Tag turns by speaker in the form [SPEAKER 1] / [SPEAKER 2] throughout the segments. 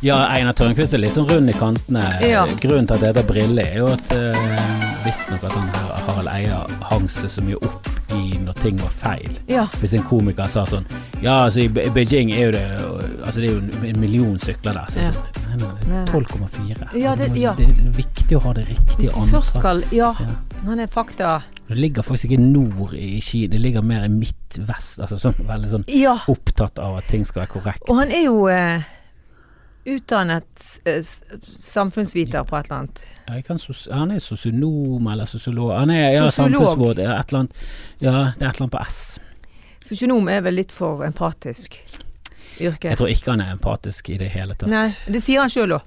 [SPEAKER 1] Ja, Einar Tørnquist er litt sånn rund i kantene.
[SPEAKER 2] Ja.
[SPEAKER 1] Grunnen til at det heter Brille, er jo at uh, visstnok at han her Harald Eia hang seg så mye opp i når ting var feil.
[SPEAKER 2] Ja.
[SPEAKER 1] Hvis en komiker sa sånn Ja, altså i Be- Beijing er jo det Altså det er jo en- en million sykler der. Så
[SPEAKER 2] Ja.
[SPEAKER 1] sånn, nei, nei,
[SPEAKER 2] Nei, nei.
[SPEAKER 1] 12,4.
[SPEAKER 2] Ja, det-
[SPEAKER 1] Du må-
[SPEAKER 2] ja.
[SPEAKER 1] det er viktig å ha det
[SPEAKER 2] Hvis
[SPEAKER 1] riktige
[SPEAKER 2] vi først
[SPEAKER 1] antallet.
[SPEAKER 2] skal Ja,
[SPEAKER 1] Ja.
[SPEAKER 2] han er fakta.
[SPEAKER 1] Det ligger faktisk ikke nord i Kina, det ligger mer i midtvest. Altså sånn veldig sånn
[SPEAKER 2] Ja.
[SPEAKER 1] opptatt av at ting skal være korrekt.
[SPEAKER 2] Og han er jo eh, utdannet eh, s- samfunnsviter på et eller annet.
[SPEAKER 1] Ja, jeg kan sos han er sosionom eller sosiolog Han er ja,
[SPEAKER 2] Sosiolog.
[SPEAKER 1] samfunnsråd, ja, et eller annet Ja, det er et eller annet på S.
[SPEAKER 2] Sosionom er vel litt for empatisk yrke.
[SPEAKER 1] Jeg tror ikke han er empatisk i det hele tatt.
[SPEAKER 2] Nei, det sier han sjøl òg.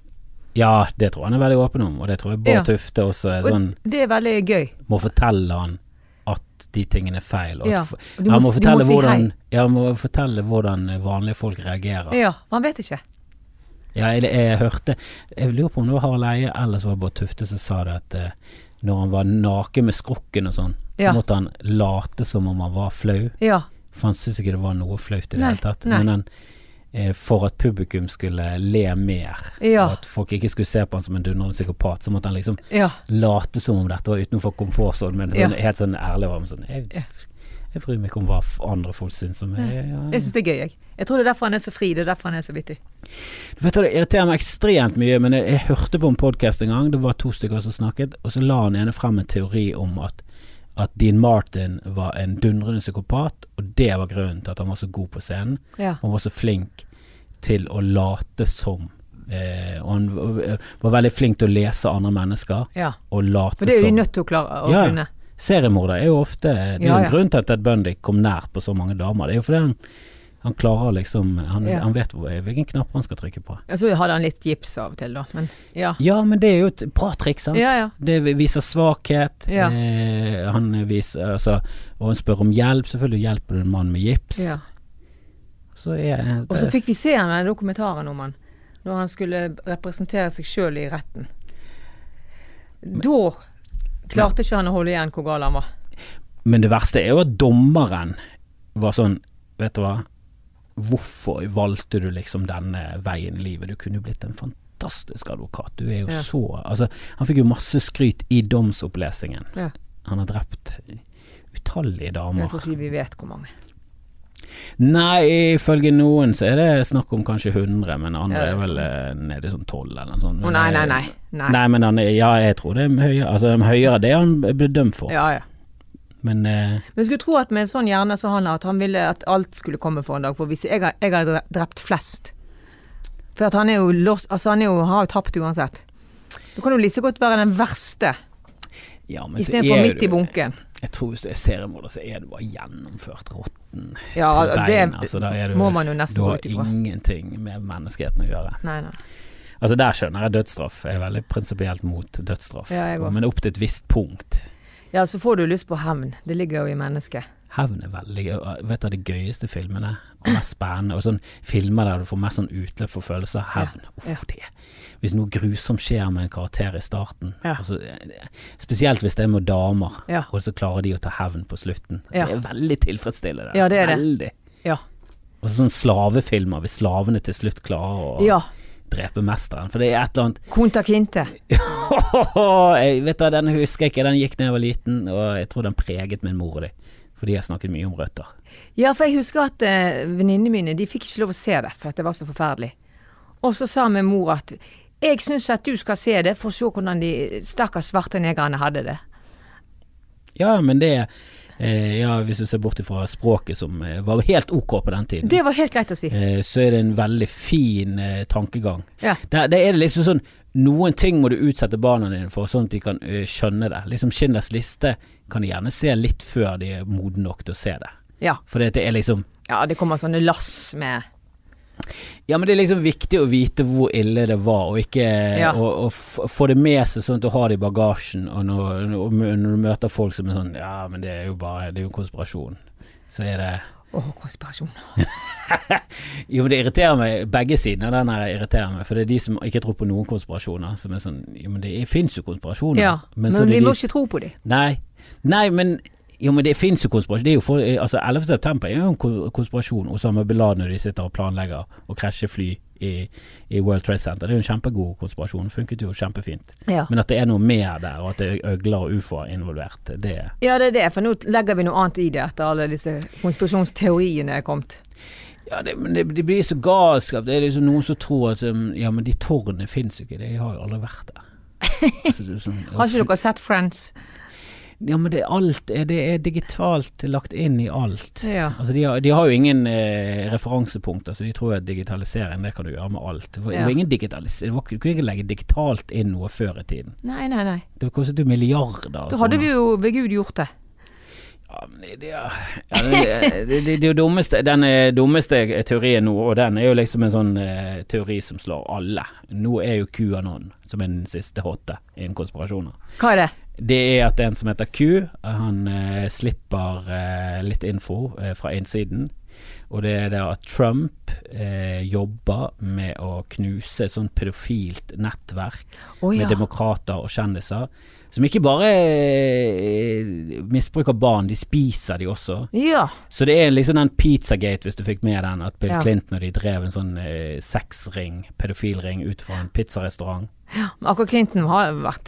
[SPEAKER 1] Ja, det tror jeg han er veldig åpen om, og det tror jeg Bård
[SPEAKER 2] Ja.
[SPEAKER 1] Tufte også er
[SPEAKER 2] Og
[SPEAKER 1] sånn
[SPEAKER 2] det er veldig gøy.
[SPEAKER 1] Må fortelle han at de tingene er feil. Og
[SPEAKER 2] Ja,
[SPEAKER 1] at f-
[SPEAKER 2] og du
[SPEAKER 1] han
[SPEAKER 2] må-
[SPEAKER 1] må
[SPEAKER 2] du må
[SPEAKER 1] fortelle
[SPEAKER 2] si
[SPEAKER 1] hvordan
[SPEAKER 2] hei.
[SPEAKER 1] Ja, han må fortelle hvordan eh, vanlige folk reagerer.
[SPEAKER 2] Ja, Man vet ikke.
[SPEAKER 1] Ja, jeg, jeg hørte Jeg lurer på om det var Harald Eie eller så var det Bård Tufte som sa det at eh, når han var naken med skrukken og sånn,
[SPEAKER 2] Ja.
[SPEAKER 1] så måtte han late som om han var flau.
[SPEAKER 2] Ja.
[SPEAKER 1] For han syntes ikke det var noe flaut i det
[SPEAKER 2] Nei,
[SPEAKER 1] hele tatt.
[SPEAKER 2] nei.
[SPEAKER 1] Men han, eh, for at publikum skulle le mer,
[SPEAKER 2] Ja.
[SPEAKER 1] og at folk ikke skulle se på han som en dundrende psykopat, så måtte han liksom
[SPEAKER 2] Ja.
[SPEAKER 1] late som om dette var utenfor komfortsonen, men sånn,
[SPEAKER 2] Ja.
[SPEAKER 1] helt sånn ærlig var han sånn jeg, jeg bryr meg ikke om hva f- andre folk syns om meg.
[SPEAKER 2] Jeg
[SPEAKER 1] Ja.
[SPEAKER 2] syns det er gøy, jeg. Jeg tror det er derfor han er så fri. Det er derfor han er så vittig.
[SPEAKER 1] Du vet hva, Det irriterer meg ekstremt mye, men jeg, jeg hørte på en podkast en gang, det var to stykker som snakket, og så la han ene frem en teori om at at Dean Martin var en dundrende psykopat, og det var grunnen til at han var så god på scenen.
[SPEAKER 2] Ja.
[SPEAKER 1] Han var så flink til å late som. Eh, og han v- var veldig flink til å lese andre mennesker
[SPEAKER 2] ja.
[SPEAKER 1] og late
[SPEAKER 2] For det er jo de
[SPEAKER 1] som.
[SPEAKER 2] nødt til å klare å
[SPEAKER 1] Ja, ja.
[SPEAKER 2] kunne.
[SPEAKER 1] Seriemorder er jo ofte eh, Det er jo
[SPEAKER 2] Ja,
[SPEAKER 1] en
[SPEAKER 2] ja.
[SPEAKER 1] grunn til at Ted Bundy kom nært på så mange damer. Det er jo fordi han, han klarer liksom Han,
[SPEAKER 2] Ja.
[SPEAKER 1] han vet hvor, hvilken knapp han skal trykke på.
[SPEAKER 2] Og så hadde han litt gips av og til, da. Men ja.
[SPEAKER 1] Ja, men det er jo et bra triks, sant?
[SPEAKER 2] Ja, ja.
[SPEAKER 1] Det viser svakhet.
[SPEAKER 2] Ja.
[SPEAKER 1] Eh, han viser altså, Og han spør om hjelp. Selvfølgelig hjelper du en mann med gips.
[SPEAKER 2] ja.
[SPEAKER 1] Så er,
[SPEAKER 2] Og så fikk vi se han den dokumentaren om han når han skulle representere seg sjøl i retten. Da klarte ikke han å holde igjen hvor gal han var.
[SPEAKER 1] Men det verste er jo at dommeren var sånn Vet du hva, hvorfor valgte du liksom denne veien i livet? Du kunne jo blitt en fantastisk advokat. Du er jo
[SPEAKER 2] Ja.
[SPEAKER 1] så Altså, han fikk jo masse skryt i domsopplesningen.
[SPEAKER 2] Ja.
[SPEAKER 1] Han har drept utallige
[SPEAKER 2] Jeg
[SPEAKER 1] damer.
[SPEAKER 2] tror ikke vi vet hvor mange.
[SPEAKER 1] Nei, ifølge noen så er det snakk om kanskje 100, men andre
[SPEAKER 2] Ja,
[SPEAKER 1] er
[SPEAKER 2] det
[SPEAKER 1] vel eh, nede i sånn 12 eller noe sånt.
[SPEAKER 2] Å nei, nei, nei. nei.
[SPEAKER 1] Nei, men han er, ja, jeg tror det er høyere. Altså, det er høyere det han ble dømt for,
[SPEAKER 2] Ja, ja.
[SPEAKER 1] men eh,
[SPEAKER 2] Men jeg skulle tro at med en sånn hjerne som han har, at han ville at alt skulle komme for en dag. For hvis jeg har, jeg har dre- drept flest For at han er jo lost, altså han er jo, har jo tapt uansett. Da kan du like godt være den verste
[SPEAKER 1] ja, men så
[SPEAKER 2] istedenfor
[SPEAKER 1] er
[SPEAKER 2] midt
[SPEAKER 1] du-
[SPEAKER 2] i bunken.
[SPEAKER 1] Jeg tror hvis du er seriemorder, så er du bare gjennomført råtten
[SPEAKER 2] Ja,
[SPEAKER 1] til
[SPEAKER 2] det
[SPEAKER 1] beina. Altså, da er du,
[SPEAKER 2] må man jo
[SPEAKER 1] du
[SPEAKER 2] nesten gå
[SPEAKER 1] har
[SPEAKER 2] ut ifra.
[SPEAKER 1] ingenting med menneskeheten å gjøre.
[SPEAKER 2] Nei, nei.
[SPEAKER 1] Altså Der skjønner jeg dødsstraff. Jeg er veldig prinsipielt mot dødsstraff.
[SPEAKER 2] Ja, jeg også.
[SPEAKER 1] Men opp til et visst punkt.
[SPEAKER 2] Ja, så får du lyst på hevn. Det ligger jo i mennesket.
[SPEAKER 1] Hevn er veldig gøy. Vet du av de gøyeste filmene, og mest spennende, og sånn filmer der du får mest sånn utløp for følelser, hevn.
[SPEAKER 2] ja.
[SPEAKER 1] Uff, det Hvis noe grusomt skjer med en karakter i starten,
[SPEAKER 2] Ja.
[SPEAKER 1] altså, spesielt hvis det er med damer,
[SPEAKER 2] Ja.
[SPEAKER 1] og så klarer de å ta hevn på slutten.
[SPEAKER 2] Ja.
[SPEAKER 1] Det er veldig tilfredsstillende.
[SPEAKER 2] Ja, det er det.
[SPEAKER 1] Veldig.
[SPEAKER 2] Ja.
[SPEAKER 1] Og sånn slavefilmer, hvis slavene til slutt klarer å
[SPEAKER 2] ja.
[SPEAKER 1] drepe mesteren. For det er et eller annet
[SPEAKER 2] Kunta Kinte.
[SPEAKER 1] jeg Vet du hva, den husker jeg ikke, den gikk da jeg var liten, og jeg tror den preget min mor og de. Fordi jeg snakket mye om røtter.
[SPEAKER 2] Ja, for jeg husker at eh, venninnene mine de fikk ikke lov å se det, for at det var så forferdelig. Og så sa min mor at jeg syns at du skal se det, for å se hvordan de stakkars svarte negrene hadde det.
[SPEAKER 1] Mm. Ja, men det eh, Ja, hvis du ser bort ifra språket, som eh, var helt ok på den tiden,
[SPEAKER 2] Det var helt greit å si.
[SPEAKER 1] eh, så er det en veldig fin eh, tankegang.
[SPEAKER 2] Ja.
[SPEAKER 1] Der, der er det liksom sånn Noen ting må du utsette barna dine for, sånn at de kan eh, skjønne det. Liksom Schindlers liste kan de gjerne se litt før de er modne nok til å se det.
[SPEAKER 2] Ja,
[SPEAKER 1] For det er liksom
[SPEAKER 2] ja det kommer sånne lass med
[SPEAKER 1] Ja, men det er liksom viktig å vite hvor ille det var, og ikke
[SPEAKER 2] Ja.
[SPEAKER 1] og, og f få det med seg sånn at du har det i bagasjen, og når, når når du møter folk som er sånn Ja, men det er jo bare Det er jo en konspirasjon. Så er det
[SPEAKER 2] Åh, konspirasjon.
[SPEAKER 1] Jo, men det irriterer meg, begge sidene av den her irriterer meg. For det er de som ikke tror på noen konspirasjoner, som er sånn Jo, men det fins jo konspirasjoner.
[SPEAKER 2] Ja, men,
[SPEAKER 1] Oh, så det
[SPEAKER 2] vi
[SPEAKER 1] er
[SPEAKER 2] må
[SPEAKER 1] de-
[SPEAKER 2] ikke tro på dem.
[SPEAKER 1] Nei. Nei, men jo, men det fins jo konspirasjon. Det er jo for, eh, altså, 11. september er jo en ko- konspirasjon. Osama bin Laden når de sitter og planlegger å krasje fly i, i World Trade Center. Det er jo en kjempegod konspirasjon, funket jo kjempefint.
[SPEAKER 2] Ja.
[SPEAKER 1] Men at det er noe mer der, og at det er øgler og ufoer involvert, det
[SPEAKER 2] ja, det er det, for nå legger vi noe annet i det etter alle disse konspirasjonsteoriene er kommet.
[SPEAKER 1] Ja, det, men det, det blir så galskap. Det er liksom noen som tror at um, Ja, men de tårnene fins jo ikke, de har jo aldri vært der. Altså, det er sånn,
[SPEAKER 2] Har ikke dere sett Friends?
[SPEAKER 1] Ja, men det, er alt er, det er digitalt lagt inn i alt.
[SPEAKER 2] Ja.
[SPEAKER 1] Altså, de, har, de har jo ingen eh, referansepunkter, så de tror at digitalisering det kan du gjøre med alt. Det var, det
[SPEAKER 2] Ja.
[SPEAKER 1] var ingen digitalis det var, ikke- Du kunne ikke legge digitalt inn noe før i tiden.
[SPEAKER 2] Nei, nei, nei.
[SPEAKER 1] Det kostet jo milliarder. av
[SPEAKER 2] Da hadde
[SPEAKER 1] kroner.
[SPEAKER 2] vi jo ved Gud gjort det.
[SPEAKER 1] Ja, men det, det, er- ja, det, eh, det, det, det er jo dummeste, den eh, dummeste teorien nå, og den er jo liksom en sånn eh, teori som slår alle. Nå er jo QAnon som er den siste hotte innen konspirasjoner.
[SPEAKER 2] Hva er det?
[SPEAKER 1] Det er at en som heter Q, han eh, slipper eh, litt info eh, fra innsiden. Og det er det at Trump eh, jobber med å knuse et sånt pedofilt nettverk
[SPEAKER 2] Å
[SPEAKER 1] med
[SPEAKER 2] ja.
[SPEAKER 1] demokrater og kjendiser. Som ikke bare eh, misbruker barn, de spiser de også.
[SPEAKER 2] Ja.
[SPEAKER 1] Så det er liksom den Pizzagate, hvis du fikk med den, at Bill
[SPEAKER 2] Ja.
[SPEAKER 1] Clinton og de drev en sånn eh, sexring, pedofilring, ut fra en pizzarestaurant.
[SPEAKER 2] Men akkurat Clinton har vært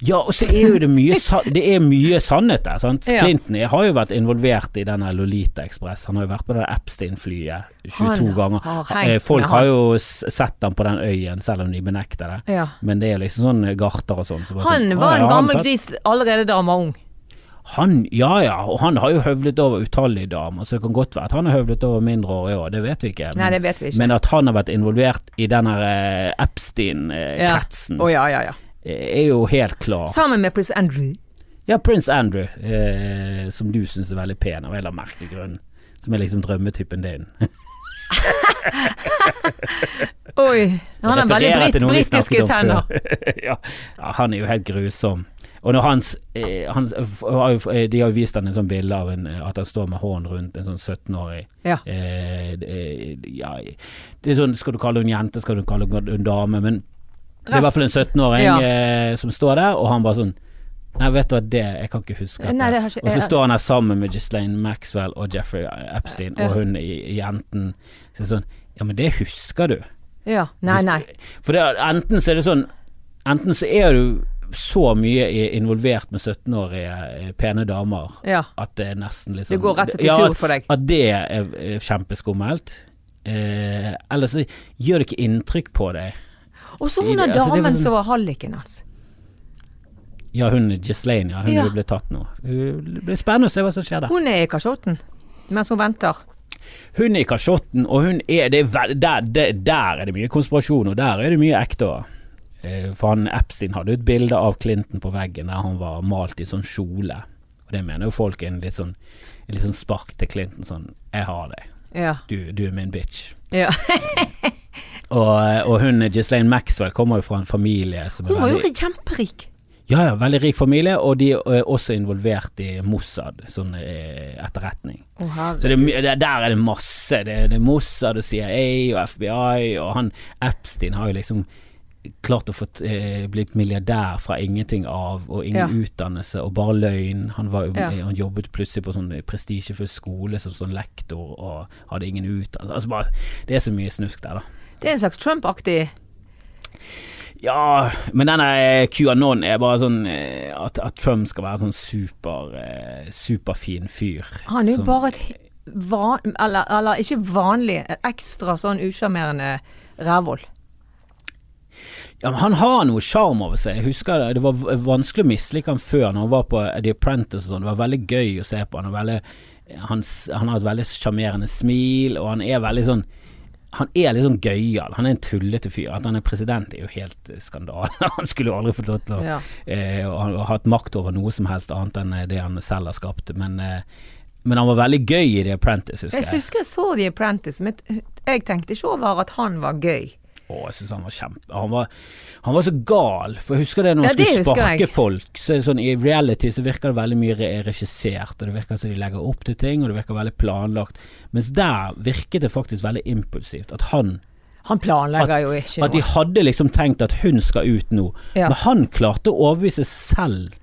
[SPEAKER 1] Ja, og så er jo det mye, sa- det er mye sannhet der, sant.
[SPEAKER 2] Ja.
[SPEAKER 1] Clinton jeg har jo vært involvert i denne Lolita Express. Han har jo vært på det der Epstein-flyet 22
[SPEAKER 2] Han
[SPEAKER 1] ganger.
[SPEAKER 2] har hengt
[SPEAKER 1] Eh,
[SPEAKER 2] med
[SPEAKER 1] Folk
[SPEAKER 2] han.
[SPEAKER 1] har jo s- sett han på den øyen, selv om de benekter det.
[SPEAKER 2] Ja.
[SPEAKER 1] Men det er liksom sånn eh, garter og sånn. så bare
[SPEAKER 2] Han
[SPEAKER 1] sånn, «Å, ja,
[SPEAKER 2] var
[SPEAKER 1] han
[SPEAKER 2] en gammel
[SPEAKER 1] satt-
[SPEAKER 2] gris allerede da han var ung.
[SPEAKER 1] Han, ja ja, og han har jo høvlet over utallige damer, så det kan godt være at han har høvlet over mindreårige òg, det vet vi ikke.
[SPEAKER 2] Nei, det vet vi ikke.
[SPEAKER 1] Men at han har vært involvert i den her eh, Epstein-kretsen,
[SPEAKER 2] Å ja, ja, ja.
[SPEAKER 1] eh, er jo helt klar.
[SPEAKER 2] Sammen med Prince Andrew.
[SPEAKER 1] Ja, Prince Andrew, eh, som du syns er veldig pen av en eller annen merkelig grunn. Som er liksom drømmetypen din.
[SPEAKER 2] Oi. Han har veldig
[SPEAKER 1] Refererer
[SPEAKER 2] brit,
[SPEAKER 1] til noen vi
[SPEAKER 2] britiske
[SPEAKER 1] snakket om
[SPEAKER 2] tenner.
[SPEAKER 1] før. ja, ja, han er jo helt grusom. Og når hans, eh, hans f- har jo f- eh, De har jo vist han en sånn bilde av en, eh, at han står med hånden rundt en sånn 17-årig
[SPEAKER 2] Ja.
[SPEAKER 1] eh, eh, ja, Det er sånn, skal du kalle henne en jente, skal du kalle henne en dame, men det er i hvert fall en 17-åring
[SPEAKER 2] Ja.
[SPEAKER 1] eh, som står der, og han bare sånn Nei, vet du hva, det Jeg kan ikke huske at
[SPEAKER 2] Nei, det har ikke-
[SPEAKER 1] Og så
[SPEAKER 2] jeg-
[SPEAKER 1] står han her sammen med Ghislaine Maxwell og Jeffrey Epstein,
[SPEAKER 2] Ja.
[SPEAKER 1] og hun i- jenten Så er det sånn Ja, men det husker du.
[SPEAKER 2] Ja. Nei, nei.
[SPEAKER 1] For det, er- enten så er det sånn Enten så er du så mye i- involvert med 17-årige eh, pene damer
[SPEAKER 2] Ja.
[SPEAKER 1] at det er nesten liksom
[SPEAKER 2] Det går rett og slett i
[SPEAKER 1] Ja,
[SPEAKER 2] sur for deg.
[SPEAKER 1] at det er eh, kjempeskummelt. Eh, eller så gjør det ikke inntrykk på deg.
[SPEAKER 2] Og så
[SPEAKER 1] i
[SPEAKER 2] hun der
[SPEAKER 1] det- altså, det var
[SPEAKER 2] damen
[SPEAKER 1] sånn-
[SPEAKER 2] som var halliken hans.
[SPEAKER 1] Ja, hun Ghislaine, ja. Hun
[SPEAKER 2] Ja.
[SPEAKER 1] ble tatt nå. Det blir spennende å se hva som skjer der.
[SPEAKER 2] Hun er i kasjotten mens hun venter.
[SPEAKER 1] Hun er i kasjotten, og hun er det, er vel- der, der, der er det mye konspirasjon, og der er det mye ekte også. Eh, For han Epstein hadde jo et bilde av Clinton på veggen der han var malt i sånn kjole. Og det mener jo folk er en litt sånn, en litt sånn spark til Clinton, sånn 'jeg har deg,
[SPEAKER 2] Ja.
[SPEAKER 1] du, du er min bitch'.
[SPEAKER 2] ja.
[SPEAKER 1] Og, eh, og hun Ghislaine Maxwell kommer jo fra en familie som er
[SPEAKER 2] Hun var jo
[SPEAKER 1] veldig
[SPEAKER 2] ri- kjemperik.
[SPEAKER 1] Ja, ja, veldig rik familie, og de er også involvert i Mossad, sånn eh, etterretning.
[SPEAKER 2] Å, herre.
[SPEAKER 1] Så det, er mye- det, der er det masse. Det, det er Mossad og CIA og FBI, og han Epstein har jo liksom klart å få eh, blitt milliardær fra ingenting av, og ingen
[SPEAKER 2] Ja.
[SPEAKER 1] utdannelse, og bare løgn. Han, var jo, eh,
[SPEAKER 2] Ja.
[SPEAKER 1] han jobbet plutselig på sånn prestisjefull skole som sånn lektor, og hadde ingen utdannelse. Altså bare, det er så mye snusk der, da.
[SPEAKER 2] Det er en slags Trump-aktig
[SPEAKER 1] Ja, men denne QAnon er bare sånn eh, at, at Trump skal være sånn super eh, superfin fyr.
[SPEAKER 2] Han er jo
[SPEAKER 1] Som-
[SPEAKER 2] bare et van, eller, eller ikke vanlig, et ekstra sånn usjarmerende rævhold.
[SPEAKER 1] ja, men Han har noe sjarm over seg. Jeg husker Det det var v- vanskelig å mislike han før, når han var på The Apprentice og sånn. Det var veldig gøy å se på. Han, er veldig, han, s- han har et veldig sjarmerende smil, og han er veldig sånn han er litt sånn gøyal. Han er en tullete fyr. At han er president er jo helt eh, skandale. Han skulle jo aldri fått lov til å
[SPEAKER 2] Ja.
[SPEAKER 1] eh, og han har hatt makt over noe som helst annet enn eh, det han selv har skapt. Men, eh, men han var veldig gøy i The Apprentice, husker
[SPEAKER 2] Jeg
[SPEAKER 1] jeg.
[SPEAKER 2] husker jeg så The Apprentice, men jeg tenkte ikke over at han var gøy.
[SPEAKER 1] Å, jeg synes han var kjempe han var, han var så gal, for jeg husker det når han
[SPEAKER 2] Ja, det
[SPEAKER 1] skulle
[SPEAKER 2] husker
[SPEAKER 1] sparke
[SPEAKER 2] jeg.
[SPEAKER 1] folk. Så er det sånn, I reality så virker det veldig mye re- regissert, og det virker som de legger opp til ting, og det virker veldig planlagt. Mens der virket det faktisk veldig impulsivt. At han
[SPEAKER 2] Han planlegger jo ikke
[SPEAKER 1] At de
[SPEAKER 2] noe.
[SPEAKER 1] hadde liksom tenkt at hun skal ut nå,
[SPEAKER 2] Ja.
[SPEAKER 1] men han klarte å overbevise seg selv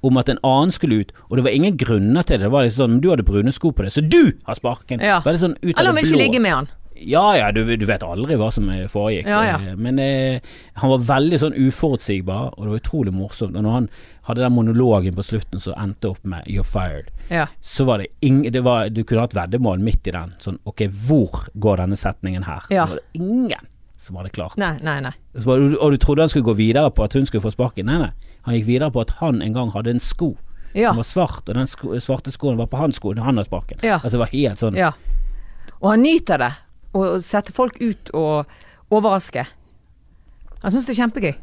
[SPEAKER 1] om at en annen skulle ut, og det var ingen grunner til det. Det var liksom sånn, du hadde brune sko på deg, så du har sparken.
[SPEAKER 2] Ja.
[SPEAKER 1] Bare sånn ut av det
[SPEAKER 2] Eller han vil ikke
[SPEAKER 1] blå.
[SPEAKER 2] ligge med han.
[SPEAKER 1] Ja ja, du, du vet aldri hva som eh, foregikk.
[SPEAKER 2] Ja, ja.
[SPEAKER 1] eh, Men eh, han var veldig sånn uforutsigbar, og det var utrolig morsomt. Og når han hadde den monologen på slutten som endte opp med 'You're fired',
[SPEAKER 2] Ja.
[SPEAKER 1] så var det ingen det var, Du kunne hatt veddemål midt i den. Sånn ok, hvor går denne setningen her?
[SPEAKER 2] Ja.
[SPEAKER 1] Det var det ingen som hadde klart.
[SPEAKER 2] Nei, nei, nei.
[SPEAKER 1] Så bare, og du trodde han skulle gå videre på at hun skulle få sparken? Nei, nei. Han gikk videre på at han en gang hadde en sko
[SPEAKER 2] Ja.
[SPEAKER 1] som var svart, og den sko, svarte skoen var på hans sko da han hadde sparken.
[SPEAKER 2] Ja.
[SPEAKER 1] Altså det var helt sånn
[SPEAKER 2] ja. Og han nyter det. Å å sette folk ut og overraske. Han syns det er kjempegøy.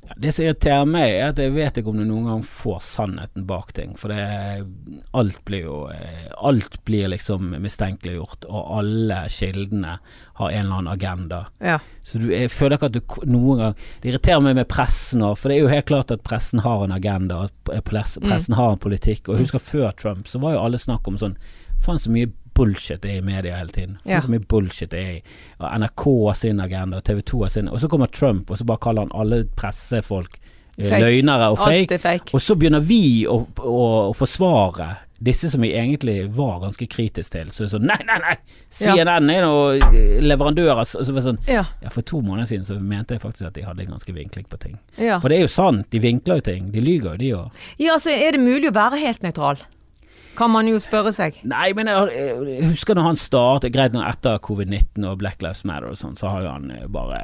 [SPEAKER 1] Ja, Det som irriterer meg, er at jeg vet ikke om du noen gang får sannheten bak ting. For det, alt blir jo eh, Alt blir liksom mistenkeliggjort, og alle kildene har en eller annen agenda.
[SPEAKER 2] Ja.
[SPEAKER 1] Så du, jeg føler ikke at du k- noen gang Det irriterer meg med pressen òg, for det er jo helt klart at pressen har en agenda, at p- eh, press,
[SPEAKER 2] Mm.
[SPEAKER 1] pressen har en politikk. Og jeg husker før Trump, så var jo alle snakk om sånn Faen så mye bullshit det er i media hele tiden. Faen
[SPEAKER 2] Ja.
[SPEAKER 1] så mye bullshit det er i og NRK har sin agenda, og TV 2 har sin Og så kommer Trump, og så bare kaller han alle pressefolk eh,
[SPEAKER 2] Fake.
[SPEAKER 1] løgnere og
[SPEAKER 2] Alt
[SPEAKER 1] fake.
[SPEAKER 2] er fake.
[SPEAKER 1] Og så begynner vi å, å, å forsvare disse som vi egentlig var ganske kritiske til. Så det er sånn Nei, nei, nei!
[SPEAKER 2] Ja.
[SPEAKER 1] CNN er noen leverandører så, så var det sånn,
[SPEAKER 2] Ja.
[SPEAKER 1] ja, For to måneder siden så mente jeg faktisk at de hadde ganske vinkling på ting.
[SPEAKER 2] Ja.
[SPEAKER 1] For det er jo sant, de vinkler jo ting. De lyver jo, de òg.
[SPEAKER 2] ja, altså er det mulig å være helt nøytral? Kan man jo spørre seg.
[SPEAKER 1] Nei, men jeg, jeg husker når han startet Greit nå etter covid-19 og Black Lives Matter og sånn, så har jo han eh, bare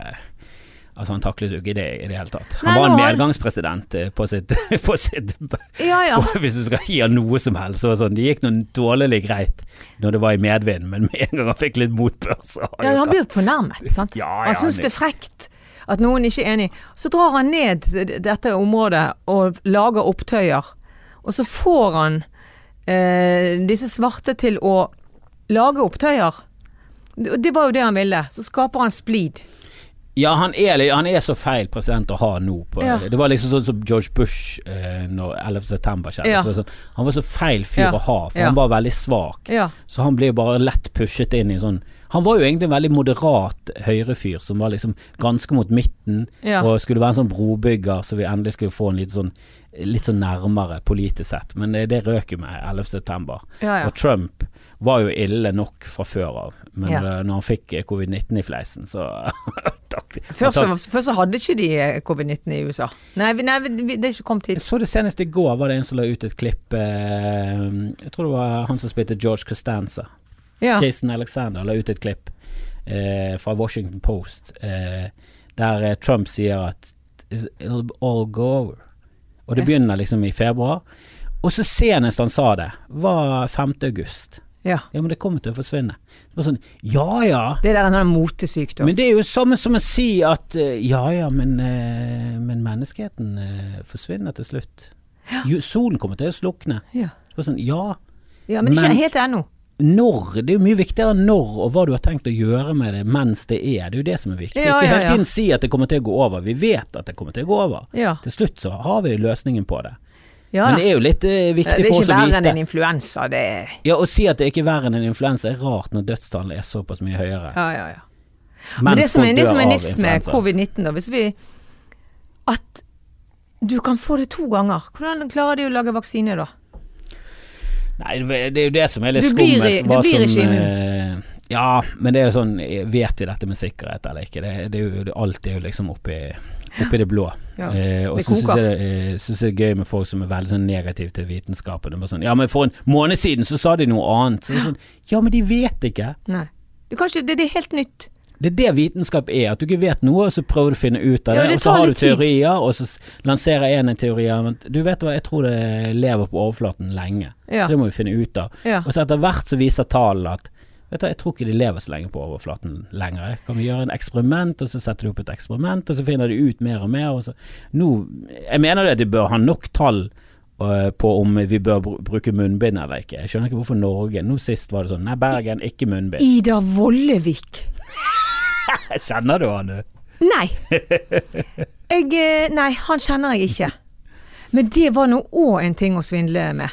[SPEAKER 1] Altså Han taklet jo ikke det i det hele tatt. Han
[SPEAKER 2] Nei,
[SPEAKER 1] var en
[SPEAKER 2] nå har han-
[SPEAKER 1] medgangspresident eh, på sitt, på sitt
[SPEAKER 2] Ja ja.
[SPEAKER 1] Og Hvis du skal gi han noe som helst. Så var det sånn, det gikk noe dårlig greit når det var i medvind, men med en gang han fikk litt motbør, så har
[SPEAKER 2] ja
[SPEAKER 1] jo
[SPEAKER 2] han
[SPEAKER 1] ikke-
[SPEAKER 2] blir jo fornærmet, sant.
[SPEAKER 1] Ja, ja,
[SPEAKER 2] Han syns
[SPEAKER 1] han-
[SPEAKER 2] det er frekt at noen ikke er enig. Så drar han ned dette området og lager opptøyer. Og så får han eh, disse svarte til å lage opptøyer. Det det var jo det han ville. Så skaper han splid.
[SPEAKER 1] Ja, han er, litt- han er så feil president å ha nå. På,
[SPEAKER 2] Ja.
[SPEAKER 1] Det var liksom sånn som George Bush eh, når 11. september skjedde.
[SPEAKER 2] Ja.
[SPEAKER 1] Så var det sånn, han var så feil fyr
[SPEAKER 2] Ja.
[SPEAKER 1] å ha, for
[SPEAKER 2] Ja.
[SPEAKER 1] han var veldig svak.
[SPEAKER 2] Ja.
[SPEAKER 1] Så han ble jo bare lett pushet inn i sånn Han var jo egentlig en veldig moderat høyrefyr, som var liksom ganske mot midten,
[SPEAKER 2] Ja.
[SPEAKER 1] og skulle være en sånn brobygger, så vi endelig skulle få en litt sånn Litt sånn nærmere politisk sett, men eh, det, det røk jo med 11. september.
[SPEAKER 2] Ja, ja.
[SPEAKER 1] Og Trump var jo ille nok fra før av, men
[SPEAKER 2] Ja.
[SPEAKER 1] eh, når han fikk eh, covid-19 i fleisen, så takk.
[SPEAKER 2] Først så,
[SPEAKER 1] takk.
[SPEAKER 2] først så hadde ikke de eh, covid-19 i USA. Nei, vi- nei vi- vi- det er ikke kommet
[SPEAKER 1] Jeg
[SPEAKER 2] hit.
[SPEAKER 1] så det senest i går, var det en som la ut et klipp eh, Jeg tror det var han som spilte George Costanza.
[SPEAKER 2] Ja.
[SPEAKER 1] Jason Alexander la ut et klipp eh, fra Washington Post eh, der eh, Trump sier at it'll all go over. Og det
[SPEAKER 2] Ja.
[SPEAKER 1] begynner liksom i februar. Og så senest han sa det, var 5. august.
[SPEAKER 2] ja.
[SPEAKER 1] Ja, men det kommer til å forsvinne. Det var sånn, ja ja.
[SPEAKER 2] Det der er en sånn motesykdom.
[SPEAKER 1] Men det er jo samme som å si at eh, ja ja, men, eh, men menneskeheten eh, forsvinner til slutt. Jo, solen kommer til å slukne.
[SPEAKER 2] Ja.
[SPEAKER 1] Det var sånn, ja.
[SPEAKER 2] ja, men ikke
[SPEAKER 1] Men-
[SPEAKER 2] helt ennå.
[SPEAKER 1] når, det er jo mye viktigere enn når og hva du har tenkt å gjøre med det mens det er. Det er jo det som er viktig.
[SPEAKER 2] Ja,
[SPEAKER 1] Ikke
[SPEAKER 2] ja,
[SPEAKER 1] hele
[SPEAKER 2] ja.
[SPEAKER 1] tiden si at det kommer til å gå over. Vi vet at det kommer til å gå over.
[SPEAKER 2] Ja.
[SPEAKER 1] Til slutt så har vi løsningen på det.
[SPEAKER 2] Ja.
[SPEAKER 1] Men det er jo litt eh,
[SPEAKER 2] Ja,
[SPEAKER 1] viktig
[SPEAKER 2] det er
[SPEAKER 1] for
[SPEAKER 2] ikke
[SPEAKER 1] oss å
[SPEAKER 2] verre enn en
[SPEAKER 1] vite.
[SPEAKER 2] influensa, det er
[SPEAKER 1] Ja, Å si at det ikke er verre enn en influensa er rart når dødstallene er såpass mye høyere.
[SPEAKER 2] Ja, ja, ja.
[SPEAKER 1] Mens
[SPEAKER 2] Men det som er,
[SPEAKER 1] folk
[SPEAKER 2] det
[SPEAKER 1] dør
[SPEAKER 2] som er
[SPEAKER 1] av
[SPEAKER 2] nifst med
[SPEAKER 1] influensa.
[SPEAKER 2] covid-19, da, hvis vi At du kan få det to ganger. Hvordan klarer de å lage vaksine da?
[SPEAKER 1] Nei, det er jo det som er litt
[SPEAKER 2] Du blir i-
[SPEAKER 1] skummelt.
[SPEAKER 2] du blir ikke
[SPEAKER 1] som,
[SPEAKER 2] immun.
[SPEAKER 1] eh, Ja, men det er jo sånn Vet vi dette med sikkerhet eller ikke? Det, det er jo, det, alt er jo liksom oppi, oppi det blå.
[SPEAKER 2] Ja,
[SPEAKER 1] Eh, og
[SPEAKER 2] det
[SPEAKER 1] så syns
[SPEAKER 2] koker.
[SPEAKER 1] jeg, det- eh, synes jeg det er gøy med folk som er veldig sånn negative til vitenskapen. Det er bare sånn, ja, men for en måned siden så sa de noe annet. Så det er sånn, ja, men de vet ikke.
[SPEAKER 2] Nei. Du kan ikke, det, det er helt nytt.
[SPEAKER 1] Det er det vitenskap er, at du ikke vet noe, og så prøver du å finne ut av
[SPEAKER 2] Ja,
[SPEAKER 1] det.
[SPEAKER 2] det
[SPEAKER 1] og så
[SPEAKER 2] tar
[SPEAKER 1] har du
[SPEAKER 2] litt tid.
[SPEAKER 1] teorier, og så s- lanserer en en teori. ja, Men du vet hva, jeg tror det lever på overflaten lenge.
[SPEAKER 2] Ja.
[SPEAKER 1] Så det må vi finne ut av.
[SPEAKER 2] Ja.
[SPEAKER 1] Og så etter hvert så viser tallene at Vet du, Jeg tror ikke de lever så lenge på overflaten lenger. Kan vi gjøre en eksperiment, og så setter de opp et eksperiment, og så finner de ut mer og mer. Og så. Nå, jeg mener det at de bør ha nok tall øh, på om vi bør br- bruke munnbind eller ikke. Jeg skjønner ikke hvorfor Norge Nå sist var det sånn Nei, Bergen, ikke munnbind.
[SPEAKER 2] Ida Vollevik.
[SPEAKER 1] Kjenner du han, du?
[SPEAKER 2] Nei. Jeg, eh, nei, han kjenner jeg ikke. Men det var nå òg en ting å svindle med.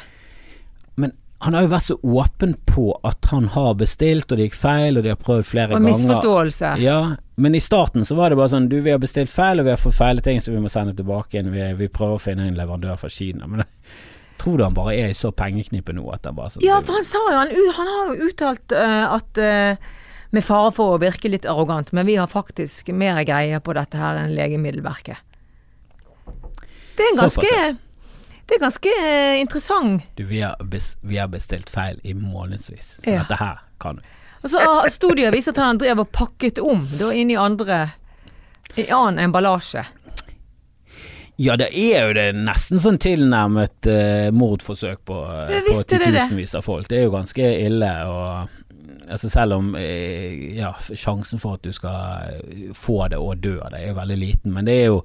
[SPEAKER 1] Men han har jo vært så åpen på at han har bestilt, og det gikk feil, og de har prøvd flere
[SPEAKER 2] Og
[SPEAKER 1] ganger.
[SPEAKER 2] misforståelse.
[SPEAKER 1] Ja, men i starten så var det bare sånn Du, vi har bestilt feil, og vi har fått feil ting, så vi må sende tilbake igjen. Vi, vi prøver å finne en leverandør fra Kina. Men jeg tror du han bare er i så pengeknipe nå at det er bare sånn
[SPEAKER 2] Ja, for han sa jo Han, u- han har jo uttalt eh, at eh, Med fare for å virke litt arrogant, men vi har faktisk mer greie på dette her enn Legemiddelverket. Det er en ganske, det er ganske eh, interessant.
[SPEAKER 1] Du, vi har, bes, vi har bestilt feil i månedsvis, så
[SPEAKER 2] Ja.
[SPEAKER 1] dette her kan vi.
[SPEAKER 2] Og så har studier vist at han drev og pakket om da inn i andre i annen emballasje.
[SPEAKER 1] Ja, det er jo det nesten sånn tilnærmet eh, mordforsøk på, uh,
[SPEAKER 2] Jeg
[SPEAKER 1] på
[SPEAKER 2] visste det, det.
[SPEAKER 1] titusenvis av folk. Det er jo ganske ille. Og, altså selv om eh, ja, sjansen for at du skal eh, få det og dø av det, er jo veldig liten. Men det er jo,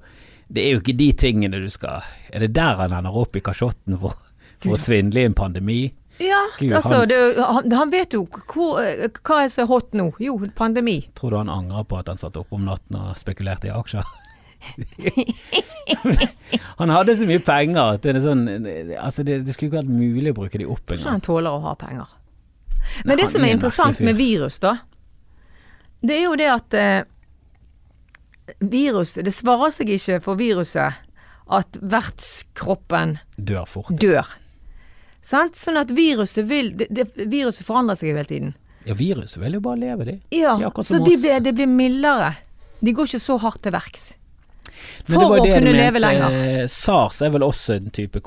[SPEAKER 1] det er jo ikke de tingene du skal Er det der han ender opp i kasjotten for, for å svindle i en pandemi?
[SPEAKER 2] Ja,
[SPEAKER 1] Gud,
[SPEAKER 2] altså,
[SPEAKER 1] Hans.
[SPEAKER 2] det, han, han vet jo hvor, eh, hva er så hot nå. Jo, pandemi.
[SPEAKER 1] Tror du han angrer på at han satt oppe om natten og spekulerte i aksjer? han hadde så mye penger at det, er sånn, altså det, det skulle ikke vært mulig å bruke de opp
[SPEAKER 2] Så
[SPEAKER 1] engang.
[SPEAKER 2] han tåler å ha penger.
[SPEAKER 1] Nei,
[SPEAKER 2] Men det
[SPEAKER 1] han
[SPEAKER 2] som
[SPEAKER 1] er
[SPEAKER 2] er
[SPEAKER 1] en
[SPEAKER 2] interessant
[SPEAKER 1] merkelig fyr.
[SPEAKER 2] med virus, da, det er jo det at eh, virus Det svarer seg ikke for viruset at vertskroppen
[SPEAKER 1] Dør fort.
[SPEAKER 2] dør. Sant? Sånn at viruset vil det, det, Viruset forandrer seg jo hele tiden.
[SPEAKER 1] Ja, virus vil jo bare leve, de.
[SPEAKER 2] Ja,
[SPEAKER 1] De er akkurat
[SPEAKER 2] så
[SPEAKER 1] som
[SPEAKER 2] de
[SPEAKER 1] oss.
[SPEAKER 2] blir, det blir mildere. De går ikke så hardt til verks.
[SPEAKER 1] Men det
[SPEAKER 2] for
[SPEAKER 1] var jo
[SPEAKER 2] å
[SPEAKER 1] det de
[SPEAKER 2] kunne
[SPEAKER 1] mente,
[SPEAKER 2] leve lenger.
[SPEAKER 1] eh, SARS er vel også en type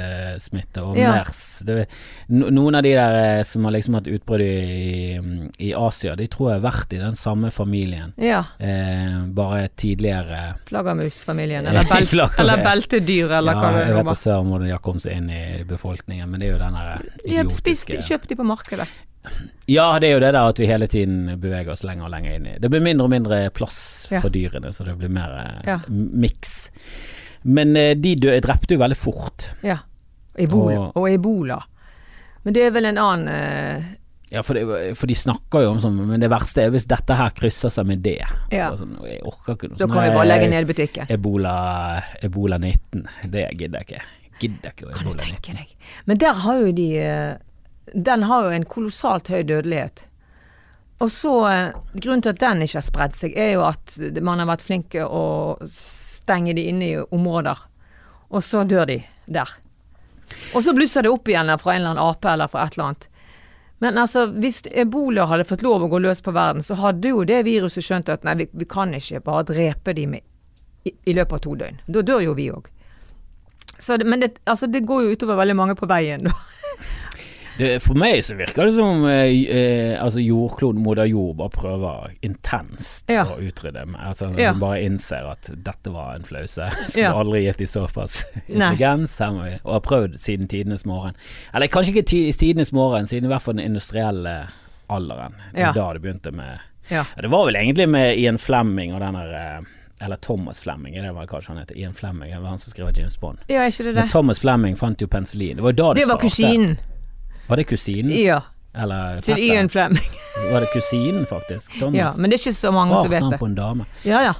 [SPEAKER 1] covid-smitte, og
[SPEAKER 2] Ja.
[SPEAKER 1] MERS. Det, no- noen av de der eh, som har liksom hatt utbrudd i, i Asia, de tror jeg har vært i den samme familien,
[SPEAKER 2] Ja.
[SPEAKER 1] eh, bare tidligere.
[SPEAKER 2] Flaggermusfamilien,
[SPEAKER 1] Ja,
[SPEAKER 2] eller, bel
[SPEAKER 1] flaggermus.
[SPEAKER 2] eller beltedyr, eller hva det
[SPEAKER 1] jeg
[SPEAKER 2] nå
[SPEAKER 1] vet da
[SPEAKER 2] var.
[SPEAKER 1] søren hvordan de har kommet seg inn i befolkningen, men det er jo den der
[SPEAKER 2] De har spist,
[SPEAKER 1] idiotiske
[SPEAKER 2] kjøpt de på markedet.
[SPEAKER 1] Ja, det er jo det der at vi hele tiden beveger oss lenger og lenger inn i Det blir mindre og mindre plass
[SPEAKER 2] Ja.
[SPEAKER 1] for dyrene, så det blir mer eh,
[SPEAKER 2] Ja.
[SPEAKER 1] miks. Men eh, de dø drepte jo veldig fort.
[SPEAKER 2] Ja. Ebola.
[SPEAKER 1] Og-
[SPEAKER 2] Og, ebola. Men det er vel en annen eh,
[SPEAKER 1] Ja, for, det, for de snakker jo om sånn, men det verste er hvis dette her krysser seg med det.
[SPEAKER 2] Ja.
[SPEAKER 1] Bare Sånn, jeg orker ikke noe
[SPEAKER 2] Da
[SPEAKER 1] sånn
[SPEAKER 2] kan vi
[SPEAKER 1] her,
[SPEAKER 2] bare legge ned butikken.
[SPEAKER 1] Ebola, Ebola 19. Det gidder jeg ikke. Gidder ikke å
[SPEAKER 2] Kan du
[SPEAKER 1] Ebola 19.
[SPEAKER 2] tenke deg. Men der har jo de eh, Den har jo en kolossalt høy dødelighet. Og så eh, Grunnen til at den ikke har spredd seg, er jo at man har vært flink til å stenge de inne i områder. Og så dør de der. Og så blusser det opp igjen der fra en eller annen ape eller fra et eller annet. Men altså, hvis ebola hadde fått lov å gå løs på verden, så hadde jo det viruset skjønt at nei, vi, vi kan ikke bare drepe de med, i, i løpet av to døgn. Da dør jo vi òg. Så det, men det, altså, det går jo utover veldig mange på veien, da.
[SPEAKER 1] Det, for meg så virker det som eh, eh, altså jordkloden, moder jord, bare prøver intenst
[SPEAKER 2] Ja.
[SPEAKER 1] å utrydde meg. Altså,
[SPEAKER 2] Ja.
[SPEAKER 1] Hun bare innser at dette var en flause. Skulle
[SPEAKER 2] Ja.
[SPEAKER 1] aldri gitt dem såpass
[SPEAKER 2] Nei.
[SPEAKER 1] intelligens. Her må vi, og har prøvd siden tidenes morgen. Eller kanskje ikke ti, tidenes morgen, siden i hvert fall den industrielle alderen. Det
[SPEAKER 2] Ja.
[SPEAKER 1] er da det begynte med
[SPEAKER 2] Ja.
[SPEAKER 1] ja, Det var vel egentlig med Ian Flemming og den der eh, Eller Thomas Flemming, er det vel kanskje han heter. Ian Flemming, det var han som skrev James Bond.
[SPEAKER 2] Ja, er ikke det det?
[SPEAKER 1] Men Thomas Flemming fant jo penicillin. Det var jo da det,
[SPEAKER 2] Det var
[SPEAKER 1] startet.
[SPEAKER 2] kusinen.
[SPEAKER 1] Mm. Var det kusinen?
[SPEAKER 2] Ja.
[SPEAKER 1] Eller
[SPEAKER 2] Til
[SPEAKER 1] fetteren?
[SPEAKER 2] Ian Fleming.
[SPEAKER 1] Var det kusinen, faktisk? Thomas.
[SPEAKER 2] Ja, men det er ikke så mange som
[SPEAKER 1] Rart
[SPEAKER 2] vet
[SPEAKER 1] navn
[SPEAKER 2] det.
[SPEAKER 1] på en dame.
[SPEAKER 2] Ja, ja.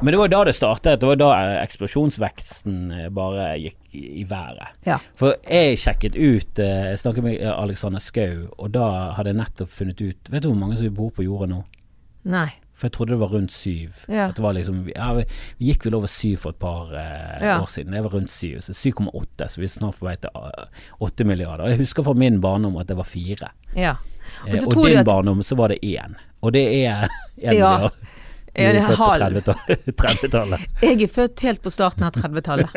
[SPEAKER 1] Men det var jo da det startet. Det var da eh, eksplosjonsveksten eh, bare gikk i i været.
[SPEAKER 2] Ja.
[SPEAKER 1] For jeg sjekket ut eh, Jeg snakket med Alexander Skau, og da hadde jeg nettopp funnet ut Vet du hvor mange som bor på jorda nå?
[SPEAKER 2] Nei.
[SPEAKER 1] For jeg trodde det var rundt syv.
[SPEAKER 2] Ja.
[SPEAKER 1] At det var liksom, ja, vi, vi gikk vel over syv for et par eh,
[SPEAKER 2] Ja.
[SPEAKER 1] år siden. Det var rundt syv. Så 7,8, så vi er snart på vei til eh, åtte milliarder. Jeg husker fra min barndom at det var fire.
[SPEAKER 2] Ja.
[SPEAKER 1] Eh,
[SPEAKER 2] Og så
[SPEAKER 1] Og,
[SPEAKER 2] tror de
[SPEAKER 1] din
[SPEAKER 2] at
[SPEAKER 1] barndom så var det én, og det er én
[SPEAKER 2] Ja.
[SPEAKER 1] milliard. Du
[SPEAKER 2] Ja,
[SPEAKER 1] er
[SPEAKER 2] det er
[SPEAKER 1] født på
[SPEAKER 2] halv.
[SPEAKER 1] 30-tallet. 30-tallet.
[SPEAKER 2] jeg er født helt på starten av 30-tallet.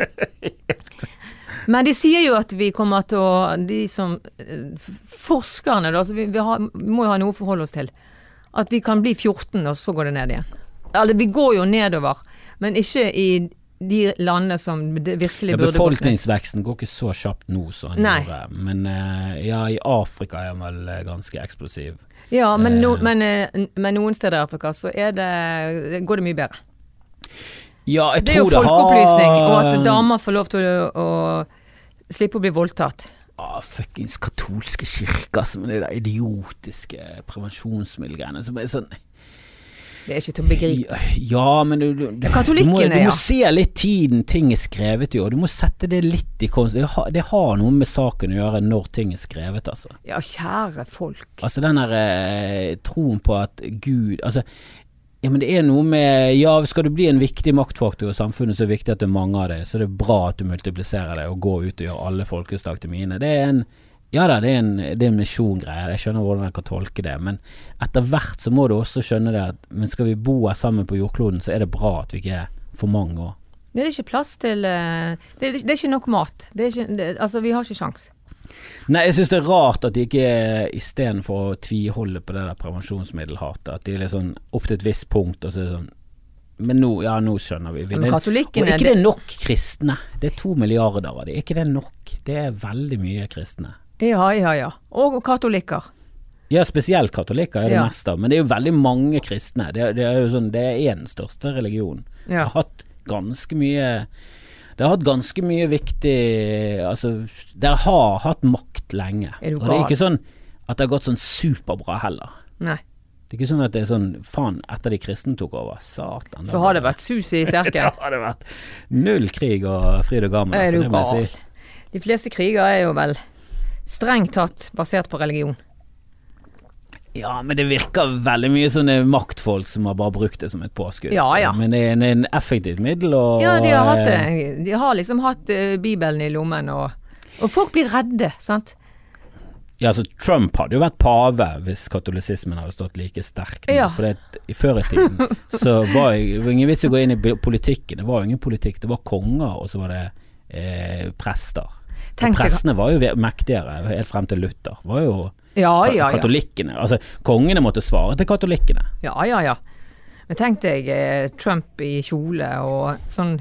[SPEAKER 2] Men de sier jo at vi kommer til å De som eh, f- Forskerne, da. Så vi, vi, har, vi må jo ha noe å forholde oss til. At vi kan bli 14, og så går det ned igjen. Eller vi går jo nedover, men ikke i de landene som det virkelig
[SPEAKER 1] Ja,
[SPEAKER 2] burde gått ned.
[SPEAKER 1] befolkningsveksten går ikke så kjapt nå som den
[SPEAKER 2] Nei.
[SPEAKER 1] gjorde, men eh, ja, i Afrika er den vel eh, ganske eksplosiv.
[SPEAKER 2] Ja, men, no,
[SPEAKER 1] Eh.
[SPEAKER 2] men, eh, n- men noen steder i Afrika så er det, går det mye bedre.
[SPEAKER 1] Ja, jeg
[SPEAKER 2] Det er jo
[SPEAKER 1] tror det har
[SPEAKER 2] folkeopplysning, og at damer får lov til å, å slippe å bli voldtatt.
[SPEAKER 1] Ah, Fuckings katolske kirker som er de der idiotiske prevensjonsmiddelgreiene som er sånn
[SPEAKER 2] Det er ikke til å begripe.
[SPEAKER 1] Ja, Ja, men du, du, du, du, må,
[SPEAKER 2] Katolikkene,
[SPEAKER 1] du
[SPEAKER 2] ja.
[SPEAKER 1] må se litt tiden ting er skrevet i, og du må sette det litt i konst. Det har, det har noe med saken å gjøre når ting er skrevet, altså.
[SPEAKER 2] Ja, kjære folk.
[SPEAKER 1] Altså den der eh, troen på at Gud Altså, ja, men det er noe med Ja, skal du bli en viktig maktfaktor i samfunnet, så er det viktig at det er mange av deg, så det er bra at du multipliserer deg og går ut og gjør alle folkeslag til mine. Det er en Ja da, det er en, det er en misjongreie. Jeg skjønner hvordan jeg kan tolke det. Men etter hvert så må du også skjønne det at men skal vi bo her sammen på jordkloden, så er det bra at vi ikke er for mange år.
[SPEAKER 2] Det er ikke plass til eh, Det er, det er ikke nok mat. Det er ikke, det, altså, vi har ikke sjans.
[SPEAKER 1] Nei, jeg syns det er rart at de ikke istedenfor å tviholde på det der prevensjonsmiddelhatet, at de er litt sånn opp til et visst punkt, og så er det sånn Men nå, ja, nå skjønner vi. vi
[SPEAKER 2] Men
[SPEAKER 1] det, og
[SPEAKER 2] katolikkene
[SPEAKER 1] ikke det er nok kristne. Det er to milliarder av dem. Ikke det er nok. Det er veldig mye kristne.
[SPEAKER 2] Ja, ja, ja. Og katolikker.
[SPEAKER 1] Ja, spesielt katolikker er det
[SPEAKER 2] Ja.
[SPEAKER 1] mest av, men det er jo veldig mange kristne. Det, er- det er jo sånn, det er den største religionen. Det
[SPEAKER 2] Ja.
[SPEAKER 1] har hatt ganske mye Det har hatt ganske mye viktig Altså, det har hatt makt lenge.
[SPEAKER 2] Er du
[SPEAKER 1] Og det er
[SPEAKER 2] gal?
[SPEAKER 1] ikke sånn at det har gått sånn superbra heller.
[SPEAKER 2] Nei.
[SPEAKER 1] Det er ikke sånn at det er sånn faen, etter de kristne tok over, satan.
[SPEAKER 2] Så har det vært sus i
[SPEAKER 1] Det
[SPEAKER 2] serken.
[SPEAKER 1] har det vært null krig og fryd og gammen.
[SPEAKER 2] Er
[SPEAKER 1] altså,
[SPEAKER 2] du
[SPEAKER 1] det må jeg
[SPEAKER 2] gal?
[SPEAKER 1] si.
[SPEAKER 2] De fleste kriger er jo vel strengt tatt basert på religion.
[SPEAKER 1] Ja, men det virker veldig mye sånne maktfolk som har bare brukt det som et påskudd.
[SPEAKER 2] Ja, ja.
[SPEAKER 1] Men det er en, en effektivt middel og
[SPEAKER 2] Ja, de har, hatt
[SPEAKER 1] eh,
[SPEAKER 2] det. de har liksom hatt eh, Bibelen i lommen, og, og folk blir redde, sant.
[SPEAKER 1] Ja, altså Trump hadde jo vært pave hvis katolisismen hadde stått like sterkt. nå,
[SPEAKER 2] Ja.
[SPEAKER 1] For det, at i før i tiden så var jeg- det var ingen vits i å gå inn i bi- politikken. Det var jo ingen politikk, det var konger, og så var det eh, prester.
[SPEAKER 2] Tenk
[SPEAKER 1] og
[SPEAKER 2] deg-
[SPEAKER 1] prestene var jo ve- mektigere helt frem til Luther. Var jo
[SPEAKER 2] Ja,
[SPEAKER 1] ka-
[SPEAKER 2] ja, ja.
[SPEAKER 1] katolikkene. Altså, kongene måtte svare til katolikkene.
[SPEAKER 2] Ja, ja, ja. Men tenk deg eh, Trump i kjole og sånn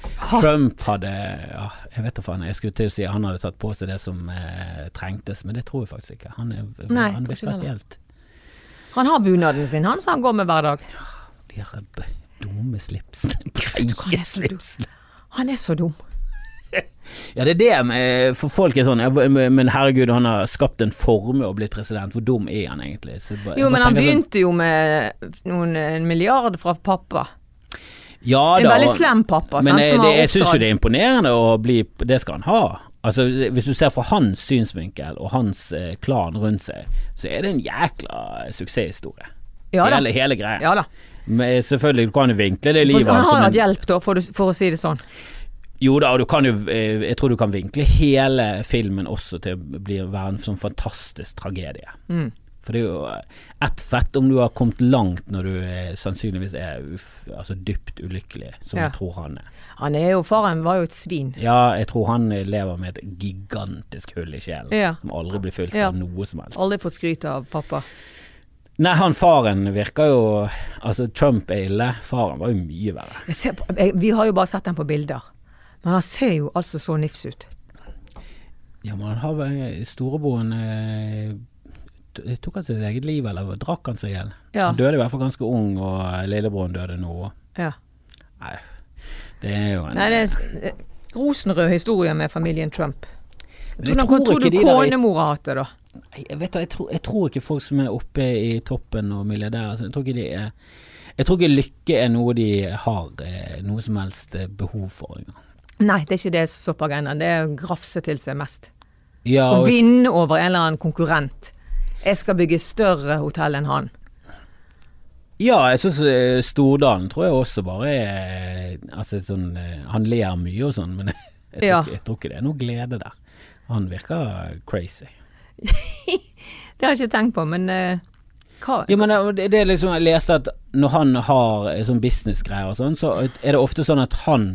[SPEAKER 2] hatt.
[SPEAKER 1] Trump hadde ja, Jeg vet da faen, jeg skulle til å si han hadde tatt på seg det som eh, trengtes, men det tror jeg faktisk ikke. Han, er,
[SPEAKER 2] Nei,
[SPEAKER 1] han
[SPEAKER 2] tror ikke
[SPEAKER 1] virker
[SPEAKER 2] heller.
[SPEAKER 1] helt
[SPEAKER 2] Han har bunaden sin, han som han går med hver dag.
[SPEAKER 1] De her b- dumme slipsene. Breie slipsene.
[SPEAKER 2] Han er så dum.
[SPEAKER 1] Ja, det er det med For folk er sånn ja, Men herregud, han har skapt en formue og blitt president. Hvor dum er han egentlig? Så jeg bare-
[SPEAKER 2] Jo,
[SPEAKER 1] jeg bare
[SPEAKER 2] men han
[SPEAKER 1] tenker sånn,
[SPEAKER 2] begynte jo med eh, noen, en milliard fra pappa.
[SPEAKER 1] ja,
[SPEAKER 2] En
[SPEAKER 1] da,
[SPEAKER 2] veldig slem pappa,
[SPEAKER 1] Men
[SPEAKER 2] sant,
[SPEAKER 1] eh,
[SPEAKER 2] som
[SPEAKER 1] det,
[SPEAKER 2] har
[SPEAKER 1] jeg syns jo
[SPEAKER 2] oppdratt-
[SPEAKER 1] det er imponerende å bli Det skal han ha. Altså, hvis du ser fra hans synsvinkel og hans eh, klan rundt seg, så er det en jækla suksesshistorie.
[SPEAKER 2] Ja da.
[SPEAKER 1] hele, hele greia.
[SPEAKER 2] Ja da.
[SPEAKER 1] Men eh, selvfølgelig, du kan jo vinkle det livet
[SPEAKER 2] For, han
[SPEAKER 1] hans
[SPEAKER 2] har
[SPEAKER 1] som en-
[SPEAKER 2] hatt hjelp, da, for, du- for å si det sånn.
[SPEAKER 1] Jo da, og du kan jo eh, Jeg tror du kan vinkle hele filmen også til å bli, være en sånn fantastisk tragedie.
[SPEAKER 2] Mm.
[SPEAKER 1] For det er jo eh, ett fett om du har kommet langt når du eh, sannsynligvis er uff, altså dypt ulykkelig, som
[SPEAKER 2] Ja.
[SPEAKER 1] jeg tror han er.
[SPEAKER 2] Han er jo Faren var jo et svin.
[SPEAKER 1] Ja, jeg tror han eh, lever med et gigantisk hull i sjelen
[SPEAKER 2] Ja.
[SPEAKER 1] som aldri blir fylt
[SPEAKER 2] Ja.
[SPEAKER 1] av noe som helst.
[SPEAKER 2] Aldri fått skryt av pappa.
[SPEAKER 1] Nei, han faren virker jo Altså, Trump er ille. Faren var jo mye verre.
[SPEAKER 2] Jeg ser, på- jeg, vi har jo bare sett den på bilder. Men han ser jo altså så nifs ut.
[SPEAKER 1] Ja, men han har vel Storebroen eh, t- Tok han sitt eget liv, eller drakk han seg igjen?
[SPEAKER 2] Ja.
[SPEAKER 1] Han døde i hvert fall ganske ung, og eh, lillebroren døde nå.
[SPEAKER 2] Ja.
[SPEAKER 1] Nei, det er jo en
[SPEAKER 2] Nei, det er en eh, rosenrød historie med familien Trump.
[SPEAKER 1] Men jeg
[SPEAKER 2] Hvordan tror, tror du
[SPEAKER 1] ikke de der i-
[SPEAKER 2] konemor har hatt det, da?
[SPEAKER 1] Nei, jeg, vet, da, jeg, tror, jeg tror ikke folk som er oppe i toppen og milliardærer altså, Jeg tror ikke de er Jeg tror ikke lykke er noe de har eh, noe som helst eh, behov for engang.
[SPEAKER 2] Nei, det er ikke det som står på agendaen. Det er å grafse til seg mest.
[SPEAKER 1] Ja,
[SPEAKER 2] Å
[SPEAKER 1] og-
[SPEAKER 2] vinne over en eller annen konkurrent. Jeg skal bygge større hotell enn han.
[SPEAKER 1] Ja, jeg syns Stordalen tror jeg også bare er Altså et sånn eh, Han ler mye og sånn, men jeg tror,
[SPEAKER 2] Ja.
[SPEAKER 1] ikke, jeg tror ikke det er noe glede der. Han virker crazy.
[SPEAKER 2] Det har jeg ikke tenkt på, men eh, hva
[SPEAKER 1] Ja, men eh, det det er liksom Jeg leste at når han har eh, sånn businessgreier og sånn, så er det ofte sånn at han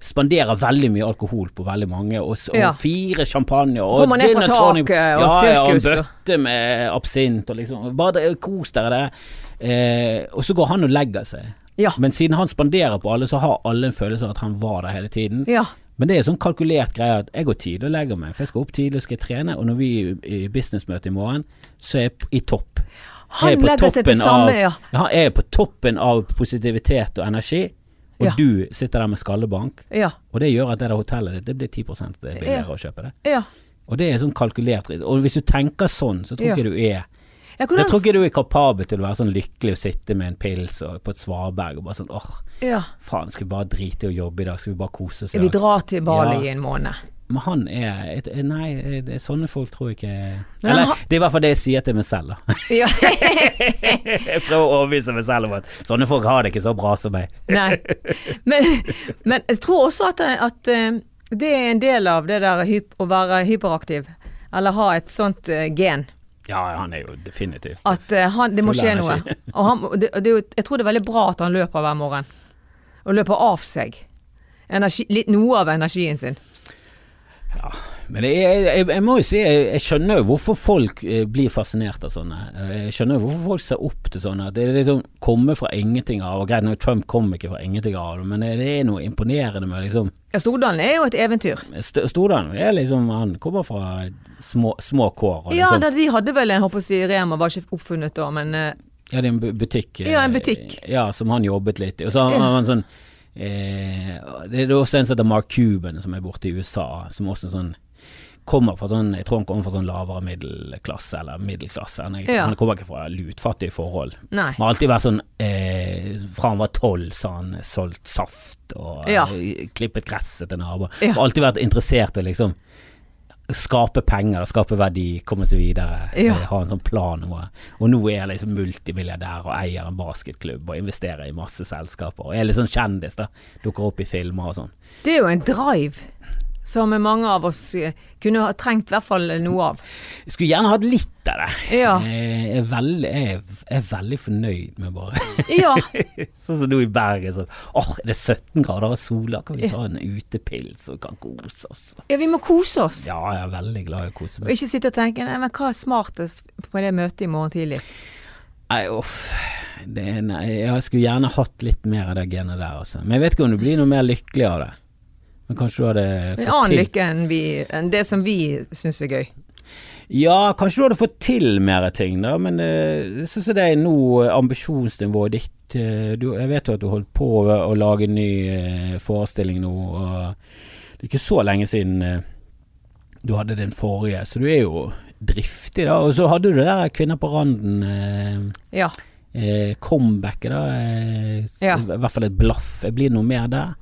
[SPEAKER 1] spanderer veldig mye alkohol på veldig mange, og, s- og
[SPEAKER 2] Ja.
[SPEAKER 1] fire champagne og
[SPEAKER 2] Kommer ned fra
[SPEAKER 1] tonic.
[SPEAKER 2] taket og
[SPEAKER 1] ja, Ja, og en
[SPEAKER 2] sirkus og-
[SPEAKER 1] bøtte med absint og liksom Bare det- kos dere der. Eh, og så går han og legger seg.
[SPEAKER 2] Ja.
[SPEAKER 1] Men siden han spanderer på alle, så har alle en følelse av at han var der hele tiden.
[SPEAKER 2] Ja.
[SPEAKER 1] Men det er sånn kalkulert greie at jeg går tidlig og legger meg, for jeg skal opp tidlig og skal trene, og når vi er i businessmøte i morgen, så er jeg p- i topp.
[SPEAKER 2] Han
[SPEAKER 1] Jeg er på
[SPEAKER 2] legger seg til
[SPEAKER 1] toppen
[SPEAKER 2] samme,
[SPEAKER 1] av,
[SPEAKER 2] ja.
[SPEAKER 1] Han er på toppen av positivitet og energi, og
[SPEAKER 2] Ja.
[SPEAKER 1] du sitter der med skallebank,
[SPEAKER 2] Ja.
[SPEAKER 1] og det gjør at det der hotellet ditt, det blir 10 billigere
[SPEAKER 2] Ja.
[SPEAKER 1] å kjøpe det.
[SPEAKER 2] ja.
[SPEAKER 1] Og det er sånn kalkulert dritt. Og hvis du tenker sånn, så tror
[SPEAKER 2] Ja.
[SPEAKER 1] ikke du er
[SPEAKER 2] ja
[SPEAKER 1] Jeg tror
[SPEAKER 2] hvordan
[SPEAKER 1] ikke du er kapabel til å være sånn lykkelig og sitte med en pils og på et svaberg og bare sånn åh,
[SPEAKER 2] ja.
[SPEAKER 1] faen, skal vi bare drite i å jobbe i dag, skal vi bare kose oss i
[SPEAKER 2] Vi
[SPEAKER 1] dag?
[SPEAKER 2] drar til Bali
[SPEAKER 1] Ja.
[SPEAKER 2] i en måned.
[SPEAKER 1] Men han er et, eh, Nei, det er sånne folk tror jeg ikke
[SPEAKER 2] Men
[SPEAKER 1] Eller
[SPEAKER 2] han-
[SPEAKER 1] det er i hvert fall det jeg sier til meg selv, da.
[SPEAKER 2] Ja.
[SPEAKER 1] jeg prøver å overbevise meg selv om at sånne folk har det ikke så bra som meg.
[SPEAKER 2] Nei. Men, men jeg tror også at, at eh, det er en del av det der hyp, å være hyperaktiv. eller ha et sånt eh, gen.
[SPEAKER 1] Ja, han er jo definitivt
[SPEAKER 2] At eh, han, det må
[SPEAKER 1] Full
[SPEAKER 2] skje
[SPEAKER 1] av
[SPEAKER 2] noe. Og han, må- det, og det, er jo- jeg tror det er veldig bra at han løper hver morgen. Og løper av seg. Energi, litt noe av energien sin.
[SPEAKER 1] Men jeg, jeg, jeg, jeg må jo si, jeg, jeg skjønner jo hvorfor folk eh, blir fascinert av sånne. Eh, Jeg skjønner jo hvorfor folk ser opp til sånne. at Det er liksom komme fra ingenting av, og greit nok Trump kom ikke fra ingenting av, det, men det er noe imponerende med liksom
[SPEAKER 2] Ja, Stordalen er jo et eventyr.
[SPEAKER 1] St Stordalen er liksom, han kommer fra små, små kår. Og
[SPEAKER 2] Ja,
[SPEAKER 1] liksom,
[SPEAKER 2] da, de hadde vel en håper å si, Rema, var ikke oppfunnet da, men eh,
[SPEAKER 1] Ja, det er en bu- butikk. eh,
[SPEAKER 2] Ja, en butikk.
[SPEAKER 1] Ja, som han jobbet litt i. Og så har har han sånn eh, Det er også en som heter Mark Cuban, som er borte i USA, som også sånn Kommer fra sånn, Jeg tror han kommer fra sånn lavere middelklasse, eller middelklasse. Han, er,
[SPEAKER 2] Ja.
[SPEAKER 1] han kommer ikke fra lutfattige forhold.
[SPEAKER 2] nei.
[SPEAKER 1] Han har alltid vært sånn eh, Fra han var tolv, så har han solgt saft og
[SPEAKER 2] Ja.
[SPEAKER 1] eh, klippet gresset til naboer.
[SPEAKER 2] Ja.
[SPEAKER 1] Har alltid vært interessert i liksom skape penger, skape verdi, komme seg videre.
[SPEAKER 2] Ja.
[SPEAKER 1] eh, Ha en sånn plan. Og, og nå er jeg liksom multimilliardær og eier en basketklubb og investerer i masse selskaper. Og er litt sånn kjendis, da. Dukker opp i filmer og sånn.
[SPEAKER 2] Det er jo en drive som mange av oss eh, kunne ha trengt i hvert fall eh, noe av.
[SPEAKER 1] Jeg skulle gjerne hatt litt av det. Eh,
[SPEAKER 2] Ja.
[SPEAKER 1] Jeg, er veldig, jeg er- jeg er veldig fornøyd med bare
[SPEAKER 2] Ja,
[SPEAKER 1] Sånn som nå i Bergen. Sånn. Åh, det er 17 grader og sola, kan vi ta en utepils og kan kose oss?
[SPEAKER 2] ja vi må kose oss.
[SPEAKER 1] Ja, jeg er veldig glad i å kose
[SPEAKER 2] Og
[SPEAKER 1] meg.
[SPEAKER 2] ikke sitte og tenke nei, men hva er smartest på det møtet i morgen tidlig.
[SPEAKER 1] Nei, uff. Det er, nei, jeg skulle gjerne hatt litt mer av det genet der, altså. Men jeg vet ikke om du blir noe mer lykkelig av det. Men kanskje du hadde
[SPEAKER 2] En
[SPEAKER 1] fått
[SPEAKER 2] annen
[SPEAKER 1] til
[SPEAKER 2] lykke enn, vi, enn det som vi syns er gøy.
[SPEAKER 1] Ja, kanskje du hadde fått til mer ting, da, men eh, jeg syns det er nå eh, ambisjonsnivået ditt. eh, du, jeg vet jo at du holdt på å, å lage en ny eh, forestilling nå, og det er ikke så lenge siden eh, du hadde den forrige, så du er jo driftig, da. Og så hadde du det der Kvinner på randen. eh,
[SPEAKER 2] Ja.
[SPEAKER 1] Eh, comebacket, da. Eh,
[SPEAKER 2] Ja.
[SPEAKER 1] I hvert fall et blaff. Jeg blir noe mer der.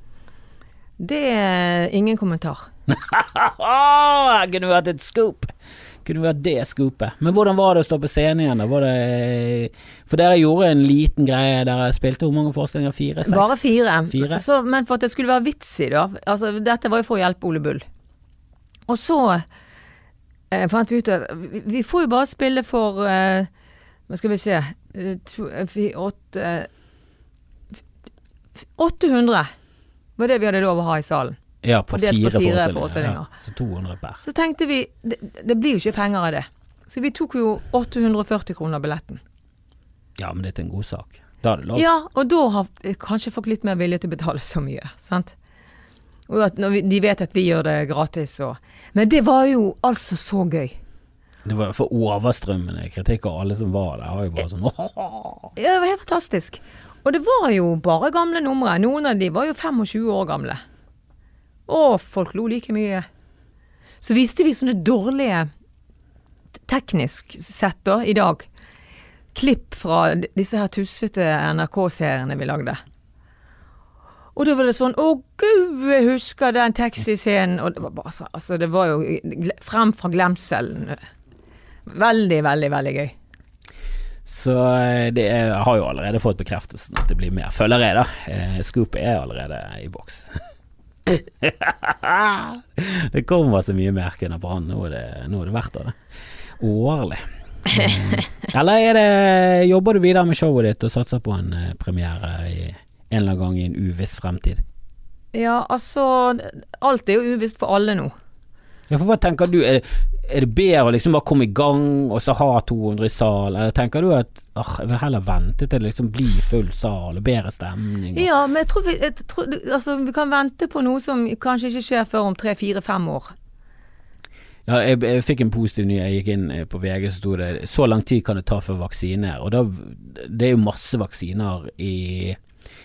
[SPEAKER 2] Det er ingen kommentar.
[SPEAKER 1] Haha, Kunne vi hatt et scoop? Kunne vi hatt det scoopet? Men hvordan var det å stå på scenen igjen? da? Var det, for dere gjorde en liten greie. Dere spilte hvor mange forestillinger? Fire? Seks?
[SPEAKER 2] Bare fire.
[SPEAKER 1] Fire.
[SPEAKER 2] Så, men for at det skulle være vits i, da. Altså, dette var jo for å hjelpe Ole Bull. Og så eh, fant vi ut at vi, vi får jo bare spille for eh, Hva skal vi se eh, to, eh, fi- åtte, eh, f- 800 var det vi hadde lov å ha i salen.
[SPEAKER 1] Ja, på
[SPEAKER 2] Fordelt
[SPEAKER 1] fire,
[SPEAKER 2] på fire
[SPEAKER 1] forestillinger.
[SPEAKER 2] forestillinger.
[SPEAKER 1] Ja, så 200 per.
[SPEAKER 2] Så tenkte vi det, det blir jo ikke penger av det. Så vi tok jo 840 kroner billetten.
[SPEAKER 1] Ja, men det er til en god sak. Da er det lov.
[SPEAKER 2] Ja, og da har eh, kanskje folk litt mer vilje til å betale så mye, sant? Og at når vi, de vet at vi gjør det gratis og Men det var jo altså så gøy.
[SPEAKER 1] Det var for overstrømmende kritikk, og alle som var der, har jo bare sånn «Åhåhå».
[SPEAKER 2] Ja, det var helt fantastisk. Og det var jo bare gamle numre. Noen av de var jo 25 år gamle. Å, folk lo like mye. Så viste vi sånne dårlige, t- teknisk sett da, i dag, klipp fra d- disse her tussete NRK-seriene vi lagde. Og da var det sånn Å, gud, jeg husker den taxiscenen. Og det var bare så Altså, det var jo gle- frem fra glemselen. Veldig, veldig, veldig gøy.
[SPEAKER 1] Så eh, det er, jeg har jo allerede fått bekreftelsen at det blir mer følgere, da. Eh, Scoopet er allerede i boks. det kommer så mye mer kunne på han, nå er det, nå er det verdt av det. Årlig. Eh, Eller er det, jobber du videre med showet ditt og satser på en eh, premiere i, en eller annen gang i en uviss fremtid?
[SPEAKER 2] Ja, altså Alt er jo uvisst for alle nå.
[SPEAKER 1] Ja, for hva tenker du, er, er det bedre å liksom bare komme i gang og så ha 200 i sal, eller tenker du at ah, jeg vil heller vente til det liksom blir full sal og bedre stemning? Og,
[SPEAKER 2] Ja, men jeg tror vi, jeg tror, altså, vi kan vente på noe som kanskje ikke skjer før om tre-fire-fem år.
[SPEAKER 1] Ja, jeg, jeg fikk en positiv nyhet. Jeg gikk inn eh, på VG, så sto det 'så lang tid kan det ta før vaksine'. Og da, det er jo masse vaksiner i,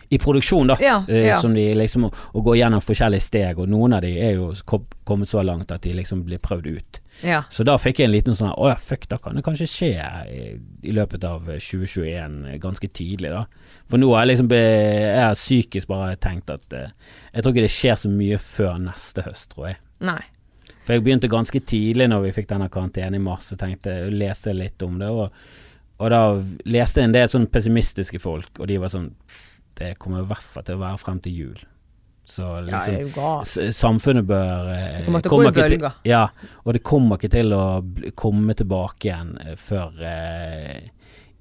[SPEAKER 1] i produksjon, da.
[SPEAKER 2] Ja,
[SPEAKER 1] eh,
[SPEAKER 2] ja.
[SPEAKER 1] Som de liksom Og går gjennom forskjellige steg, og noen av de er jo kom- kommet så langt at de liksom blir prøvd ut.
[SPEAKER 2] Ja.
[SPEAKER 1] Så da fikk jeg en liten sånn Å ja, fuck, da kan det kanskje skje i, i løpet av 2021, eh, ganske tidlig, da. For nå har jeg liksom be, Jeg har psykisk bare tenkt at eh, Jeg tror ikke det skjer så mye før neste høst, tror jeg.
[SPEAKER 2] Nei.
[SPEAKER 1] For jeg begynte ganske tidlig når vi fikk denne karantenen i mars, og tenkte, leste jeg litt om det. Og, og da leste jeg en del sånn pessimistiske folk, og de var sånn Det kommer i hvert fall til å være frem til jul. Så
[SPEAKER 2] Ja,
[SPEAKER 1] liksom
[SPEAKER 2] jeg er jo gal.
[SPEAKER 1] S- Samfunnet bør eh,
[SPEAKER 2] Det kommer til å
[SPEAKER 1] kommer
[SPEAKER 2] gå i
[SPEAKER 1] ikke til-
[SPEAKER 2] bølger.
[SPEAKER 1] Ja, og det kommer ikke til å bl- komme tilbake igjen eh, før eh,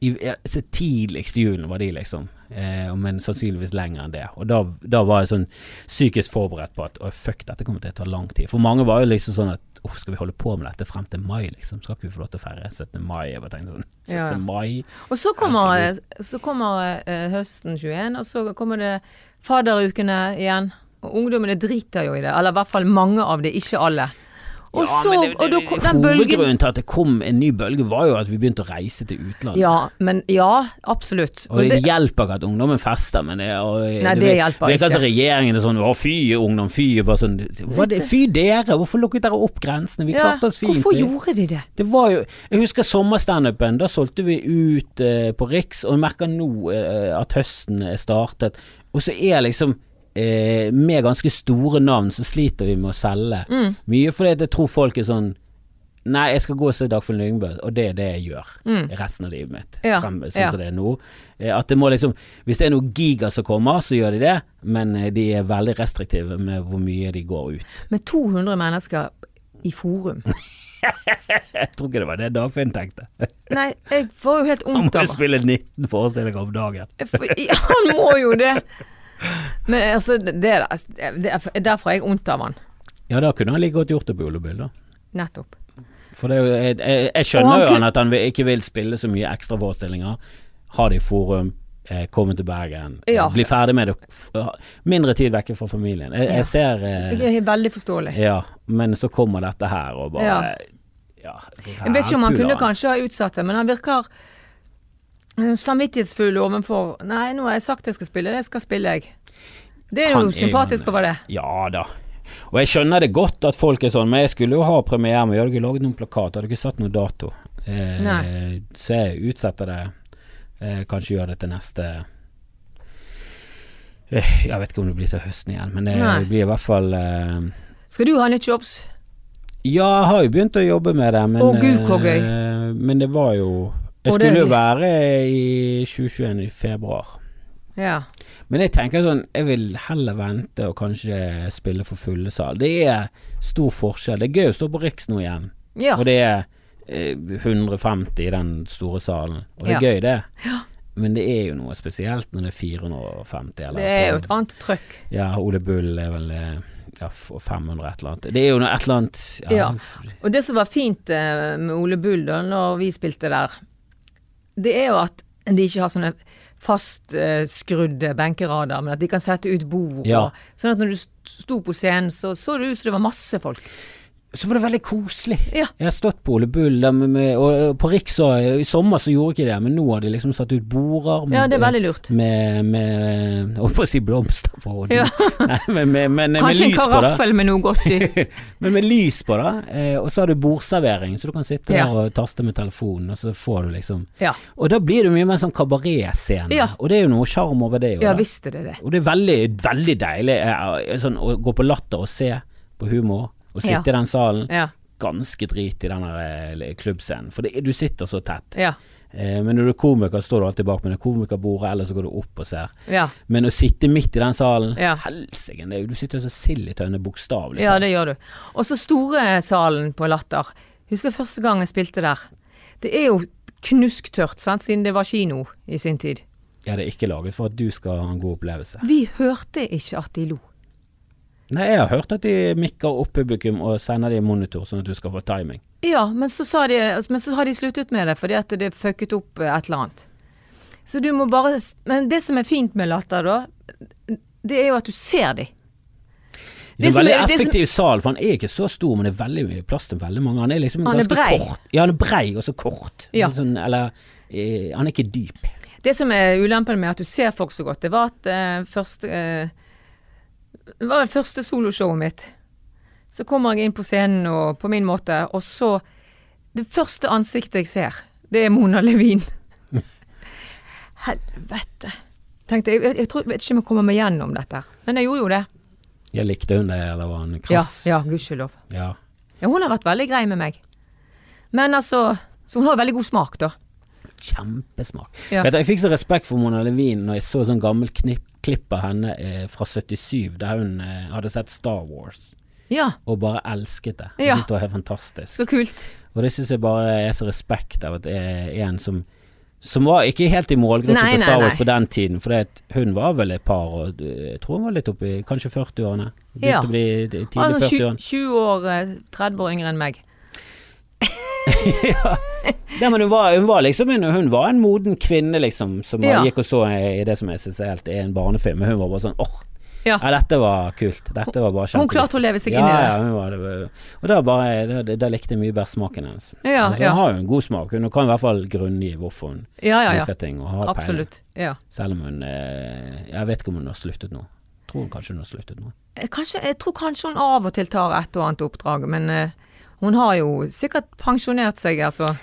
[SPEAKER 1] i, ja, så Tidligst i julen var de, liksom. Eh, men sannsynligvis lenger enn det. Og da, da var jeg sånn psykisk forberedt på at å, fuck, dette kommer til å ta lang tid. For mange var jo liksom sånn at uff, skal vi holde på med dette frem til mai, liksom? Skal ikke vi få lov til å feire 17. mai? Jeg bare tenkte sånn 17.
[SPEAKER 2] Ja, ja.
[SPEAKER 1] mai?
[SPEAKER 2] Og så kommer, så kommer eh, høsten 21, og så kommer det faderukene igjen. Og ungdommene driter jo i det, eller i hvert fall mange av det, ikke alle. Og
[SPEAKER 1] Ja,
[SPEAKER 2] så,
[SPEAKER 1] men det-
[SPEAKER 2] og da,
[SPEAKER 1] det-
[SPEAKER 2] kom- den bølgen
[SPEAKER 1] Hovedgrunnen til at det kom en ny bølge, var jo at vi begynte å reise til utlandet.
[SPEAKER 2] Ja, men ja, absolutt.
[SPEAKER 1] Og
[SPEAKER 2] Men
[SPEAKER 1] det,
[SPEAKER 2] det-
[SPEAKER 1] hjelper ikke at ungdommen fester, men det, og, eh,
[SPEAKER 2] Nei, det hjelper
[SPEAKER 1] ikke.
[SPEAKER 2] ikke.
[SPEAKER 1] Altså, regjeringen er sånn 'Å, fy ungdom, fy'. Bare sånn, hva er det, fy dere, hvorfor lukket dere opp grensene? Vi
[SPEAKER 2] ja,
[SPEAKER 1] klarte oss fint.
[SPEAKER 2] Hvorfor gjorde de det?
[SPEAKER 1] det var jo, jeg husker sommerstandupen. Da solgte vi ut eh, på Riks, og jeg merker nå eh, at høsten er startet. Og så er liksom eh, Med ganske store navn så sliter vi med å selge mye, fordi at jeg tror folk er sånn Nei, jeg skal gå og se Dagfinn Lyngbø, og det er det jeg gjør resten av livet mitt.
[SPEAKER 2] Ja,
[SPEAKER 1] Frem, sånn
[SPEAKER 2] ja.
[SPEAKER 1] som det er nå. Eh, At det må liksom Hvis det er noe giga som kommer, så gjør de det, men eh, de er veldig restriktive med hvor mye de går ut.
[SPEAKER 2] Med 200 mennesker i forum.
[SPEAKER 1] Jeg tror ikke det var det Dagfinn tenkte.
[SPEAKER 2] Nei, jeg får jo helt
[SPEAKER 1] Han
[SPEAKER 2] vondt
[SPEAKER 1] må
[SPEAKER 2] av
[SPEAKER 1] jo spille 19 forestillinger om dagen.
[SPEAKER 2] Jeg får- Ja, han må jo det. Men altså, det, det, er- det er derfor jeg har vondt av han.
[SPEAKER 1] Ja, da kunne han like godt gjort det på Ulebyl, da.
[SPEAKER 2] Nettopp.
[SPEAKER 1] For det er jo, jeg, jeg, jeg
[SPEAKER 2] Og han
[SPEAKER 1] skjønner jo
[SPEAKER 2] kun-
[SPEAKER 1] han at han vil- ikke vil spille så mye ekstraforestillinger. Ha det i forum, eh, komme til Bergen, eh,
[SPEAKER 2] Ja.
[SPEAKER 1] bli ferdig med det. F- ha- Mindre tid vekke fra familien. Jeg,
[SPEAKER 2] Ja.
[SPEAKER 1] jeg ser eh,
[SPEAKER 2] Jeg er veldig forståelig.
[SPEAKER 1] Ja, men så kommer dette her og bare
[SPEAKER 2] Ja.
[SPEAKER 1] Ja.
[SPEAKER 2] Jeg vet ikke om han kunne
[SPEAKER 1] kanskje
[SPEAKER 2] kanskje ha utsatt det, men han virker eh, samvittighetsfull overfor Nei, nå har jeg sagt jeg skal spille, det skal spille jeg. Det er
[SPEAKER 1] Han
[SPEAKER 2] jo
[SPEAKER 1] er jo
[SPEAKER 2] sympatisk
[SPEAKER 1] en-
[SPEAKER 2] over det.
[SPEAKER 1] Ja da. Og jeg skjønner det godt at folk er sånn, men jeg skulle jo ha premiere, men jeg hadde ikke laget noen plakat, jeg hadde ikke satt noen dato. Eh,
[SPEAKER 2] Nei.
[SPEAKER 1] så jeg utsetter det. Eh, kanskje gjør det til neste eh, Jeg vet ikke om det blir til høsten igjen, men det
[SPEAKER 2] Nei.
[SPEAKER 1] blir i hvert fall eh,
[SPEAKER 2] Skal du ha nytt shows?
[SPEAKER 1] Ja, jeg har jo begynt å jobbe med det, men
[SPEAKER 2] Å, Gud, hvor gøy.
[SPEAKER 1] eh, Men det var jo Jeg
[SPEAKER 2] Og det-
[SPEAKER 1] skulle jo være i 2021 i februar.
[SPEAKER 2] Ja.
[SPEAKER 1] Men jeg tenker sånn, jeg vil heller vente og kanskje spille for fulle sal. Det er stor forskjell. Det er gøy å stå på Riks nå igjen,
[SPEAKER 2] ja.
[SPEAKER 1] og det er eh, 150 i den store salen, og det
[SPEAKER 2] Ja.
[SPEAKER 1] er gøy, det. Men det er jo noe spesielt når det er 450 eller
[SPEAKER 2] Det er jo et annet trøkk.
[SPEAKER 1] Ja, Ole Bull er vel eh, ja, f- 500 et eller annet. Det er jo noe et eller annet
[SPEAKER 2] Ja.
[SPEAKER 1] f-
[SPEAKER 2] Og det som var fint eh, med Ole Bull da når vi spilte der, det er jo at de ikke har sånne fastskrudde benkerader, men at de kan sette ut bord.
[SPEAKER 1] Ja.
[SPEAKER 2] og- Sånn at når du st- sto på scenen, så så det ut som det var masse folk.
[SPEAKER 1] Så var det veldig koselig.
[SPEAKER 2] Ja.
[SPEAKER 1] Jeg har stått på Ole Bull der med, med, og og på Riks og i sommer så gjorde ikke det, men nå har de liksom satt ut border.
[SPEAKER 2] Ja, det er
[SPEAKER 1] med-
[SPEAKER 2] veldig lurt.
[SPEAKER 1] med, med Jeg holdt på å si blomster på hodet.
[SPEAKER 2] Ja.
[SPEAKER 1] Nei, men, med, men, med
[SPEAKER 2] Kanskje en
[SPEAKER 1] lys på det.
[SPEAKER 2] karaffel med noe godt i.
[SPEAKER 1] Men med lys på det, eh, og så har du bordservering, så du kan sitte
[SPEAKER 2] Ja.
[SPEAKER 1] der og taste med telefonen, og så får du liksom
[SPEAKER 2] Ja,
[SPEAKER 1] Og da blir det mye mer sånn kabaretscene,
[SPEAKER 2] Ja.
[SPEAKER 1] og det er jo noe sjarm over det. jo
[SPEAKER 2] ja
[SPEAKER 1] da.
[SPEAKER 2] visste det det.
[SPEAKER 1] Og det er veldig, veldig deilig eh, sånn, å gå på latter og se på humor, og sitte
[SPEAKER 2] Ja.
[SPEAKER 1] i den salen.
[SPEAKER 2] Ja,
[SPEAKER 1] Ganske drit i den der, eh, klubbscenen, for det, du sitter så tett.
[SPEAKER 2] ja,
[SPEAKER 1] Eh, men når du er komiker, står du alltid bak med det komikerbordet, eller så går du opp og ser.
[SPEAKER 2] ja.
[SPEAKER 1] Men å sitte midt i den salen
[SPEAKER 2] Ja.
[SPEAKER 1] Helsike, det er jo- du sitter jo så sild i tønne, bokstavelig
[SPEAKER 2] ja,
[SPEAKER 1] talt.
[SPEAKER 2] det gjør du. Og så store salen på Latter. Husker første gang jeg spilte der. Det er jo knusktørt, sant, siden det var kino i sin tid.
[SPEAKER 1] Ja, det er ikke laget for at du skal ha en god opplevelse.
[SPEAKER 2] Vi hørte ikke at de lo.
[SPEAKER 1] Nei, jeg har hørt at de mikker opp publikum og sender det i monitor, sånn at du skal få timing.
[SPEAKER 2] Ja, men så, sa de, altså, men så har de sluttet med det fordi at det fucket opp eh, et eller annet. Så du må bare s- Men det som er fint med latter, da, det er jo at du ser de.
[SPEAKER 1] Det er en
[SPEAKER 2] som
[SPEAKER 1] veldig
[SPEAKER 2] er- det som-
[SPEAKER 1] effektiv sal, for han er ikke så stor, men det er veldig mye plass til veldig mange. Han er liksom
[SPEAKER 2] Han er
[SPEAKER 1] ganske
[SPEAKER 2] brei.
[SPEAKER 1] kort. Ja, han er brei og så kort.
[SPEAKER 2] Ja.
[SPEAKER 1] Sånn, eller eh, Han er ikke dyp.
[SPEAKER 2] Det som er ulempen med at du ser folk så godt, det var at eh, første eh, Det var det første soloshowet mitt. Så kommer jeg inn på scenen og på min måte, og så Det første ansiktet jeg ser, det er Mona Levin. Helvete. Tenkte jeg, jeg, jeg, tror, jeg vet ikke om jeg kommer meg gjennom dette. her. Men jeg gjorde jo det.
[SPEAKER 1] Jeg likte hun det, eller var han krass?
[SPEAKER 2] Ja, ja gudskjelov.
[SPEAKER 1] Ja.
[SPEAKER 2] Ja, hun har vært veldig grei med meg. Men altså Så hun har veldig god smak, da.
[SPEAKER 1] kjempesmak.
[SPEAKER 2] Ja.
[SPEAKER 1] Vet du, Jeg fikk så respekt for Mona Levin når jeg så sånn gammel knipp, klipp av henne eh, fra 77, der hun eh, hadde sett Star Wars
[SPEAKER 2] Ja,
[SPEAKER 1] og bare elsket det. Jeg
[SPEAKER 2] Ja.
[SPEAKER 1] synes det var helt fantastisk.
[SPEAKER 2] så kult.
[SPEAKER 1] Og det syns jeg bare er så respekt av at det er en som som var ikke helt i målgruppen
[SPEAKER 2] Nei,
[SPEAKER 1] til
[SPEAKER 2] nei,
[SPEAKER 1] Star Wars
[SPEAKER 2] nei.
[SPEAKER 1] på den tiden, for hun var vel et par, og eh, jeg tror hun var litt oppi kanskje 40-årene. Begynte
[SPEAKER 2] Ja.
[SPEAKER 1] å bli de- tidlig
[SPEAKER 2] Altså, 20,
[SPEAKER 1] 40-årene.
[SPEAKER 2] 20 år, eh, 30 år yngre enn meg.
[SPEAKER 1] Nei, men hun var, hun var liksom en, hun var en moden kvinne, liksom, som
[SPEAKER 2] Ja.
[SPEAKER 1] gikk og så i det som jeg syns er helt er en barnefilm. Men hun var bare sånn åh,
[SPEAKER 2] Ja.
[SPEAKER 1] ja, dette var kult. Dette var bare
[SPEAKER 2] Hun
[SPEAKER 1] kjempegøy.
[SPEAKER 2] klarte å leve seg
[SPEAKER 1] ja,
[SPEAKER 2] inn i det.
[SPEAKER 1] ja, hun var det. Og da, bare, da, da likte jeg mye bedre smaken hennes.
[SPEAKER 2] Ja,
[SPEAKER 1] altså,
[SPEAKER 2] ja.
[SPEAKER 1] Hun har jo en god smak, hun kan i hvert fall grunngi hvorfor hun
[SPEAKER 2] Ja, ja, ja.
[SPEAKER 1] liker ting. Og har peiling.
[SPEAKER 2] Absolutt. Ja.
[SPEAKER 1] Selv om hun eh, Jeg vet ikke om hun har sluttet nå. Tror hun kanskje hun har sluttet nå.
[SPEAKER 2] Eh, Kanskje, jeg tror kanskje hun av og til tar et og annet oppdrag, men eh, hun har jo sikkert pensjonert seg, altså.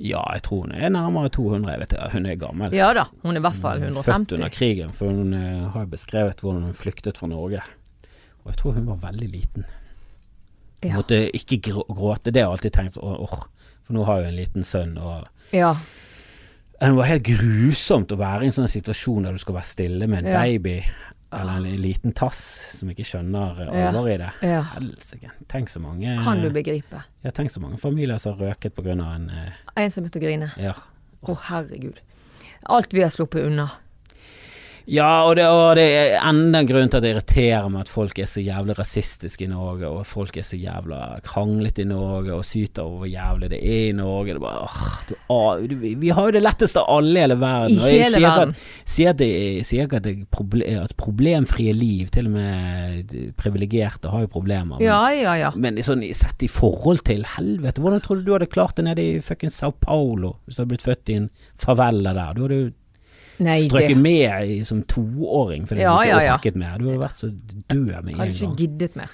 [SPEAKER 1] Ja, jeg tror hun er nærmere 200. Jeg vet ikke, Hun er gammel.
[SPEAKER 2] Ja da, hun er i hvert fall
[SPEAKER 1] Hun er Mm, Født
[SPEAKER 2] 150.
[SPEAKER 1] under krigen, for hun eh, har jo beskrevet hvordan hun flyktet fra Norge. Og jeg tror hun var veldig liten. Hun
[SPEAKER 2] Ja.
[SPEAKER 1] Måtte ikke grå- gråte. Det har jeg alltid tenkt. Åh, åh, for nå har hun en liten sønn. og...
[SPEAKER 2] ja.
[SPEAKER 1] Det var helt grusomt å være i en sånn situasjon der du skal være stille med en
[SPEAKER 2] Ja.
[SPEAKER 1] baby eller en liten tass som ikke skjønner eh,
[SPEAKER 2] Ja.
[SPEAKER 1] alvoret i det.
[SPEAKER 2] Ja.
[SPEAKER 1] Helsike. Tenk så mange
[SPEAKER 2] Kan du begripe?
[SPEAKER 1] Ja, tenk så mange familier som har røket pga. en eh,
[SPEAKER 2] Ensomhet og grine.
[SPEAKER 1] Ja,
[SPEAKER 2] Å, herregud. Alt vi har sluppet unna.
[SPEAKER 1] ja og, det, og det er enda en grunn til at det irriterer meg at folk er så jævlig rasistiske i Norge, og folk er så jævla kranglete i Norge og syter over hvor jævlig det er i Norge. Det er bare, åh, du, ah, du, vi- vi har jo det letteste av alle i hele verden.
[SPEAKER 2] I
[SPEAKER 1] og jeg
[SPEAKER 2] hele
[SPEAKER 1] sier ikke at-
[SPEAKER 2] verden.
[SPEAKER 1] Sier at, det, sier ikke at, det proble at problemfrie liv, til og med de privilegerte, har jo problemer.
[SPEAKER 2] Ja, ja, ja.
[SPEAKER 1] Men, men sånn, sett i forhold til helvete, hvordan tror du du hadde klart det nede i fucking Sao Paulo hvis du hadde blitt født i en favela der? Du hadde jo
[SPEAKER 2] Nei, det
[SPEAKER 1] strøket med i, som toåring fordi
[SPEAKER 2] Ja,
[SPEAKER 1] du ikke
[SPEAKER 2] ja, ja.
[SPEAKER 1] orket mer. Du hadde vært så død med en
[SPEAKER 2] hadde ikke
[SPEAKER 1] gang.
[SPEAKER 2] giddet mer.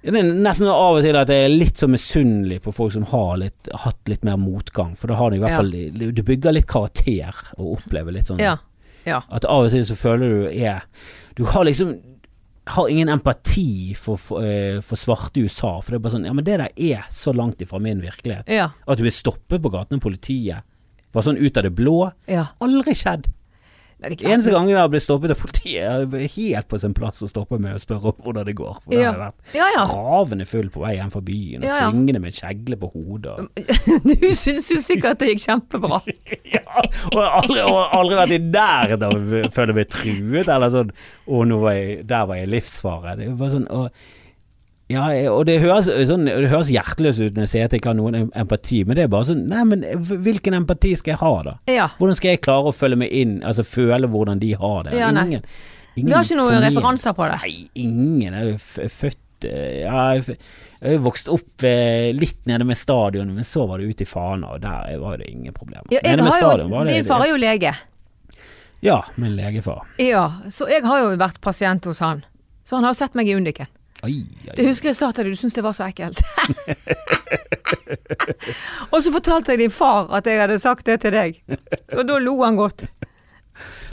[SPEAKER 1] Ja, Det er nesten av og til at jeg er litt så misunnelig på folk som har litt, hatt litt mer motgang, for da har de i hvert
[SPEAKER 2] Ja.
[SPEAKER 1] fall Du bygger litt karakter og opplever litt sånn
[SPEAKER 2] Ja. Ja.
[SPEAKER 1] at av og til så føler du er Du har liksom har ingen empati for, for, eh, for svarte i USA, for det er bare sånn Ja, men det der er så langt ifra min virkelighet.
[SPEAKER 2] Ja.
[SPEAKER 1] At du blir stoppet på gaten av politiet. Bare sånn ut av det blå.
[SPEAKER 2] ja.
[SPEAKER 1] Aldri skjedd.
[SPEAKER 2] Nei, det er
[SPEAKER 1] Eneste
[SPEAKER 2] klart.
[SPEAKER 1] gangen jeg har blitt stoppet av politiet, er jeg helt på sin plass å stoppe med å spørre om hvordan det går. For da har jeg vært
[SPEAKER 2] Ja, ja.
[SPEAKER 1] ravende full på vei hjem fra byen, og
[SPEAKER 2] Ja, Mm. ja.
[SPEAKER 1] svingende med en kjegle på hodet. Og,
[SPEAKER 2] Du syns jo sikkert det gikk kjempebra.
[SPEAKER 1] Ja, og jeg har aldri, og jeg har aldri vært i nærheten av å føle meg truet, eller sånn Å, nå var jeg, der var jeg i livsfare. Det er bare sånn og, ja, og det høres, sånn, det høres hjerteløst ut når jeg sier at jeg ikke har noen em- empati, men det er bare sånn Nei, men hvilken empati skal jeg ha, da?
[SPEAKER 2] Ja.
[SPEAKER 1] Hvordan skal jeg klare å følge meg inn, altså føle hvordan de har det?
[SPEAKER 2] Ja, nei.
[SPEAKER 1] ingen, ingen
[SPEAKER 2] Vi har ikke noen
[SPEAKER 1] formel-
[SPEAKER 2] referanser på det.
[SPEAKER 1] Nei, ingen er jo f- født eh, Ja, jeg f- jeg har jo vokst opp eh, litt nede med stadionet, men så var det ut i Fana, og der var det ingen problemer.
[SPEAKER 2] Ja, jeg
[SPEAKER 1] nede med
[SPEAKER 2] har
[SPEAKER 1] stadion
[SPEAKER 2] jo,
[SPEAKER 1] var det
[SPEAKER 2] din far er jo lege.
[SPEAKER 1] Ja, min legefar.
[SPEAKER 2] Ja, så jeg har jo vært pasient hos han. Så han har jo sett meg i Undiken.
[SPEAKER 1] Ai,
[SPEAKER 2] Det
[SPEAKER 1] ai.
[SPEAKER 2] husker jeg sa til deg, du syntes det var så ekkelt. og så fortalte jeg din far at jeg hadde sagt det til deg. Og da lo han godt.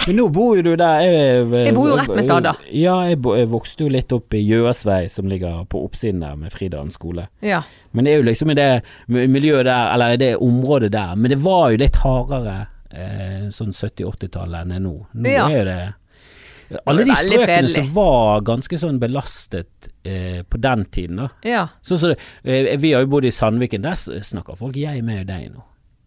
[SPEAKER 1] Men nå bor jo du der Jeg,
[SPEAKER 2] Jeg bor jo rett med Stadda.
[SPEAKER 1] Ja, jeg, bo, jeg vokste jo litt opp i Gjøasvei, som ligger på oppsiden der med Fridalen skole.
[SPEAKER 2] Ja.
[SPEAKER 1] Men det er jo liksom i det mi- miljøet der, eller i det området der. Men det var jo litt hardere eh, sånn 70-80-tallet enn det er nå. Nå
[SPEAKER 2] Ja.
[SPEAKER 1] er jo det Alle
[SPEAKER 2] Nå er det
[SPEAKER 1] de
[SPEAKER 2] veldig
[SPEAKER 1] strøkene
[SPEAKER 2] fredelig.
[SPEAKER 1] som var ganske sånn belastet eh, på den tiden, da.
[SPEAKER 2] Ja.
[SPEAKER 1] Sånn som det, eh, Vi har jo bodd i Sandviken, der s- snakker folk jeg med deg nå.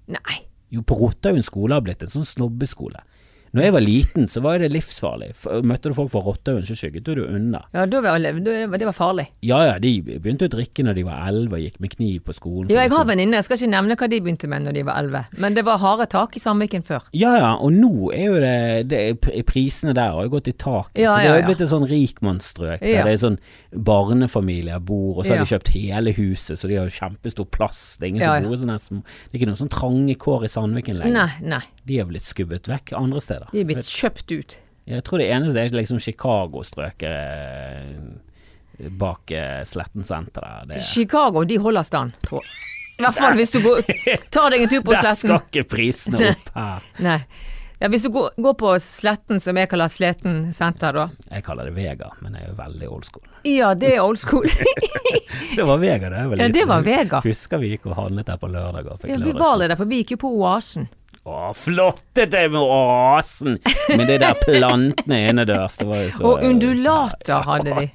[SPEAKER 2] Nei.
[SPEAKER 1] Jo, på Rottahaugen skole har blitt en sånn snobbeskole. Når jeg var liten, så var jo det livsfarlig. F- Møtte du folk fra Rottahaugen, så skygget du det unna.
[SPEAKER 2] Ja, da var jeg, da- det var farlig.
[SPEAKER 1] Ja ja, de begynte å drikke når de var elleve og gikk med kniv på skolen.
[SPEAKER 2] Ja, jeg har venninner, jeg skal ikke nevne hva de begynte med når de var elleve, men det var harde tak i Sandviken før.
[SPEAKER 1] ja ja, og nå er jo det, det er- Prisene der har jo gått i taket. så
[SPEAKER 2] Ja,
[SPEAKER 1] det
[SPEAKER 2] ja,
[SPEAKER 1] har jo
[SPEAKER 2] ja.
[SPEAKER 1] blitt et sånn rikmannsstrøk der
[SPEAKER 2] Ja.
[SPEAKER 1] det er sånn barnefamilier bor, og så har
[SPEAKER 2] Ja.
[SPEAKER 1] de kjøpt hele huset, så de har jo kjempestor plass. Det er ingen
[SPEAKER 2] Ja,
[SPEAKER 1] som
[SPEAKER 2] ja.
[SPEAKER 1] bor i sånne her små Det er ikke noen sånn trange kår i Sandviken lenger.
[SPEAKER 2] Nei, nei.
[SPEAKER 1] De har blitt skubbet vekk andre steder.
[SPEAKER 2] De er blitt kjøpt ut.
[SPEAKER 1] Jeg tror det eneste er liksom Chicago-strøket eh, bak eh, Sletten senter der. Det,
[SPEAKER 2] Chicago, de holder stand. tror jeg. I hvert fall hvis du går, tar deg en tur på
[SPEAKER 1] der skal
[SPEAKER 2] sletten.
[SPEAKER 1] ikke prisene opp her.
[SPEAKER 2] Nei. Ja, hvis du går, går på sletten, som jeg kaller Sleten senter, da.
[SPEAKER 1] Jeg kaller det Vega, men jeg er jo veldig old school.
[SPEAKER 2] Ja, det er old school.
[SPEAKER 1] Det var Vega da jeg var
[SPEAKER 2] Ja,
[SPEAKER 1] liten.
[SPEAKER 2] det var Vega.
[SPEAKER 1] Husker vi gikk og handlet der på lørdager og fikk
[SPEAKER 2] Ja, vi var
[SPEAKER 1] lørdagsstål.
[SPEAKER 2] allerede der, for vi gikk jo på Oasen.
[SPEAKER 1] Å Å, flottet deg med åsen! Men det der plantene innendørs, det var jo så
[SPEAKER 2] Og undulater hadde de.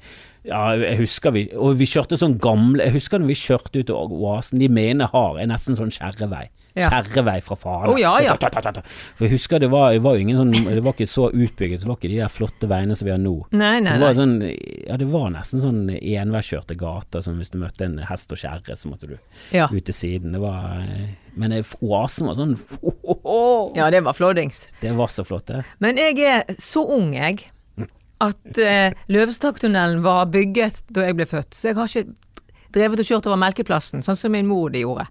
[SPEAKER 1] Ja, jeg husker vi Og vi kjørte sånn gamle Jeg husker når vi kjørte ut av oasen De mener har er nesten sånn skjærevei
[SPEAKER 2] Ja.
[SPEAKER 1] Skjærevei fra faren
[SPEAKER 2] Å, ja, ja.
[SPEAKER 1] For jeg husker det var, det var jo ingen sånn Det var ikke så utbygget Det var ikke de der flotte veiene som vi har nå
[SPEAKER 2] Nei,
[SPEAKER 1] Så
[SPEAKER 2] nei,
[SPEAKER 1] det
[SPEAKER 2] nei.
[SPEAKER 1] var sånn Ja, det var nesten sånn enveiskjørte gater Som hvis du møtte en hest og skjære Så måtte du
[SPEAKER 2] Ja,
[SPEAKER 1] ut til siden Det var eh, Men eh, oasen var sånn
[SPEAKER 2] ja det var flådings.
[SPEAKER 1] Det var så flott det
[SPEAKER 2] Men jeg er så ung, jeg, at eh, Løvestakktunnelen var bygget da jeg ble født. Så jeg har ikke drevet og kjørt over Melkeplassen, sånn som min mor det gjorde.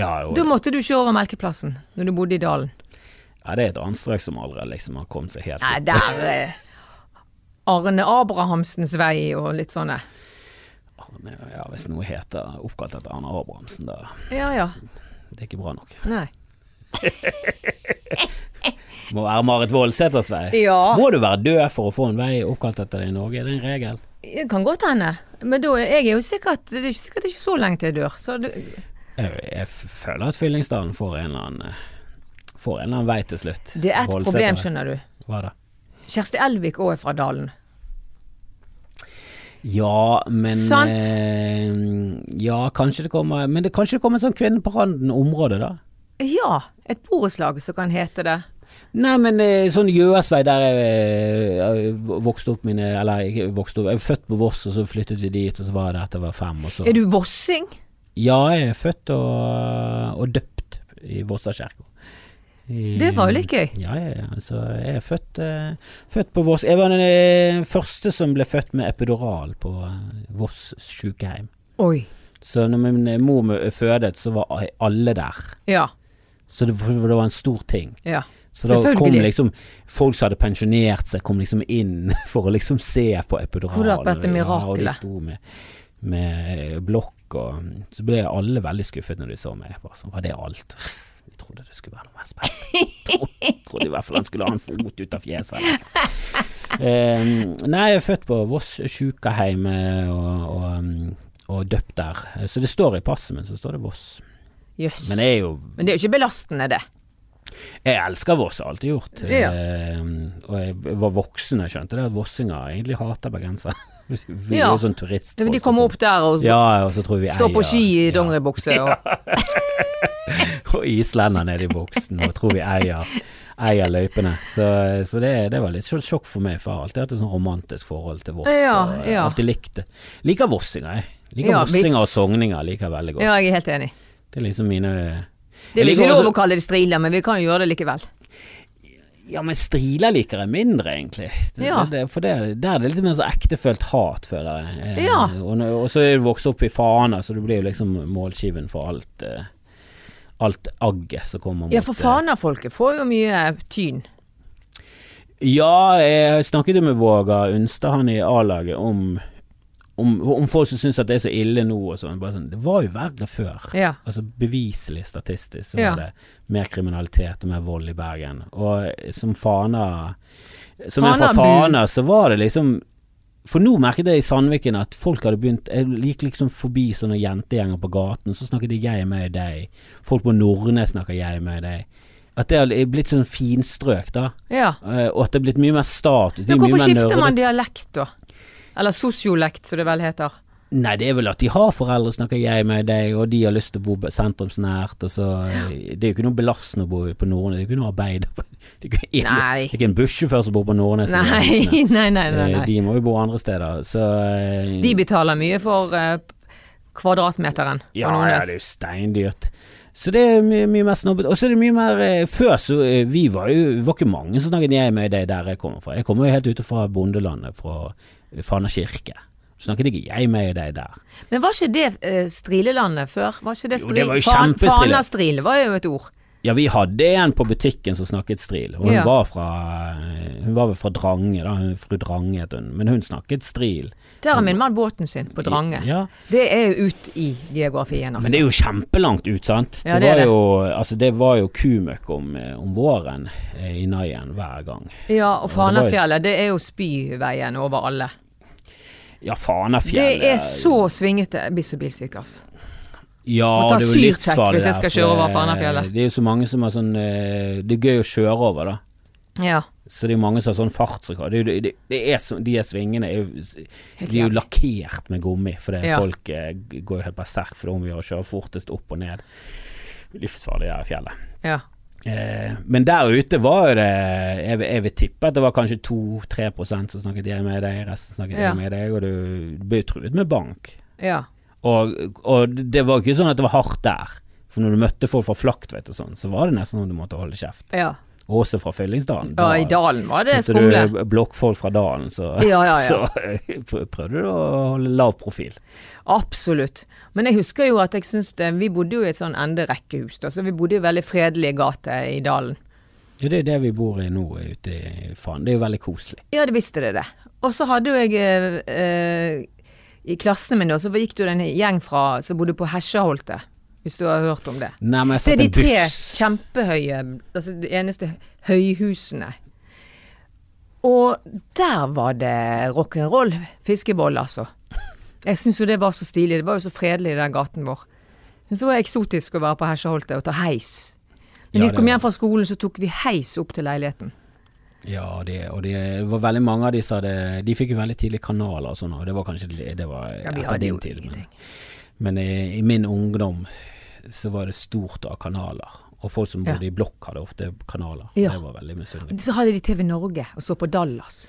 [SPEAKER 1] Ja, jo.
[SPEAKER 2] Da måtte du kjøre over Melkeplassen når du bodde i dalen.
[SPEAKER 1] ja det er et anstrøk som allerede liksom har kommet seg helt
[SPEAKER 2] Nei, der eh, Arne Abrahamsens vei og litt sånne.
[SPEAKER 1] Arne, ja, hvis noe heter oppkalt etter Arne Abrahamsen, da
[SPEAKER 2] Ja ja.
[SPEAKER 1] det er ikke bra nok.
[SPEAKER 2] Nei.
[SPEAKER 1] Må være Marit Voldsæters vei.
[SPEAKER 2] Ja.
[SPEAKER 1] Må du være død for å få en vei oppkalt etter deg i Norge, det er en regel.
[SPEAKER 2] Det kan godt hende. Men da er jeg er jo sikkert Det er ikke sikkert det er ikke så lenge til jeg dør. Så du,
[SPEAKER 1] Jeg, jeg f- føler at Fyllingsdalen får en eller annen eh, Får en eller annen vei til slutt.
[SPEAKER 2] det er ett
[SPEAKER 1] Voldsæter.
[SPEAKER 2] problem, skjønner du.
[SPEAKER 1] Hva da?
[SPEAKER 2] Kjersti Elvik òg er fra dalen.
[SPEAKER 1] Ja, men
[SPEAKER 2] Sant.
[SPEAKER 1] Eh, Ja, kanskje det kommer Men det, kanskje det kommer en sånn kvinne på randen-område, da.
[SPEAKER 2] Ja, et borettslag som kan hete det.
[SPEAKER 1] Nei, men eh, sånn Gjøasvei der jeg eh, vokste opp mine Eller ikke vokste opp, jeg er født på Voss, og så flyttet vi dit, og så var jeg der til jeg var fem, og så
[SPEAKER 2] Er du vossing?
[SPEAKER 1] Ja, jeg er født og, og døpt i Vossakirka. Eh,
[SPEAKER 2] Det var jo litt gøy.
[SPEAKER 1] Ja, ja, ja. Så jeg er født, eh, født på Voss. Jeg var den eh, første som ble født med epidural på eh, Voss sykehjem.
[SPEAKER 2] Mm. Oi.
[SPEAKER 1] Så når min mor mø- fødet, så var a- alle der.
[SPEAKER 2] Ja.
[SPEAKER 1] Så det, var- det var en stor ting.
[SPEAKER 2] ja.
[SPEAKER 1] Så da kom
[SPEAKER 2] Selvfølgelig.
[SPEAKER 1] liksom folk som hadde pensjonert seg, kom liksom inn for å liksom se på epidural.
[SPEAKER 2] Hvor det har vært et
[SPEAKER 1] Ja, og de
[SPEAKER 2] mirakel.
[SPEAKER 1] sto med, med blokk og Så ble alle veldig skuffet når de så meg. Bare sånn, var det alt? Vi trodde det skulle være noe mer spennende. Tro, trodde i hvert fall han skulle ha en fot ut av fjeset. eller noe. Eh, nei, jeg er født på Voss sjukeheim eh, og, og, mm, og døpt der. Eh, Så det står i passet mitt, så står det Voss.
[SPEAKER 2] Jøss.
[SPEAKER 1] Men jeg er jo
[SPEAKER 2] Men det er jo ikke belastende, det.
[SPEAKER 1] jeg elsker Voss, har alltid gjort.
[SPEAKER 2] Ja.
[SPEAKER 1] Eh, og jeg var voksen og jeg skjønte det, at vossinger egentlig hater bergensere. Vi er
[SPEAKER 2] Ja.
[SPEAKER 1] jo sånn turist.
[SPEAKER 2] De kommer opp der og
[SPEAKER 1] Ja, og så tror vi
[SPEAKER 2] står på
[SPEAKER 1] eier-
[SPEAKER 2] ski i
[SPEAKER 1] ja,
[SPEAKER 2] dongeribukse og
[SPEAKER 1] Og islender nede i buksen og tror vi eier, eier løypene. Så, så det, det var litt sjok- sjokk for meg, for jeg har alltid hatt et sånn romantisk forhold til Voss.
[SPEAKER 2] Ja,
[SPEAKER 1] og jeg har
[SPEAKER 2] ja.
[SPEAKER 1] alltid likt det. Liker vossinger, jeg. Liker
[SPEAKER 2] Ja,
[SPEAKER 1] vossinger og
[SPEAKER 2] visst.
[SPEAKER 1] sogninger liker jeg veldig godt.
[SPEAKER 2] Ja, jeg er helt enig.
[SPEAKER 1] Det er liksom mine
[SPEAKER 2] Det er
[SPEAKER 1] Jeg
[SPEAKER 2] vel
[SPEAKER 1] liker
[SPEAKER 2] ikke lov
[SPEAKER 1] også-
[SPEAKER 2] å kalle det striler, men vi kan jo gjøre det likevel.
[SPEAKER 1] Ja, men striler liker jeg mindre, egentlig. Det,
[SPEAKER 2] Ja.
[SPEAKER 1] det, for det, der er det litt mer så ektefølt hat, føler jeg. Eh,
[SPEAKER 2] Ja.
[SPEAKER 1] Og, nå- og så er du vokst opp i Fana, så du blir jo liksom målskiven for alt eh, Alt agget som kommer mot
[SPEAKER 2] Ja, for
[SPEAKER 1] eh,
[SPEAKER 2] Fana-folket får jo mye tyn.
[SPEAKER 1] Ja, jeg snakket jo med Våga Unstad, han i A-laget, om, om, om folk som syns at det er så ille nå og sånn. Bare sånn, det var jo verre før.
[SPEAKER 2] Ja.
[SPEAKER 1] Altså beviselig statistisk så
[SPEAKER 2] Ja.
[SPEAKER 1] var det mer kriminalitet og mer vold i Bergen. Og eh, som Fana Som er
[SPEAKER 2] Fana
[SPEAKER 1] fra
[SPEAKER 2] bu.
[SPEAKER 1] Fana, så var det liksom for nå merket jeg i Sandviken at folk hadde begynt Jeg gikk liksom forbi sånne jentegjenger på gaten, så snakket de 'jeg med deg'. Folk på Nordnes snakker 'jeg med deg'. At det har blitt sånn finstrøk, da.
[SPEAKER 2] Ja.
[SPEAKER 1] Eh, og at det er blitt mye mer status. De er
[SPEAKER 2] Men
[SPEAKER 1] mye
[SPEAKER 2] hvorfor
[SPEAKER 1] mer
[SPEAKER 2] skifter
[SPEAKER 1] nørdet.
[SPEAKER 2] man dialekt, da? Eller sosiolekt, som det vel heter.
[SPEAKER 1] Nei, det er vel at de har foreldre, snakker jeg med deg, og de har lyst til å bo be- sentrumsnært. Og så, eh, det er jo ikke noe belastende å bo på Nordnes, det er jo ikke noe arbeid. Det er ikke, en,
[SPEAKER 2] Nei.
[SPEAKER 1] det er ikke en bussjåfør som bor på Nordnes. i Bergen.
[SPEAKER 2] Nei, nei, nei. nei,
[SPEAKER 1] Eh,
[SPEAKER 2] nei.
[SPEAKER 1] De må jo bo andre steder. Så eh,
[SPEAKER 2] De betaler mye for eh, kvadratmeteren. på
[SPEAKER 1] Ja, ja,
[SPEAKER 2] Nordnes.
[SPEAKER 1] det er jo steindyrt. Så det er mye, mye mer snobbete. Og så er det mye mer eh, Før så eh, vi var jo det var ikke mange som snakket jeg med deg der jeg kommer fra. Jeg kommer jo helt ute fra bondelandet, fra eh, Fana kirke. Så Snakket ikke jeg med deg der.
[SPEAKER 2] Men var ikke det eh, strilelandet før? Var ikke det
[SPEAKER 1] Jo,
[SPEAKER 2] stri
[SPEAKER 1] det var jo
[SPEAKER 2] Fan-
[SPEAKER 1] kjempestrille.
[SPEAKER 2] Fanastril var jo et ord.
[SPEAKER 1] Ja, vi hadde en på butikken som snakket stril, og hun
[SPEAKER 2] Ja.
[SPEAKER 1] var fra Hun var vel fra Drange, da. Hun- Fru Drange het hun, men hun snakket stril.
[SPEAKER 2] Der har min mann båten sin, på Drange.
[SPEAKER 1] Ja.
[SPEAKER 2] Det er jo ut i geografien, altså.
[SPEAKER 1] Men det er jo kjempelangt ut, sant?
[SPEAKER 2] Ja,
[SPEAKER 1] det,
[SPEAKER 2] det er
[SPEAKER 1] var
[SPEAKER 2] det.
[SPEAKER 1] jo Altså, det var jo kumøkk om, eh, om våren eh, i Naien hver gang.
[SPEAKER 2] altså. Ja, og
[SPEAKER 1] var jo-
[SPEAKER 2] Fanafjellet, det er jo spyveien over alle.
[SPEAKER 1] Ja, Fanafjellet
[SPEAKER 2] Det er så svingete. Jeg blir så bilsyk, altså.
[SPEAKER 1] Ja,
[SPEAKER 2] Må ta
[SPEAKER 1] det er jo
[SPEAKER 2] syrtjekk
[SPEAKER 1] livsfarlig
[SPEAKER 2] hvis jeg skal
[SPEAKER 1] der, for,
[SPEAKER 2] kjøre over
[SPEAKER 1] eh,
[SPEAKER 2] Fanafjellet.
[SPEAKER 1] Det er jo så mange som har sånn eh, Det er gøy å kjøre over, da.
[SPEAKER 2] Ja,
[SPEAKER 1] Så det er jo mange som har sånn fartsrekord. Det, er jo- det, det er så, de er svingene er jo,
[SPEAKER 2] helt
[SPEAKER 1] de er jo
[SPEAKER 2] jævlig.
[SPEAKER 1] lakkert med gummi, fordi
[SPEAKER 2] Ja.
[SPEAKER 1] folk eh, g- går jo helt berserk for det er om å gjøre å kjøre fortest opp og ned. Livsfarlig der i fjellet.
[SPEAKER 2] Ja.
[SPEAKER 1] Eh, men der ute var jo det Jeg, vil- jeg vil tippe at det var kanskje 2-3 prosent som snakket jeg med deg, resten snakket
[SPEAKER 2] Ja.
[SPEAKER 1] jeg med deg, og du, du ble jo truet med bank.
[SPEAKER 2] ja.
[SPEAKER 1] Og, og det var ikke sånn at det var hardt der. For når du møtte folk fra Flaktveit og sånn, så var det nesten sånn du måtte holde kjeft.
[SPEAKER 2] ja.
[SPEAKER 1] Og også fra Fyllingsdalen.
[SPEAKER 2] Ja, i dalen var det
[SPEAKER 1] Møtte
[SPEAKER 2] skumle.
[SPEAKER 1] du blokkfolk fra dalen, så,
[SPEAKER 2] Ja, ja, ja.
[SPEAKER 1] så prøvde du å holde lav profil.
[SPEAKER 2] Absolutt. Men jeg husker jo at jeg syns det Vi bodde jo i et sånn ende rekkehus, da, så vi bodde i veldig fredelige gater i dalen.
[SPEAKER 1] Ja, det er det vi bor i nå ute i faen. Det er jo veldig koselig.
[SPEAKER 2] Ja, det visste det, det. Og så hadde jo jeg eh, eh, I klassen min da, så gikk det jo en gjeng fra som bodde på Hesjeholtet, hvis du har hørt om det.
[SPEAKER 1] Nei, men jeg
[SPEAKER 2] Det er
[SPEAKER 1] satt
[SPEAKER 2] de
[SPEAKER 1] en
[SPEAKER 2] tre
[SPEAKER 1] buss.
[SPEAKER 2] kjempehøye, altså de eneste høyhusene. Og der var det rock'n'roll. Fiskeboll, altså. Jeg syns jo det var så stilig. Det var jo så fredelig i den gaten vår. Jeg syns det var eksotisk å være på Hesjeholtet og ta heis. Når
[SPEAKER 1] Ja,
[SPEAKER 2] vi
[SPEAKER 1] det
[SPEAKER 2] kom
[SPEAKER 1] var-
[SPEAKER 2] hjem fra skolen, så tok vi heis opp til leiligheten.
[SPEAKER 1] Ja, det, og det var veldig mange av de som hadde De fikk jo veldig tidlig kanaler og sånn, og det var kanskje det var
[SPEAKER 2] Ja, vi
[SPEAKER 1] etter
[SPEAKER 2] hadde jo
[SPEAKER 1] din tid. Men,
[SPEAKER 2] ingenting.
[SPEAKER 1] men i, i min ungdom så var det stort av kanaler. Og folk som
[SPEAKER 2] Ja.
[SPEAKER 1] bodde i blokk hadde ofte kanaler.
[SPEAKER 2] Ja.
[SPEAKER 1] Det var veldig misunnelig.
[SPEAKER 2] Så hadde de TV Norge og så på Dallas.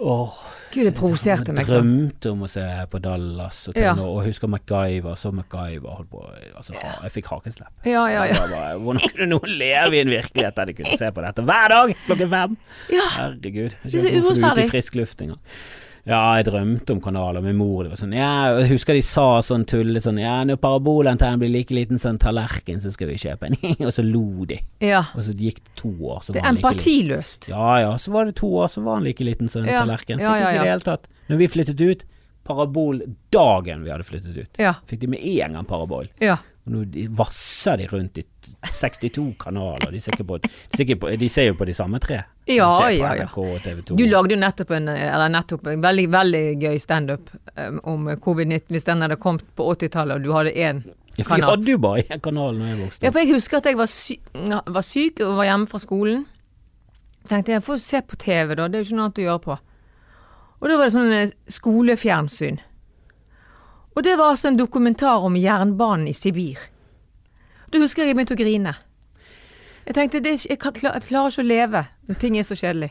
[SPEAKER 1] Åh,
[SPEAKER 2] Gud, det provoserte
[SPEAKER 1] Jeg
[SPEAKER 2] meg sånn.
[SPEAKER 1] drømte om å se på Dallas og,
[SPEAKER 2] Ja.
[SPEAKER 1] ja. og jeg husker MacGyver, så MacGyver holdt på altså, ha- Jeg fikk hakeslepp.
[SPEAKER 2] Ja, ja, ja.
[SPEAKER 1] Jeg bare, Hvordan kunne noen leve i en virkelighet der de kunne se på dette hver dag klokken fem?
[SPEAKER 2] ja.
[SPEAKER 1] Herregud. Jeg
[SPEAKER 2] Det er så
[SPEAKER 1] skjønner ikke hvorfor du er ute
[SPEAKER 2] urettferdig.
[SPEAKER 1] i frisk luft engang. Ja, jeg drømte om kanaler med mor. Det var sånn, ja, jeg husker de sa sånn tullet sånn Ja, når parabolantennen blir like liten som en tallerken, så skal vi kjøpe en. og så lo de.
[SPEAKER 2] ja.
[SPEAKER 1] Og så gikk det to år, så
[SPEAKER 2] Det
[SPEAKER 1] var
[SPEAKER 2] er
[SPEAKER 1] han like liten.
[SPEAKER 2] empatiløst.
[SPEAKER 1] Ja ja, så var det to år, så var han like liten som en
[SPEAKER 2] Ja,
[SPEAKER 1] tallerken. Fikk
[SPEAKER 2] ja, ja,
[SPEAKER 1] ikke i det
[SPEAKER 2] ja.
[SPEAKER 1] hele tatt. Når vi flyttet ut, parabol dagen vi hadde flyttet ut,
[SPEAKER 2] Ja.
[SPEAKER 1] fikk de med en gang parabol.
[SPEAKER 2] Ja.
[SPEAKER 1] Og nå de- vasser de rundt i t- 62 kanaler, de ser, ikke på, de ser, ikke på, de ser jo på de samme tre. De
[SPEAKER 2] Ja,
[SPEAKER 1] ser på
[SPEAKER 2] ja, ja.
[SPEAKER 1] NRK og TV 2.
[SPEAKER 2] Du lagde jo nettopp en, eller nettopp, en veldig veldig gøy standup um, om covid-19. Hvis den hadde kommet på 80-tallet og du hadde én
[SPEAKER 1] ja, for vi
[SPEAKER 2] kanal.
[SPEAKER 1] hadde jo bare én kanal når jeg vokste
[SPEAKER 2] Ja,
[SPEAKER 1] opp.
[SPEAKER 2] for jeg husker at jeg var, sy var syk og var hjemme fra skolen. Tenkte jeg får se på TV, da. Det er jo ikke noe annet å gjøre på. Og da var det sånn eh, skolefjernsyn. Og det var altså en dokumentar om jernbanen i Sibir. Da husker jeg jeg begynte å grine. Jeg tenkte det, er ikke- jeg, kan, kla- jeg klarer ikke å leve når ting er så kjedelig.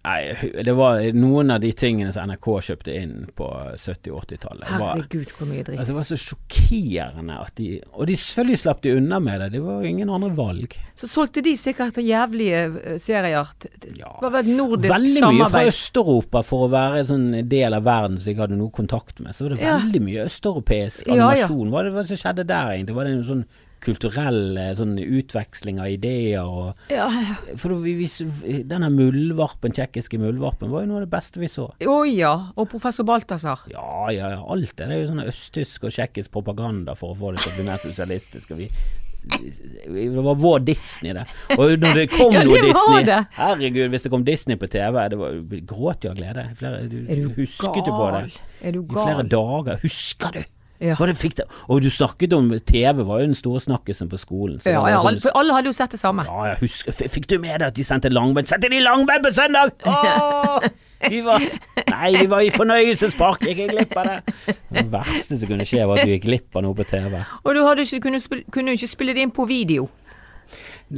[SPEAKER 1] Nei, det var noen av de tingene som NRK kjøpte inn på 70- og 80-tallet. Det var-
[SPEAKER 2] Herregud, hvor mye dritt.
[SPEAKER 1] Altså, det var så sjokkerende at de Og de selvfølgelig slapp de unna med det, det var jo ingen andre valg.
[SPEAKER 2] Så solgte de sikkert jævlige eh, serier. T- t-
[SPEAKER 1] Ja.
[SPEAKER 2] Det var vel et nordisk
[SPEAKER 1] Veldig mye fra
[SPEAKER 2] samarbeid.
[SPEAKER 1] Øst-Europa for å være en sånn del av verden som vi ikke hadde noe kontakt med. Så var det
[SPEAKER 2] Ja.
[SPEAKER 1] veldig mye østeuropeisk
[SPEAKER 2] Ja, ja.
[SPEAKER 1] animasjon. Hva var det hva som skjedde der egentlig? Var det en sånn kulturell eh, sånn utveksling av ideer og
[SPEAKER 2] Ja, ja.
[SPEAKER 1] For vi, vi, denne muldvarpen, tsjekkiske muldvarpen, var jo noe av det beste vi så.
[SPEAKER 2] Å ja. Og professor Balthazar.
[SPEAKER 1] Ja, ja, ja, alt det. Det er jo sånn østtysk og tsjekkisk propaganda for å få det til å bli mer sosialistisk. Og vi, det var vår Disney, det. Og når det kom
[SPEAKER 2] Ja, det
[SPEAKER 1] noe
[SPEAKER 2] var
[SPEAKER 1] Disney
[SPEAKER 2] det.
[SPEAKER 1] Herregud, hvis det kom Disney på TV, det var vi gråt jo av glede. I Flere, du,
[SPEAKER 2] Er du
[SPEAKER 1] husket jo på det
[SPEAKER 2] gal? Er du
[SPEAKER 1] i flere
[SPEAKER 2] gal?
[SPEAKER 1] dager. Husker du?
[SPEAKER 2] Ja.
[SPEAKER 1] Hva det fikk det? Og du snakket om TV, var jo den store snakkisen på skolen. så
[SPEAKER 2] Ja,
[SPEAKER 1] det
[SPEAKER 2] ja,
[SPEAKER 1] var
[SPEAKER 2] alle,
[SPEAKER 1] sånn-
[SPEAKER 2] for alle hadde jo sett det samme.
[SPEAKER 1] ja, jeg husker, f- Fikk du med deg at de sendte langbein? Sendte de langbein på søndag?! Åh! Vi var, nei, vi var i fornøyelsespark, gikk jeg glipp av det? Det verste som kunne skje, var at du gikk glipp av noe på TV.
[SPEAKER 2] Og du hadde ikke, kunne, spille, kunne jo ikke spille det inn på video.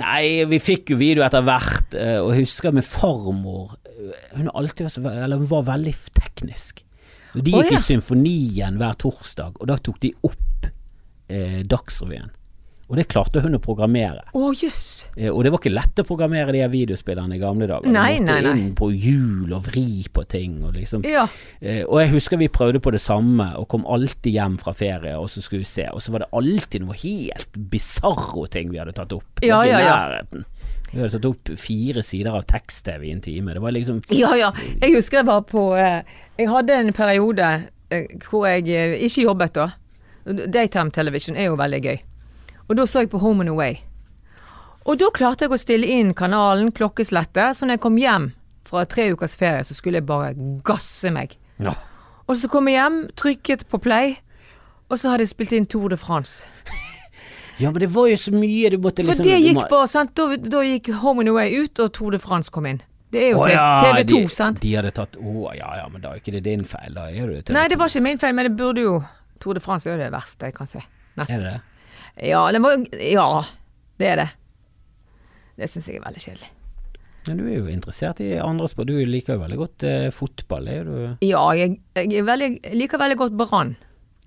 [SPEAKER 1] Nei, vi fikk jo video etter hvert, eh, og jeg husker med farmor eh, Hun, har alltid var, så, ve- eller hun var veldig f- teknisk. Og de
[SPEAKER 2] Å,
[SPEAKER 1] gikk
[SPEAKER 2] ja.
[SPEAKER 1] i symfonien hver torsdag, og da tok de opp eh, Dagsrevyen. Og det klarte hun å programmere.
[SPEAKER 2] Å jøss.
[SPEAKER 1] Eh, Og det var ikke lett å programmere de her videospillerne i gamle dager.
[SPEAKER 2] Nei,
[SPEAKER 1] du måtte
[SPEAKER 2] nei, nei.
[SPEAKER 1] inn på hjul og vri på ting og liksom.
[SPEAKER 2] Ja.
[SPEAKER 1] Eh, Og jeg husker vi prøvde på det samme og kom alltid hjem fra ferie og så skulle vi se, og så var det alltid noe helt bisarro ting vi hadde tatt opp. Det
[SPEAKER 2] Ja,
[SPEAKER 1] var ikke i
[SPEAKER 2] ja, ja.
[SPEAKER 1] nærheten. Vi hadde tatt opp fire sider av tekst-TV i en time. Det var liksom
[SPEAKER 2] Ja ja. Jeg husker jeg var på eh, Jeg hadde en periode eh, hvor jeg eh, ikke jobbet da. Daytime television er jo veldig gøy. Og da så jeg på Home and Away. Og da klarte jeg å stille inn kanalen, klokkeslettet, så når jeg kom hjem fra tre ukers ferie, så skulle jeg bare gasse meg.
[SPEAKER 1] ja.
[SPEAKER 2] Og så kom jeg hjem, trykket på play, Og så har de spilt inn Tour de France.
[SPEAKER 1] Ja, men det var jo så mye du måtte
[SPEAKER 2] For
[SPEAKER 1] liksom
[SPEAKER 2] det
[SPEAKER 1] du
[SPEAKER 2] gikk
[SPEAKER 1] må-
[SPEAKER 2] bare, sant. Da, da gikk Home and Away ut, og Tour de France kom inn. Det er jo
[SPEAKER 1] Å
[SPEAKER 2] TV,
[SPEAKER 1] ja,
[SPEAKER 2] TV 2,
[SPEAKER 1] de,
[SPEAKER 2] sant.
[SPEAKER 1] De hadde tatt Å ja, ja, men da er ikke det din feil, da er det TV
[SPEAKER 2] Nei, det var ikke min feil, men det burde jo Tour de France er jo det verste jeg kan se.
[SPEAKER 1] Er
[SPEAKER 2] Nesten.
[SPEAKER 1] det det?
[SPEAKER 2] Ja, den var, ja det er det. Det syns jeg er veldig kjedelig.
[SPEAKER 1] Men du er jo interessert i andre sport. Du liker jo veldig godt eh, fotball. Er du,
[SPEAKER 2] Ja, jeg, jeg, er veldig, jeg liker veldig godt Brann.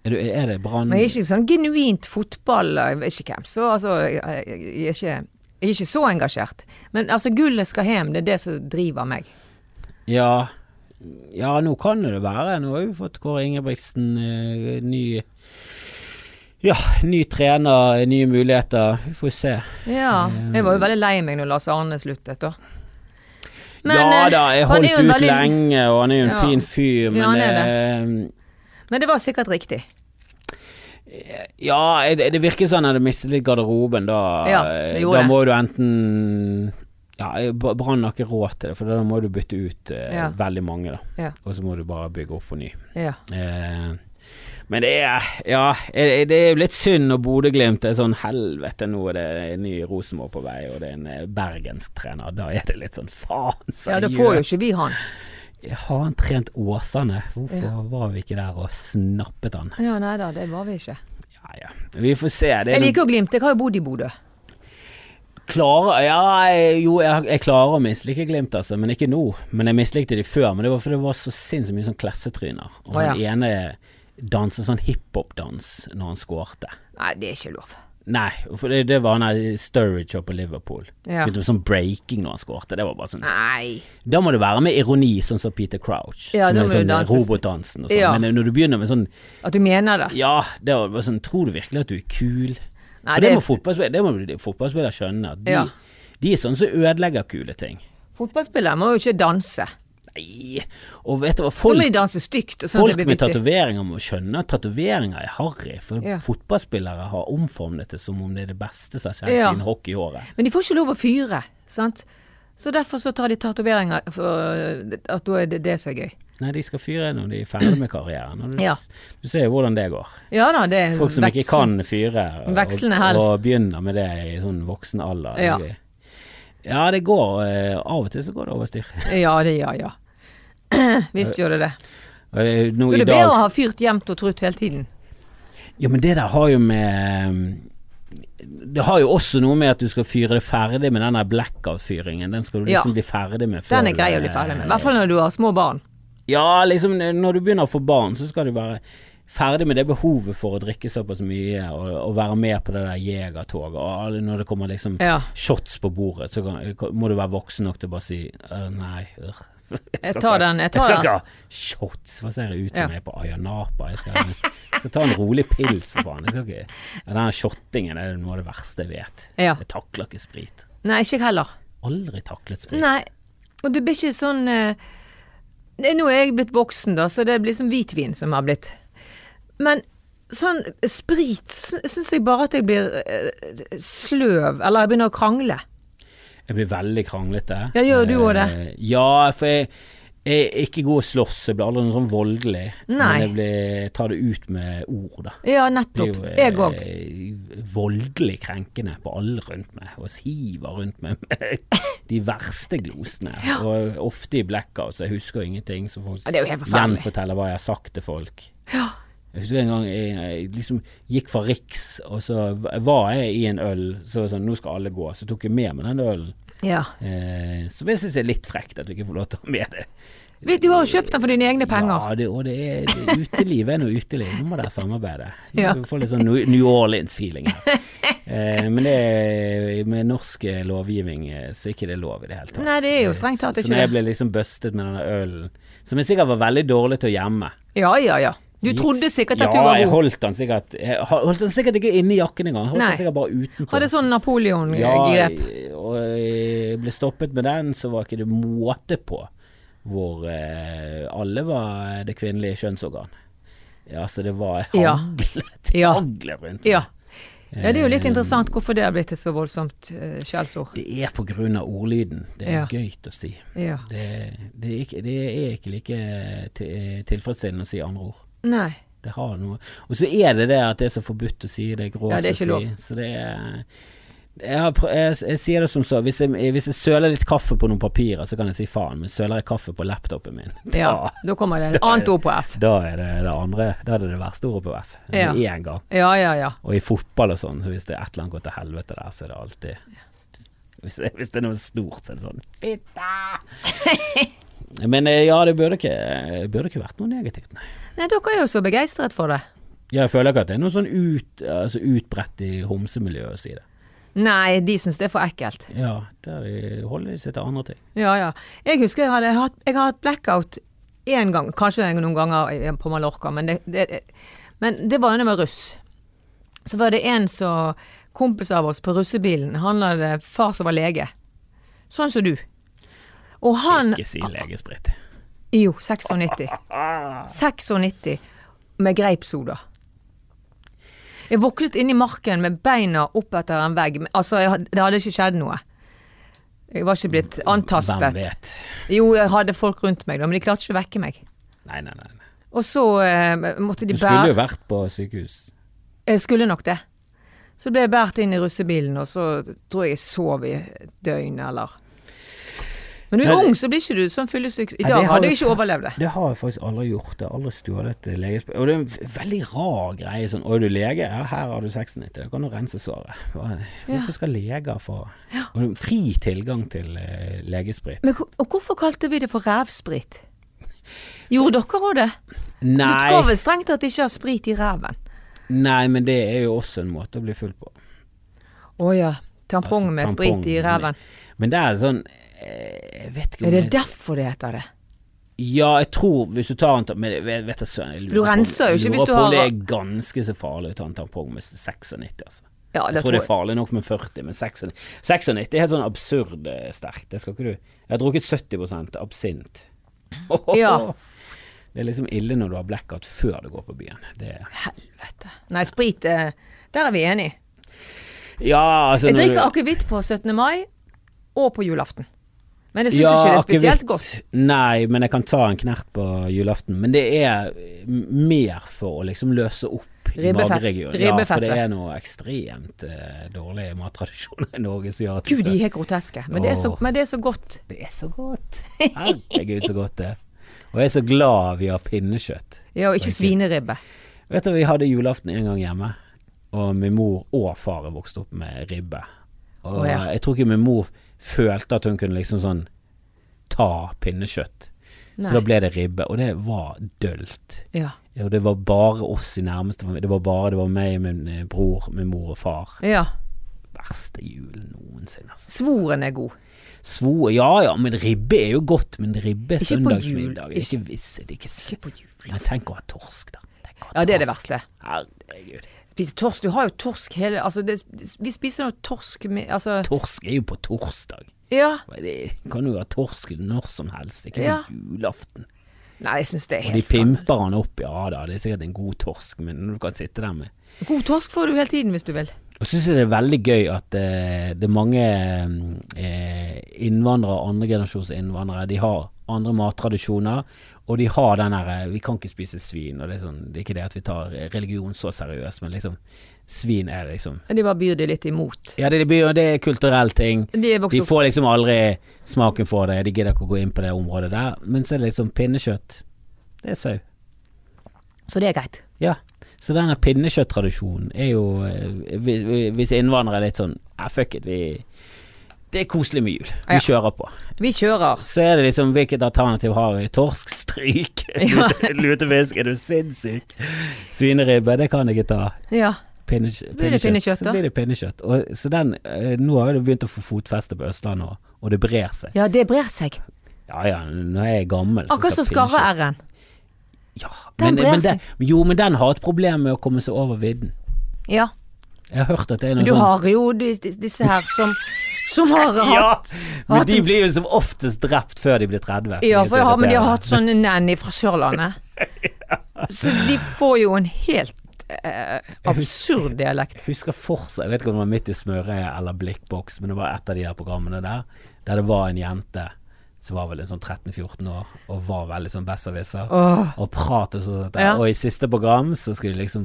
[SPEAKER 1] er du Er det Brann
[SPEAKER 2] Men jeg er ikke sånn genuint fotball, jeg vet ikke hvem. Så altså, jeg, jeg, jeg, er ikke, jeg er ikke så engasjert. Men altså, gullet skal hjem, det er det som driver meg.
[SPEAKER 1] Ja. ja, nå kan det være. Nå har vi fått Kåre Ingebrigtsen, eh, ny Ja, ny trener, nye muligheter. Vi får se.
[SPEAKER 2] Ja.
[SPEAKER 1] Eh.
[SPEAKER 2] Jeg var jo veldig lei meg når Lars Arne sluttet, da.
[SPEAKER 1] ja
[SPEAKER 2] eh,
[SPEAKER 1] da, jeg
[SPEAKER 2] han er
[SPEAKER 1] holdt
[SPEAKER 2] jo
[SPEAKER 1] ut
[SPEAKER 2] en veldig-
[SPEAKER 1] lenge, og han er jo en
[SPEAKER 2] Ja.
[SPEAKER 1] fin fyr, men
[SPEAKER 2] Ja, han
[SPEAKER 1] eh,
[SPEAKER 2] Men det var sikkert riktig.
[SPEAKER 1] Ja, det, det virker sånn at du mistet litt garderoben, da eh,
[SPEAKER 2] Ja, det gjorde
[SPEAKER 1] Da
[SPEAKER 2] det.
[SPEAKER 1] må du enten Ja, Br- Brann har ikke råd til det, for da må du bytte ut eh,
[SPEAKER 2] Ja.
[SPEAKER 1] veldig mange, da.
[SPEAKER 2] Ja.
[SPEAKER 1] Og så må du bare bygge opp for ny.
[SPEAKER 2] Ja.
[SPEAKER 1] Eh, men det er Ja, eh, det er jo litt synd når Bodø-Glimt er sånn helvete, nå er det en ny Rosenborg på vei, og det er en eh, bergensk trener. Da er det litt sånn faen,
[SPEAKER 2] ja, da får jo ikke vi han.
[SPEAKER 1] Har han trent Åsane? Hvorfor var vi ikke der og snappet han?
[SPEAKER 2] Ja, nei da, det var vi ikke.
[SPEAKER 1] Ja, ja. Vi får se. Det er
[SPEAKER 2] Jeg
[SPEAKER 1] noen-
[SPEAKER 2] liker jo Glimt, jeg har jo bodd i Bodø.
[SPEAKER 1] Klarer Ja, jeg- jo, jeg, jeg klarer å mislike Glimt, altså, men ikke nå. Men jeg mislikte de før. Men det var fordi det var så sinnssykt mye sånn klassetryner. Og
[SPEAKER 2] Å,
[SPEAKER 1] den ene danser sånn hiphop-dans når han skårte.
[SPEAKER 2] Nei, det er ikke lov.
[SPEAKER 1] Nei, for det, det var han der Sturridge oppe på Liverpool.
[SPEAKER 2] Ja.
[SPEAKER 1] Begynte med sånn breaking når han skårte. Det var bare sånn
[SPEAKER 2] Nei.
[SPEAKER 1] Da må det være med ironi, sånn som Peter Crouch.
[SPEAKER 2] Ja,
[SPEAKER 1] som
[SPEAKER 2] da
[SPEAKER 1] er
[SPEAKER 2] må du
[SPEAKER 1] sånn
[SPEAKER 2] danse-
[SPEAKER 1] robotdansen og sånn.
[SPEAKER 2] Ja.
[SPEAKER 1] Men når du begynner med sånn
[SPEAKER 2] At du mener det.
[SPEAKER 1] Ja, det var bare sånn Tror du virkelig at du er kul?
[SPEAKER 2] Nei,
[SPEAKER 1] For det,
[SPEAKER 2] det
[SPEAKER 1] må fotballspillere, det må de- fotballspillere skjønne. at De,
[SPEAKER 2] Ja.
[SPEAKER 1] de er sånne som ødelegger kule ting.
[SPEAKER 2] Fotballspillere må jo ikke danse.
[SPEAKER 1] Nei, og vet du hva,
[SPEAKER 2] Da må
[SPEAKER 1] folk,
[SPEAKER 2] de danse stygt. og sånn at
[SPEAKER 1] folk med
[SPEAKER 2] det blir vittig.
[SPEAKER 1] tatoveringer må skjønne at tatoveringer er harry, for
[SPEAKER 2] Ja.
[SPEAKER 1] fotballspillere har omformet det som om det er det beste som har skjedd
[SPEAKER 2] Ja.
[SPEAKER 1] siden hockeyåret.
[SPEAKER 2] Men de får ikke lov å fyre, sant? Så derfor så tar de tatoveringer for at da er det det som er gøy.
[SPEAKER 1] Nei, de skal fyre når de er ferdig med karrieren, og du,
[SPEAKER 2] Ja.
[SPEAKER 1] s- du ser jo hvordan det går.
[SPEAKER 2] Ja da, det er
[SPEAKER 1] Folk som ikke
[SPEAKER 2] veksel-
[SPEAKER 1] kan fyre, og,
[SPEAKER 2] Vekslende hell.
[SPEAKER 1] og begynner med det i sånn voksen alder.
[SPEAKER 2] Ja.
[SPEAKER 1] De- Ja, det går. eh, Av og til så går det over styr.
[SPEAKER 2] Ja, det, ja, ja. Visst gjør det det.
[SPEAKER 1] Og, eh, Nå
[SPEAKER 2] Så
[SPEAKER 1] i
[SPEAKER 2] det er bedre
[SPEAKER 1] dag
[SPEAKER 2] å ha fyrt jevnt og trutt hele tiden.
[SPEAKER 1] Ja, men det der har jo med eh, Det har jo også noe med at du skal fyre det ferdig med den der blackout-fyringen. Den skal du liksom
[SPEAKER 2] Ja.
[SPEAKER 1] bli ferdig med før eh,
[SPEAKER 2] Den er grei å bli ferdig med. I hvert fall når du har små barn.
[SPEAKER 1] Ja, liksom når du begynner å få barn, så skal du være ferdig med det behovet for å drikke såpass mye og, og være med på det der jegertoget. Og alle- når det kommer liksom
[SPEAKER 2] Ja.
[SPEAKER 1] shots på bordet, så kan, må du være voksen nok til å bare si «Øh, nei. øh,
[SPEAKER 2] Jeg
[SPEAKER 1] skal
[SPEAKER 2] tar
[SPEAKER 1] ikke ha-
[SPEAKER 2] den, jeg
[SPEAKER 1] jeg
[SPEAKER 2] tar
[SPEAKER 1] skal
[SPEAKER 2] den.»
[SPEAKER 1] ikke ha shots. Hva ser jeg ut som
[SPEAKER 2] Ja.
[SPEAKER 1] jeg er på Ayanapa? Jeg skal, jeg skal ta en rolig pils, for faen. Jeg skal ikke ja, Den shottingen er noe av det verste jeg vet.
[SPEAKER 2] Ja.
[SPEAKER 1] Jeg takler ikke sprit.
[SPEAKER 2] Nei, ikke jeg heller.
[SPEAKER 1] Aldri taklet sprit.
[SPEAKER 2] Nei. Og det blir ikke sånn eh, det- Nå er jeg blitt voksen, da, så det blir som hvitvin som har blitt. Men sånn sprit syns jeg bare at jeg blir eh, sløv, eller jeg begynner å krangle.
[SPEAKER 1] Jeg blir veldig kranglete.
[SPEAKER 2] Ja, gjør du også det?
[SPEAKER 1] Eh, Ja, for jeg, jeg er ikke god å slåss. Jeg blir aldri noe sånn voldelig.
[SPEAKER 2] Nei.
[SPEAKER 1] Men jeg, blir, jeg tar det ut med ord, da.
[SPEAKER 2] Ja,
[SPEAKER 1] Jeg
[SPEAKER 2] nettopp.
[SPEAKER 1] er
[SPEAKER 2] Jeg
[SPEAKER 1] jo
[SPEAKER 2] òg.
[SPEAKER 1] eh, voldelig krenkende på alle rundt meg, og hiver rundt meg med de verste glosene. Og ofte i blackout, så jeg husker jo ingenting. Så folk
[SPEAKER 2] Ja, det er jo helt forferdelig.
[SPEAKER 1] gjenforteller hva jeg har sagt til folk. Jeg husker en gang jeg, jeg liksom gikk fra Riks, og så var jeg i en øl, så var det sånn, nå skal alle gå. Så tok jeg med meg den ølen.
[SPEAKER 2] Ja.
[SPEAKER 1] Eh, som jeg syns er litt frekt at du ikke får lov til å ha med det.
[SPEAKER 2] Vet Du du har jo kjøpt den for dine egne penger.
[SPEAKER 1] Ja, det, og det er det, uteliv er noe uteliv. Nå må dere samarbeide.
[SPEAKER 2] Ja.
[SPEAKER 1] Du får litt sånn New- New Orleans-feeling her. Eh, men det er, med norsk eh, lovgivning eh, så er ikke det lov i det hele tatt. Eh,
[SPEAKER 2] Nei, det er jo strengt tatt
[SPEAKER 1] Så-
[SPEAKER 2] ikke
[SPEAKER 1] Så når jeg
[SPEAKER 2] det.
[SPEAKER 1] ble liksom bustet med denne ølen, som jeg sikkert var veldig dårlig til å gjemme
[SPEAKER 2] Ja, ja, ja. Du trodde sikkert at du
[SPEAKER 1] Ja,
[SPEAKER 2] var
[SPEAKER 1] jeg
[SPEAKER 2] god.
[SPEAKER 1] holdt den sikkert Jeg holdt den sikkert ikke inni jakken engang. Jeg Holdt
[SPEAKER 2] Nei.
[SPEAKER 1] den sikkert bare utenfor.
[SPEAKER 2] Hadde sånn
[SPEAKER 1] Ja,
[SPEAKER 2] Napoleon-grep.
[SPEAKER 1] og jeg ble stoppet med den, så var ikke det måte på hvor eh, alle var det kvinnelige kjønnsorgan. Ja, så det var
[SPEAKER 2] Ja.
[SPEAKER 1] haglet,
[SPEAKER 2] Ja.
[SPEAKER 1] haglet rundt.
[SPEAKER 2] Ja. ja. Det er jo
[SPEAKER 1] Eh.
[SPEAKER 2] litt interessant hvorfor det har blitt et så voldsomt eh, skjellsord.
[SPEAKER 1] Det er på grunn av ordlyden. Det er
[SPEAKER 2] Ja.
[SPEAKER 1] gøy til å si.
[SPEAKER 2] Ja.
[SPEAKER 1] Det, det, er ikke, det er ikke like til, tilfredsstillende å si andre ord.
[SPEAKER 2] Nei.
[SPEAKER 1] Det har noe Og så er det det at det er så forbudt å si, det er grovt
[SPEAKER 2] Ja, det er ikke
[SPEAKER 1] å si. Så det er jeg, har, prø- jeg, jeg sier det som så, hvis jeg, hvis jeg søler litt kaffe på noen papirer, så kan jeg si faen, men søler jeg kaffe på laptopen min, da,
[SPEAKER 2] Ja, da kommer det et annet ord på F.
[SPEAKER 1] da er det det andre Da er det det verste ordet på F.
[SPEAKER 2] Ja.
[SPEAKER 1] Med en gang.
[SPEAKER 2] Ja, ja, ja.
[SPEAKER 1] Og i fotball og sånn, hvis det er et eller annet går til helvete der, så er det alltid Hvis, hvis det er noe stort, så er det sånn Fitta! Men eh, ja, det burde ikke, det burde ikke vært noe negativt, nei.
[SPEAKER 2] Nei, dere er jo så begeistret for det.
[SPEAKER 1] Jeg føler ikke at det er noe sånn ut, altså utbredt i homsemiljøet å si det.
[SPEAKER 2] Nei, de syns det er for ekkelt.
[SPEAKER 1] Ja, der de holder de seg til andre ting.
[SPEAKER 2] Ja, ja. Jeg husker jeg hadde hatt, jeg har hatt blackout én gang, kanskje noen ganger i- på Mallorca, men det, det, men det var da jeg var russ. Så var det en som kompis av oss på russebilen, han hadde far som var lege. Sånn som du. Og han
[SPEAKER 1] Ikke si legesprit.
[SPEAKER 2] Jo, 96. 96 med greipsoda. Jeg våknet inne i marken med beina opp etter en vegg. men- Altså, jeg, had- det hadde ikke skjedd noe. Jeg var ikke blitt antastet.
[SPEAKER 1] Hvem vet?
[SPEAKER 2] Jo, jeg hadde folk rundt meg da, men de klarte ikke å vekke meg.
[SPEAKER 1] Nei, nei, nei. nei.
[SPEAKER 2] Og så eh, måtte de
[SPEAKER 1] Du skulle jo
[SPEAKER 2] bære
[SPEAKER 1] vært på sykehus.
[SPEAKER 2] Jeg skulle nok det. Så ble jeg båret inn i russebilen, og så tror jeg jeg sov i et døgn, eller Men du er
[SPEAKER 1] Men-
[SPEAKER 2] ung, så blir ikke du sånn fyllesyk. I
[SPEAKER 1] Nei,
[SPEAKER 2] dag
[SPEAKER 1] det har
[SPEAKER 2] hadde
[SPEAKER 1] jo
[SPEAKER 2] jeg ikke
[SPEAKER 1] fa-
[SPEAKER 2] overlevd det.
[SPEAKER 1] Det har jeg faktisk aldri gjort. Jeg har aldri stjålet et legesprit. Og det er en v- veldig rar greie sånn Å, er du lege? Ja, her har du 96. Da kan du rense såret. Hva- Hvorfor skal leger få Og det er fri tilgang til eh, legesprit?
[SPEAKER 2] Men, hvor- og hvorfor kalte vi det for rævsprit? Gjorde dere òg det? Du skal
[SPEAKER 1] Nei,
[SPEAKER 2] vel strengt tatt ikke ha sprit i ræven?
[SPEAKER 1] nei, men det er jo også en måte å bli full på.
[SPEAKER 2] Å ja. Tampong
[SPEAKER 1] Altså,
[SPEAKER 2] med
[SPEAKER 1] tampong,
[SPEAKER 2] sprit i ræven.
[SPEAKER 1] Men det er sånn eh, Jeg vet ikke
[SPEAKER 2] Er
[SPEAKER 1] om
[SPEAKER 2] det
[SPEAKER 1] jeg-
[SPEAKER 2] derfor det heter det?
[SPEAKER 1] Ja, jeg tror hvis du tar en tampong Men jeg vet, vet jeg søren, jeg
[SPEAKER 2] Du renser jo ikke hvis du
[SPEAKER 1] Lurer på om det
[SPEAKER 2] har-
[SPEAKER 1] er ganske så farlig å ta en tampong med 96, altså.
[SPEAKER 2] Ja,
[SPEAKER 1] Jeg tror det
[SPEAKER 2] det tror
[SPEAKER 1] er
[SPEAKER 2] jeg.
[SPEAKER 1] farlig nok med 40, men 96 96 er helt sånn absurd eh, sterkt. Det skal ikke du Jeg har drukket 70 absint.
[SPEAKER 2] Ja.
[SPEAKER 1] Det er liksom ille når du har blackout før du går på byen. Det,
[SPEAKER 2] Helvete. Nei, sprit eh, Der er vi enige.
[SPEAKER 1] ja, altså
[SPEAKER 2] Jeg
[SPEAKER 1] når
[SPEAKER 2] drikker
[SPEAKER 1] du-
[SPEAKER 2] akevitt på 17. mai og på julaften. Men jeg syns
[SPEAKER 1] Ja,
[SPEAKER 2] ikke det er spesielt
[SPEAKER 1] akevitt.
[SPEAKER 2] godt.
[SPEAKER 1] Nei, men jeg kan ta en knert på julaften. Men det er m- mer for å liksom løse opp i
[SPEAKER 2] Ribbefett-
[SPEAKER 1] mageregionen. Ja, for det
[SPEAKER 2] ribbefettet.
[SPEAKER 1] er noe ekstremt eh, dårlig mattradisjon i Norge som gjør at
[SPEAKER 2] Gud, de er helt groteske. Men det er så,
[SPEAKER 1] Åh.
[SPEAKER 2] men det er så godt.
[SPEAKER 1] Det er så godt. Herregud, så godt det er. Og jeg er så glad vi har pinnekjøtt.
[SPEAKER 2] Ja, og ikke
[SPEAKER 1] Riktig.
[SPEAKER 2] svineribbe.
[SPEAKER 1] Vet du, vi hadde julaften en gang hjemme, og min mor og far er vokst opp med ribbe. Og
[SPEAKER 2] Å, ja.
[SPEAKER 1] jeg tror ikke min mor følte at hun kunne liksom sånn ta pinnekjøtt.
[SPEAKER 2] Nei.
[SPEAKER 1] Så da ble det ribbe, og det var dølt.
[SPEAKER 2] Ja.
[SPEAKER 1] Og det var bare oss i nærmeste familie. Det var bare det var meg, min eh, bror, min mor og far.
[SPEAKER 2] ja.
[SPEAKER 1] Verste julen noensinne. Altså.
[SPEAKER 2] Svoren er god.
[SPEAKER 1] Svo, ja ja, men ribbe er jo godt, men ribbe er
[SPEAKER 2] Ikke på jul.
[SPEAKER 1] søndagsmiddag. Det er
[SPEAKER 2] Ikke-
[SPEAKER 1] Ikke visse, det er ikke
[SPEAKER 2] Ikke på jul.
[SPEAKER 1] Men tenk å ha torsk, da. Tenk å ha
[SPEAKER 2] Ja, det er det
[SPEAKER 1] torsk.
[SPEAKER 2] verste.
[SPEAKER 1] Herregud.
[SPEAKER 2] Spise torsk. Du har jo torsk hele Altså, det, vi spiser nå torsk med Altså,
[SPEAKER 1] Torsk er jo på torsdag.
[SPEAKER 2] ja.
[SPEAKER 1] Det kan jo ha torsk når som helst, ikke
[SPEAKER 2] Ja.
[SPEAKER 1] på julaften.
[SPEAKER 2] Nei, jeg syns det er
[SPEAKER 1] Og de
[SPEAKER 2] helt skam.
[SPEAKER 1] pimper han opp, ja da, det er sikkert en god torsk, men du kan sitte der med
[SPEAKER 2] God torsk får du hele tiden hvis du vil.
[SPEAKER 1] Og syns jeg det er veldig gøy at eh, det er mange eh, innvandrere, andregenerasjons innvandrere, de har andre mattradisjoner, og de har den derre Vi kan ikke spise svin, og det er sånn Det er ikke det at vi tar eh, religion så seriøst, men liksom Svin er liksom
[SPEAKER 2] De bare byr det litt imot.
[SPEAKER 1] Ja, det, det blir jo det er kulturell ting.
[SPEAKER 2] De er vokst
[SPEAKER 1] De
[SPEAKER 2] opp
[SPEAKER 1] får liksom aldri smaken for det, de gidder ikke å gå inn på det området der. Men så er det liksom pinnekjøtt. Det er sau.
[SPEAKER 2] Så det er greit.
[SPEAKER 1] Ja, så denne pinnekjøtttradisjonen er jo eh, vi- vi- Hvis innvandrere er litt sånn Ja, fuck it, vi Det er koselig med jul. Vi
[SPEAKER 2] Ja.
[SPEAKER 1] kjører på.
[SPEAKER 2] Vi kjører.
[SPEAKER 1] Så er det liksom Hvilket alternativ har vi? Torsk? Stryk?
[SPEAKER 2] Ja.
[SPEAKER 1] lute- Lutefisk? Er du sinnssyk? Svineribbe? Det kan jeg ikke ta.
[SPEAKER 2] Ja.
[SPEAKER 1] Pinnekjøtt.
[SPEAKER 2] Blir det pinnekjøtt,
[SPEAKER 1] så
[SPEAKER 2] da?
[SPEAKER 1] blir det pinnekjøtt. Og, så den eh, Nå har jo det begynt å få fotfeste på Østlandet, og, og det brer seg.
[SPEAKER 2] Ja, det brer seg.
[SPEAKER 1] Ja ja, når jeg er gammel
[SPEAKER 2] Akkurat som
[SPEAKER 1] pinnekjøtt-
[SPEAKER 2] skarre-r-en.
[SPEAKER 1] Ja, men,
[SPEAKER 2] Den brer
[SPEAKER 1] men
[SPEAKER 2] seg.
[SPEAKER 1] den, jo, men den har et problem med å komme seg over vidden.
[SPEAKER 2] Ja.
[SPEAKER 1] Jeg har hørt at det er noe
[SPEAKER 2] Men du
[SPEAKER 1] sånn
[SPEAKER 2] har jo de, de, disse her som, som har
[SPEAKER 1] Ja,
[SPEAKER 2] hatt
[SPEAKER 1] men
[SPEAKER 2] hatt-
[SPEAKER 1] de blir jo som oftest drept før de blir 30.
[SPEAKER 2] Ja, for jeg har, men de
[SPEAKER 1] irriterende.
[SPEAKER 2] har hatt sånn nanny fra Sørlandet. Så de får jo en helt eh, absurd dialekt.
[SPEAKER 1] Jeg husker fortsatt, jeg vet ikke om det var midt i smørøyet eller blikkboks, men det var et av de der programmene der, der det var en jente som var vel en sånn 13-14 år, og var veldig sånn besserwisser.
[SPEAKER 2] Åh,
[SPEAKER 1] Og pratet sånn at
[SPEAKER 2] Ja.
[SPEAKER 1] Og i siste program så skulle de liksom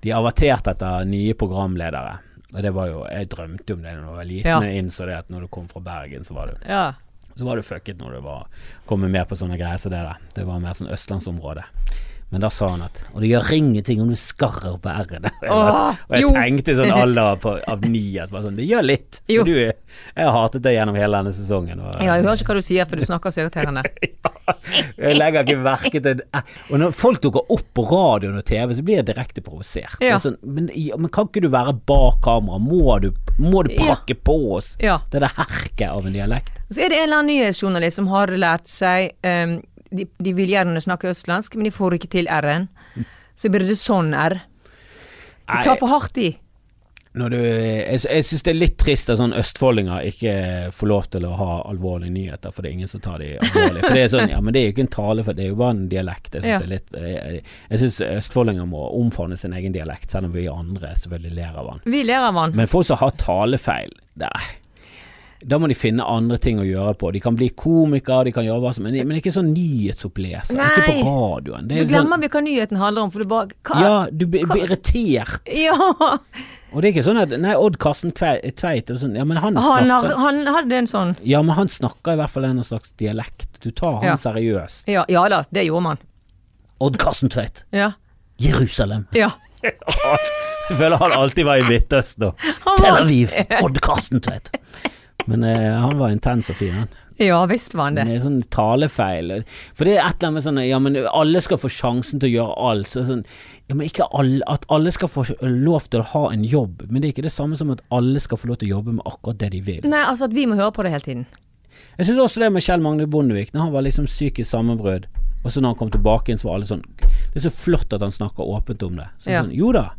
[SPEAKER 1] De averterte etter nye programledere. Og det var jo Jeg drømte om det da jeg var liten,
[SPEAKER 2] Ja.
[SPEAKER 1] men jeg innså det at når du kom fra Bergen, så var du
[SPEAKER 2] ja.
[SPEAKER 1] så var du fucket når du var kommet med på sånne greier som det der. Det var mer sånn østlandsområde. Men da sa han at Og det gjør ingenting om du skarrer på r-ene.
[SPEAKER 2] Åh,
[SPEAKER 1] og jeg
[SPEAKER 2] jo.
[SPEAKER 1] tenkte sånn alder på, av ni at bare sånn, det gjør litt.
[SPEAKER 2] Jo.
[SPEAKER 1] For Du, jeg har hatet det gjennom hele denne sesongen. Og,
[SPEAKER 2] Ja, jeg hører ikke hva du sier, for du snakker så irriterende.
[SPEAKER 1] jeg legger ikke merke til det. Og når folk dukker opp på radioen og TV, så blir jeg direkte provosert. Det er
[SPEAKER 2] Ja.
[SPEAKER 1] Sånn, men, ja, men kan ikke du være bak kamera? Må du, må du
[SPEAKER 2] Ja.
[SPEAKER 1] prakke på oss
[SPEAKER 2] Ja.
[SPEAKER 1] det der herket av en dialekt?
[SPEAKER 2] Så er det en eller annen nyhetsjournalist som har lært seg ehm, de, de vil gjerne snakke østlandsk, men de får ikke til r-en. Så blir det sånn r. De
[SPEAKER 1] Nei.
[SPEAKER 2] tar for hardt i.
[SPEAKER 1] når du, jeg, jeg syns det er litt trist at sånn østfoldinger ikke får lov til å ha alvorlige nyheter, for det er ingen som tar de alvorlig. For det er sånn, ja, men det er jo ikke en tale, for det er jo bare en dialekt. Jeg syns
[SPEAKER 2] Ja.
[SPEAKER 1] det er litt Jeg, jeg syns østfoldinger må omfavne sin egen dialekt, selv om vi andre selvfølgelig ler av den.
[SPEAKER 2] Vi ler av han.
[SPEAKER 1] Men folk som har talefeil, nei. Da må de finne andre ting å gjøre på. De kan bli komiker, de kan gjøre hva som men, men ikke sånn nyhetsoppleser. Ikke på
[SPEAKER 2] Nei.
[SPEAKER 1] radioen. Det er
[SPEAKER 2] Du
[SPEAKER 1] sånn,
[SPEAKER 2] glemmer vi hva nyheten handler om, for du bare hva?
[SPEAKER 1] ja, du blir blir irritert.
[SPEAKER 2] Ja.
[SPEAKER 1] Og det er ikke sånn at Nei, Odd Karsten Kve- Tveit og sånn, ja, men han,
[SPEAKER 2] Han, har,
[SPEAKER 1] snakker
[SPEAKER 2] han hadde en sånn
[SPEAKER 1] Ja, men han snakker i hvert fall en slags dialekt. Du tar han
[SPEAKER 2] Ja.
[SPEAKER 1] seriøst.
[SPEAKER 2] Ja, ja da, det gjorde man.
[SPEAKER 1] Odd Karsten Tveit,
[SPEAKER 2] Ja.
[SPEAKER 1] Jerusalem.
[SPEAKER 2] ja.
[SPEAKER 1] Jeg føler han alltid var i Midtøsten og
[SPEAKER 2] Han
[SPEAKER 1] Tel
[SPEAKER 2] var-
[SPEAKER 1] Aviv. Odd Karsten Tveit. Men eh, han var intens og fin, han.
[SPEAKER 2] Ja visst var han det.
[SPEAKER 1] Men Det er sånn talefeil. For det er et eller annet med sånn Ja, men alle skal få sjansen til å gjøre alt. Så sånn, ja, men ikke alle, At alle skal få lov til å ha en jobb, men det er ikke det samme som at alle skal få lov til å jobbe med akkurat det de vil.
[SPEAKER 2] Nei, altså at vi må høre på det hele tiden.
[SPEAKER 1] Jeg syns også det med Kjell Magne Bondevik, når han var liksom syk i sammenbrudd, og så når han kom tilbake igjen, så var alle sånn Det er så flott at han snakker åpent om det. Så
[SPEAKER 2] Ja.
[SPEAKER 1] sånn, jo da,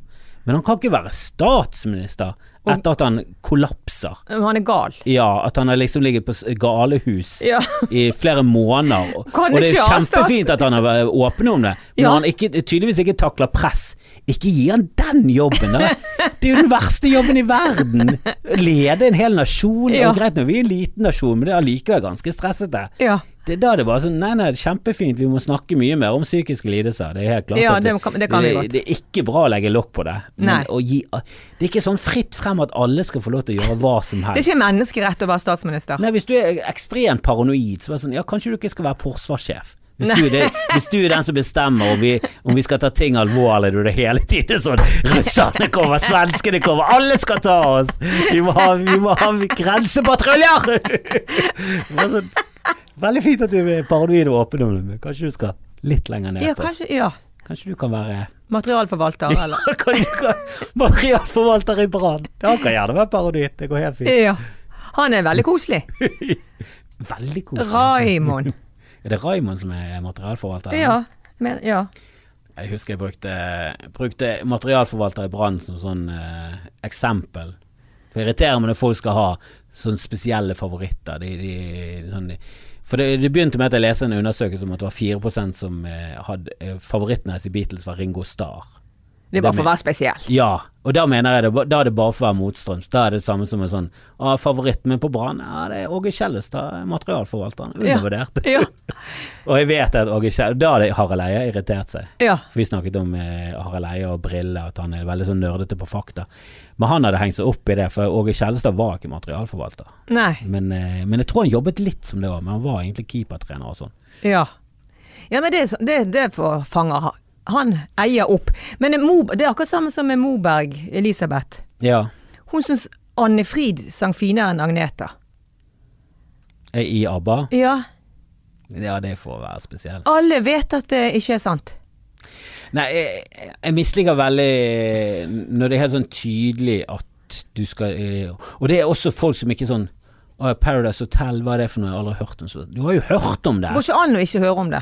[SPEAKER 1] men han kan ikke være statsminister etter at han kollapser.
[SPEAKER 2] Men Han er gal.
[SPEAKER 1] Ja, at han har liksom ligget på s- galehus
[SPEAKER 2] Ja.
[SPEAKER 1] i flere måneder. og-
[SPEAKER 2] Kan
[SPEAKER 1] Og det er
[SPEAKER 2] ikke ha
[SPEAKER 1] kjempefint at han har vært åpen om det, men
[SPEAKER 2] Ja.
[SPEAKER 1] han ikke, tydeligvis ikke takler press. Ikke gi han den jobben, da! Det er jo den verste jobben i verden! Lede en hel nasjon.
[SPEAKER 2] Ja.
[SPEAKER 1] Og greit nå, vi er en liten nasjon, men det er allikevel ganske stressete.
[SPEAKER 2] Ja,
[SPEAKER 1] Det, da er det bare sånn Nei, nei, kjempefint, vi må snakke mye mer om psykiske lidelser. Det er helt klart
[SPEAKER 2] Ja,
[SPEAKER 1] at
[SPEAKER 2] det kan- det kan vi godt.
[SPEAKER 1] det er ikke bra å legge lokk på det.
[SPEAKER 2] Nei.
[SPEAKER 1] Men å gi, det er ikke sånn fritt frem at alle skal få lov til å gjøre hva som helst.
[SPEAKER 2] Det er ikke menneskerett å være statsminister.
[SPEAKER 1] Nei, hvis du er ekstremt paranoid, så er det sånn Ja, kanskje du ikke skal være forsvarssjef. Hvis du, er det, hvis du er den som bestemmer om vi, om vi skal ta ting alvorlig du, det er hele tiden sånn Russerne kommer, svenskene kommer, alle skal ta oss! Vi må ha, vi må ha grensepatruljer! Det er sånn, Veldig fint at du er paranoid og åpen om det, men kanskje du skal litt lenger ned
[SPEAKER 2] Ja,
[SPEAKER 1] på
[SPEAKER 2] kanskje Ja.
[SPEAKER 1] Kanskje du kan være
[SPEAKER 2] Materialforvalter, eller
[SPEAKER 1] Kan du kan, Materialforvalter i Brann. Han kan gjerne være paranoid, det går helt fint.
[SPEAKER 2] Ja. Han er veldig koselig.
[SPEAKER 1] Veldig koselig.
[SPEAKER 2] Raymond.
[SPEAKER 1] Er det Raymond som er materialforvalter?
[SPEAKER 2] Ja. Men, ja.
[SPEAKER 1] Jeg husker jeg brukte, brukte materialforvalter i Brann som sånn eh, eksempel. Det irriterer meg når folk skal ha sånne spesielle favoritter. De, de, sånn, for det, det begynte med at jeg leste en undersøkelse om at det var 4 som eh, hadde eh, favoritten hennes i Beatles var Ringo Starr.
[SPEAKER 2] Det er bare for å være spesiell.
[SPEAKER 1] Ja, og da mener jeg det, ba- da er det bare for å være motstrøms. Da er det samme som en sånn ah, Favoritten min på Brann, ja, det er Åge Kjellestad, eh, materialforvalteren.
[SPEAKER 2] Ja.
[SPEAKER 1] Undervurdert.
[SPEAKER 2] Ja.
[SPEAKER 1] Og jeg vet at Åge Kjell Da hadde Harald Eia irritert seg.
[SPEAKER 2] ja.
[SPEAKER 1] For vi snakket om eh, Harald Eia og briller, at han er veldig sånn nerdete på fakta. Men han hadde hengt seg opp i det, for Åge Kjellestad var ikke materialforvalter.
[SPEAKER 2] Nei.
[SPEAKER 1] Men, eh, men jeg tror han jobbet litt som det òg, men han var egentlig keepertrener og sånn.
[SPEAKER 2] Ja. Ja, men det, er så- det, det får fanger ha. Han eier opp. Men det er Mo, det er akkurat samme som med Moberg Elisabeth.
[SPEAKER 1] Ja.
[SPEAKER 2] Hun syns Anne Frid sang finere enn Agneta.
[SPEAKER 1] Eh, I ABBA.
[SPEAKER 2] Ja.
[SPEAKER 1] Ja, det får være spesielt.
[SPEAKER 2] Alle vet at det ikke er sant.
[SPEAKER 1] Nei, jeg, jeg misliker veldig når det er helt sånn tydelig at du skal eh, Og det er også folk som ikke sånn «Å, Paradise Hotel, hva er det for noe jeg aldri har hørt om? Så, Du har jo hørt om det!
[SPEAKER 2] Det går ikke an å ikke høre om det.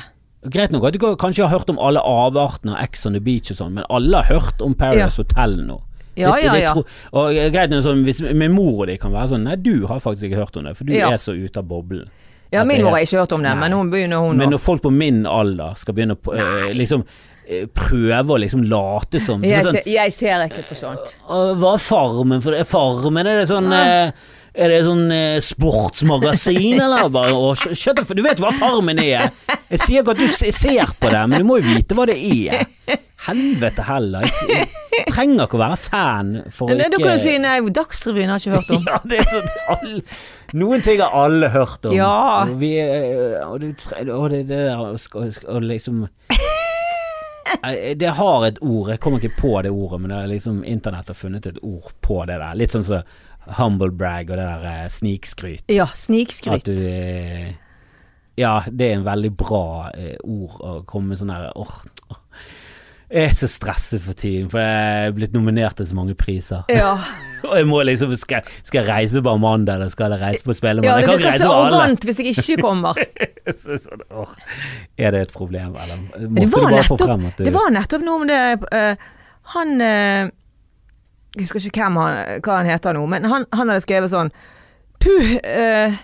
[SPEAKER 1] Greit nok at du kan- kanskje har hørt om alle avartene og Ex on the Beach og sånn, men alle har hørt om Paradise Hotel nå.
[SPEAKER 2] Ja, ja, ja.
[SPEAKER 1] tro- og eh, greit nok sånn, hvis min mor og de kan være sånn Nei, du har faktisk ikke hørt om det, for du
[SPEAKER 2] Ja.
[SPEAKER 1] er så ute av boblen.
[SPEAKER 2] Ja,
[SPEAKER 1] At
[SPEAKER 2] min
[SPEAKER 1] det er-
[SPEAKER 2] mor har ikke hørt om det,
[SPEAKER 1] Nei.
[SPEAKER 2] men hun begynner hun
[SPEAKER 1] men
[SPEAKER 2] nå.
[SPEAKER 1] når folk på min alder skal begynne å eh, liksom eh, prøve å liksom late som som
[SPEAKER 2] Jeg,
[SPEAKER 1] sånn,
[SPEAKER 2] ser- jeg ser ikke på sånt.
[SPEAKER 1] Og Hva er farmen for det? Farmen er det sånn eh, Er det sånn eh, sportsmagasin, eller? Bare, og, skj- skjønner, for du vet hva Farmen er. Jeg sier ikke at du se- ser på det, men du må jo vite hva det er. Helvete heller. Jeg, s- jeg trenger ikke å være fan for å
[SPEAKER 2] Men
[SPEAKER 1] ikke
[SPEAKER 2] da kan du si nei, Dagsrevyen har jeg ikke hørt
[SPEAKER 1] eh,
[SPEAKER 2] om.
[SPEAKER 1] ja, det er sånn alle, Noen ting har alle hørt om.
[SPEAKER 2] Ja.
[SPEAKER 1] Og, vi, eh, og, det, tre- og det, det der og, sk- og, sk- og liksom Nei, Det har et ord, jeg kommer ikke på det ordet, men det er liksom internett har funnet et ord på det der. Litt sånn som humble brag og det der eh, snikskryt.
[SPEAKER 2] Ja,
[SPEAKER 1] At
[SPEAKER 2] snikskryt.
[SPEAKER 1] du eh, Ja, det er en veldig bra eh, ord å komme med sånn her åh, åh. Jeg er så stresset for tiden, for jeg er blitt nominert til så mange priser.
[SPEAKER 2] Ja.
[SPEAKER 1] Og jeg må liksom Skal, skal jeg reise på Amanda, eller skal jeg reise på Spellemann?
[SPEAKER 2] ja,
[SPEAKER 1] jeg
[SPEAKER 2] det
[SPEAKER 1] kan ikke
[SPEAKER 2] virker
[SPEAKER 1] reise
[SPEAKER 2] så
[SPEAKER 1] på alle!
[SPEAKER 2] arrogant hvis jeg ikke kommer.
[SPEAKER 1] Så sånn, åh, er det et problem, eller
[SPEAKER 2] Men
[SPEAKER 1] måtte
[SPEAKER 2] det
[SPEAKER 1] du
[SPEAKER 2] var,
[SPEAKER 1] bare få frem
[SPEAKER 2] nettopp,
[SPEAKER 1] at du
[SPEAKER 2] det var nettopp noe om det eh, Han eh, Jeg husker ikke hvem han, hva han heter nå, men han, han hadde skrevet sånn Puh, eh,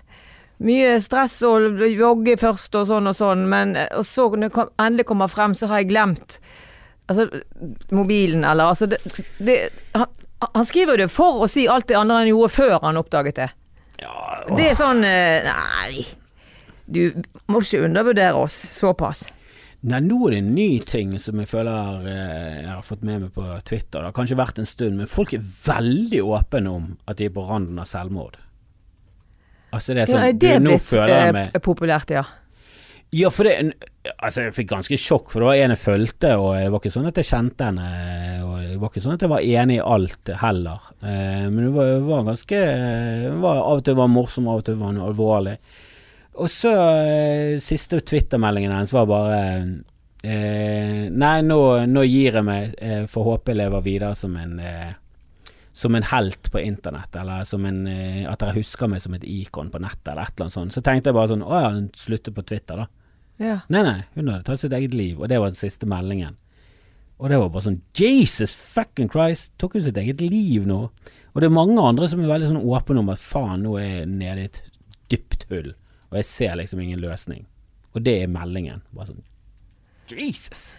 [SPEAKER 2] mye stress og jogge først og sånn og sånn, men eh, og så når jeg kom, endelig kommer frem, så har jeg glemt Altså, mobilen eller Altså, det, det han, han skriver jo det for å si alt det andre han gjorde før han oppdaget det.
[SPEAKER 1] ja, åh.
[SPEAKER 2] Det er sånn eh, Nei. Du må ikke undervurdere oss såpass.
[SPEAKER 1] Nei, nå er det en ny ting som jeg føler eh, jeg har fått med meg på Twitter. Det har kanskje vært en stund, men folk er veldig åpne om at de er på randen av selvmord. Altså det er sånn
[SPEAKER 2] ja, er det
[SPEAKER 1] du, Nå
[SPEAKER 2] blitt
[SPEAKER 1] føler jeg meg
[SPEAKER 2] eh, populært, ja.
[SPEAKER 1] Ja, for det Altså, jeg fikk ganske sjokk, for det var en jeg fulgte, og det var ikke sånn at jeg kjente henne. Og det var ikke sånn at jeg var enig i alt heller. Eh, men hun var, hun var ganske hun var, Av og til var hun morsom, av og til var hun alvorlig. Og så eh, siste Twitter-meldingen hennes var bare eh, Nei, nå, nå gir jeg meg. Eh, får håpe jeg lever videre som en eh, som en helt på internett, eller som en, eh, at dere husker meg som et ikon på nettet, eller et eller annet sånt. Så tenkte jeg bare sånn Å ja, hun slutter på Twitter, da.
[SPEAKER 2] ja.
[SPEAKER 1] Nei, nei, hun hadde tatt sitt eget liv, og det var den siste meldingen. Og det var bare sånn Jesus fucking Christ, tok hun sitt eget liv nå? Og det er mange andre som er veldig sånn åpne om at faen, nå er jeg nede i et dypt hull, og jeg ser liksom ingen løsning. Og det er meldingen. Bare sånn Jesus!